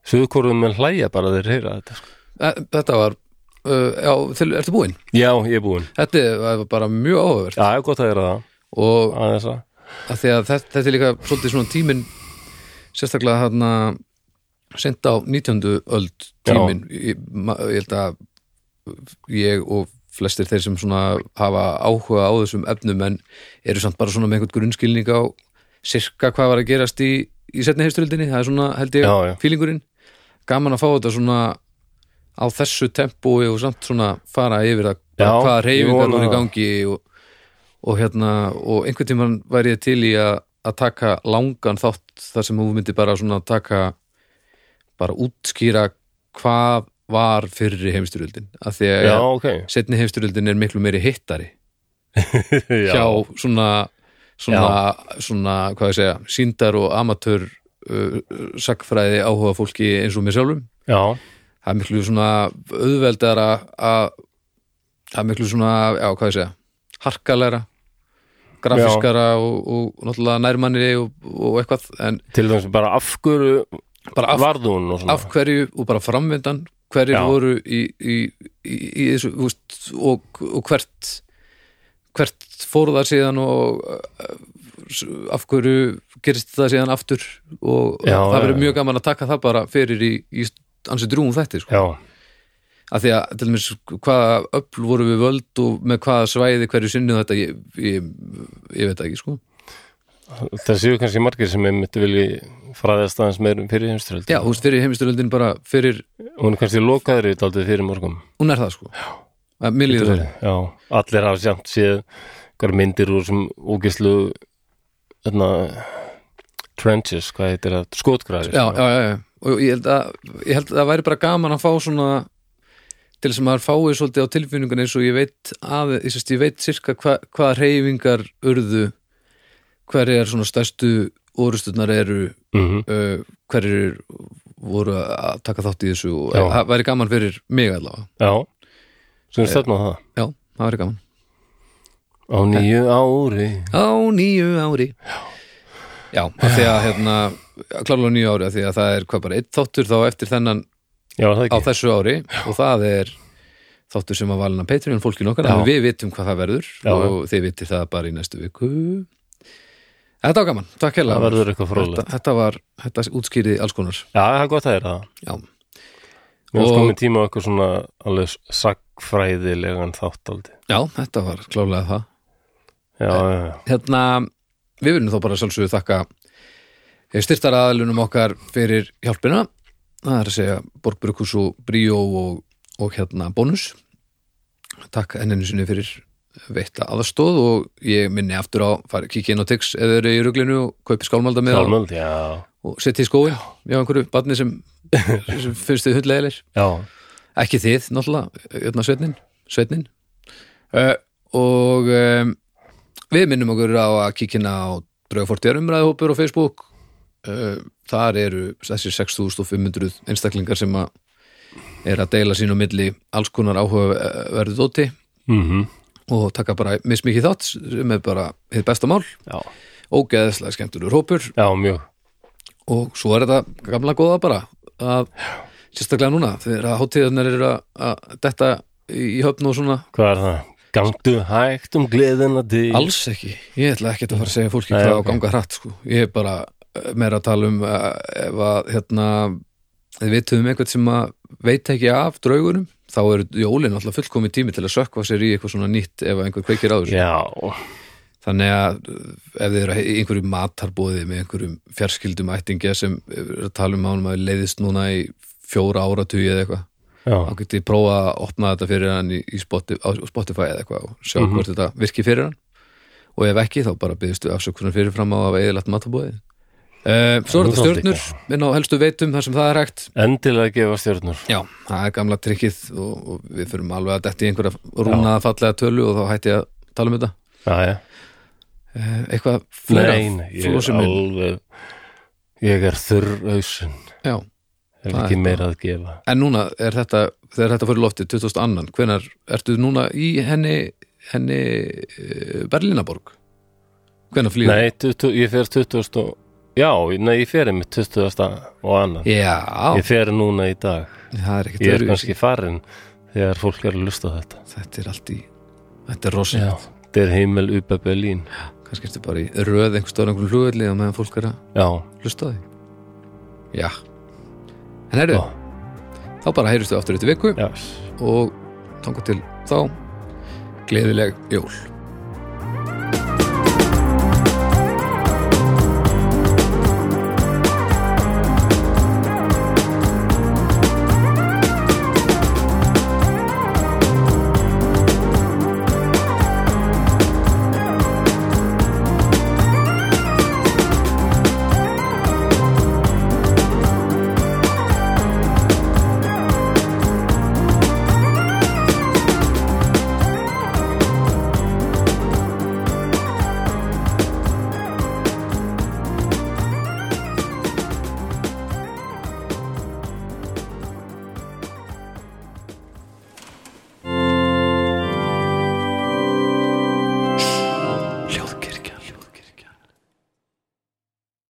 S1: sögurkorðum menn hlæja bara þeir heyra þetta sko.
S2: Þa- Þetta var uh, Já, til, ertu búinn?
S1: Já, ég er búinn.
S2: Þetta var bara mjög áhugavert
S1: Já, ég er gott að gera það.
S2: og
S1: Aðeins að
S2: að því að þetta, þetta er líka svolítið svona tíminn sérstaklega hérna sent á 19. öld tíminn ég, ma- ég held að ég og flestir þeir sem svona hafa áhuga á þessum efnum en eru samt bara svona með einhvern grunnskilning á sirka hvað var að gerast í, í setni heimsturöldinni, það er svona held ég
S1: Já, já.
S2: fílingurinn, gaman að fá þetta svona á þessu tempói og samt svona fara yfir það
S1: Já,
S2: bara hvaða
S1: ég
S2: reyfingar
S1: vona
S2: voru í
S1: það.
S2: gangi og, og hérna og einhvern tímann væri ég til í að, að taka langan þátt þar sem hún myndi bara svona taka bara útskýra hvað var fyrri heimsturöldin af því að
S1: Já, ok.
S2: setni heimsturöldin er miklu meiri hittari
S1: Já,
S2: hjá svona svona, svona hvað ég segja, síndar og amatör uh, sakfræði áhuga fólki eins og mér sjálfum
S1: já,
S2: það er miklu svona auðveldara að það er miklu svona, já hvað ég segja harkalæra, grafiskara og, og náttúrulega nærmanni og, og eitthvað, en
S1: til þess bara af hverju
S2: Bara af-
S1: varð hún og svona.
S2: af hverju og bara framvindan, hverjir
S1: Já.
S2: voru í, í, í, í þessu úst, og, og hvert hvert fór það síðan og uh, s- af hverju gerist það síðan aftur og
S1: Já,
S2: það
S1: já,
S2: verður
S1: já.
S2: mjög gaman að taka það bara fyrir í, í ansi drúum þetta sko.
S1: Já,
S2: að því að til mér hvaða öfl voru við völd og með hvaða svæði hverju sinni þetta ég, ég, ég veit það ekki sko
S1: það séu kannski margir sem ég myndi vilji fræðast aðeins meirum fyrir heimströld.
S2: já, þú veist, fyrir heimisturöldin bara fyrir
S1: Hún er kannski lokaðri daldið fyrir morgum.
S2: hún er það sko að mér líður það
S1: Já, allir hafa sjamt séð hver myndir úr sem úgislu þarna trenches, hvað heitir það, skotgræðir
S2: já, já, já, já, og ég held að ég held að það væri bara gaman að fá svona til þess að maður fái svolítið á tilfinningun eins og ég veit að, ég, sérst, ég veit sirka hva, hvaða reyfingar urðu hverjar svona stærstu orustunar eru
S1: mm
S2: uh, hverjir voru að taka þátt í þessu og
S1: Já.
S2: það væri gaman fyrir mig allavega
S1: Já, sem stefna á það
S2: Já, það væri gaman
S1: Á nýju ári
S2: Á nýju ári Já, af því að hérna klála á nýju ári, af því að það er hvað bara eitt þáttur þá eftir þennan
S1: Já, það
S2: á
S1: ekki
S2: þessu ári og það er þáttur sem að valina Patreon fólkinu okkar,
S1: Já.
S2: þannig við vitum hvað það verður
S1: Já.
S2: og þið vitir það bara í næstu viku Þetta var gaman, takk hella
S1: Það verður eitthvað
S2: þetta,
S1: fróðlega
S2: þetta var, þetta útskýrið alls konar
S1: Já, það er gott að er það
S2: Já,
S1: Mér
S2: Og-
S1: finnst komið tíma á eitthvað svona alveg sagfræðilegan þáttaldi
S2: Já þetta var klálega það
S1: Já, já, já
S2: hérna, við viljum þá bara sjálfsögðu þakka styrtar aðalunum okkar fyrir hjálpina það er að segja Borgbrukus og Bríó og, og hérna Bónus takk enninu sinni fyrir veitta aðstóð og ég minni aftur á fara kikið inn á Tix eða eru í ruglinu og kaupi skálmalda með
S1: Þálmöld, já
S2: og setja í skóin já, einhverju barni sem, sem finnst þið hundlegilir
S1: Já, ekki
S2: ekki þið náttúrulega, hérna, jötna sveitnin sveitnin uh, og um, við minnum okkur á að kíkina á draugafortjar umræðahópur á Facebook uh, þar eru þessi 6500 einstaklingar sem að er að deila sín á milli alls konar áhugaverðu dóti
S1: mm -hmm.
S2: og taka bara mismikið þátt sem er bara hið besta mál
S1: Já,
S2: ógeðslega skemmtulur hópur
S1: já, mjög
S2: og svo er þetta gamla góða bara að sérstaklega núna þegar að hátíðarnar eru að, að detta í í höfn og svona
S1: Hvað er það? Gangdu hægt um gleðina til
S2: alls ekki, ég ætla ekkert að fara að segja fólki
S1: Nei,
S2: hvað á
S1: ok.
S2: að ganga hratt sko. ég er bara eh, meira að tala um eh, ef að hérna við vitum einhvern sem að veit ekki af draugunum, þá eru jólin alltaf fullkomið tími til að sökva sér í eitthvað svona nýtt ef að einhver kveikir á þessu
S1: Já,
S2: þannig að uh, ef þið eru í einhverjum matarbóði með einhverjum fjarskildum ættingja sem er að tala um ánum að leiðist núna í fjóra áratugi eða eitthvað
S1: já,
S2: þá getið þið prófa að opna þetta fyrir hann í, í Spotify, á Spotify eða eitthvað og sjá
S1: Mhm.
S2: hvort þetta virki fyrir hann og ef ekki þá bara byggistu afsökunar fyrirfram á að eðilegt matarbóði
S1: Það er
S2: uh, Svo er þetta
S1: svolítið
S2: stjörnur inn á helstu veitum þar sem það er hægt
S1: endilega gefa stjórnur
S2: Já, það er gamla trikkið og, og við förum alveg að detti einhverja rúnaða fallega tölu og þá hætti ég að tala um þetta
S1: Já, já
S2: uh, Eitthvað fleira
S1: Nei, nei, ég er
S2: flósum minn
S1: alveg Ég er þurrausin
S2: Já,
S1: Er
S2: Það
S1: ekki
S2: er
S1: meira að gefa
S2: en núna er þetta þegar þetta fyrir loftið 2002 hvenar ertu núna í henni henni eh, Berlínaborg hvenar flýgur?
S1: Nei, 20, ég fer 20 og, Já, nei, ég fer einmitt 20 og annan
S2: Já,
S1: Ég fer núna í dag
S2: það er ekkert
S1: Ég er
S2: öðruvísi.
S1: kannski farin þegar fólk er að lusta þetta
S2: þetta er allt í þetta er rosa,
S1: Já, þetta er heimil uppe Berlín
S2: kannski ertu bara í röð einhver stóra einhverjum hlugulli og meðan fólk er að
S1: Já,
S2: hlusta á því Já, en herru
S1: Já.
S2: þá bara heyristu aftur eftir viku
S1: já
S2: og tanga til þá gleðileg jól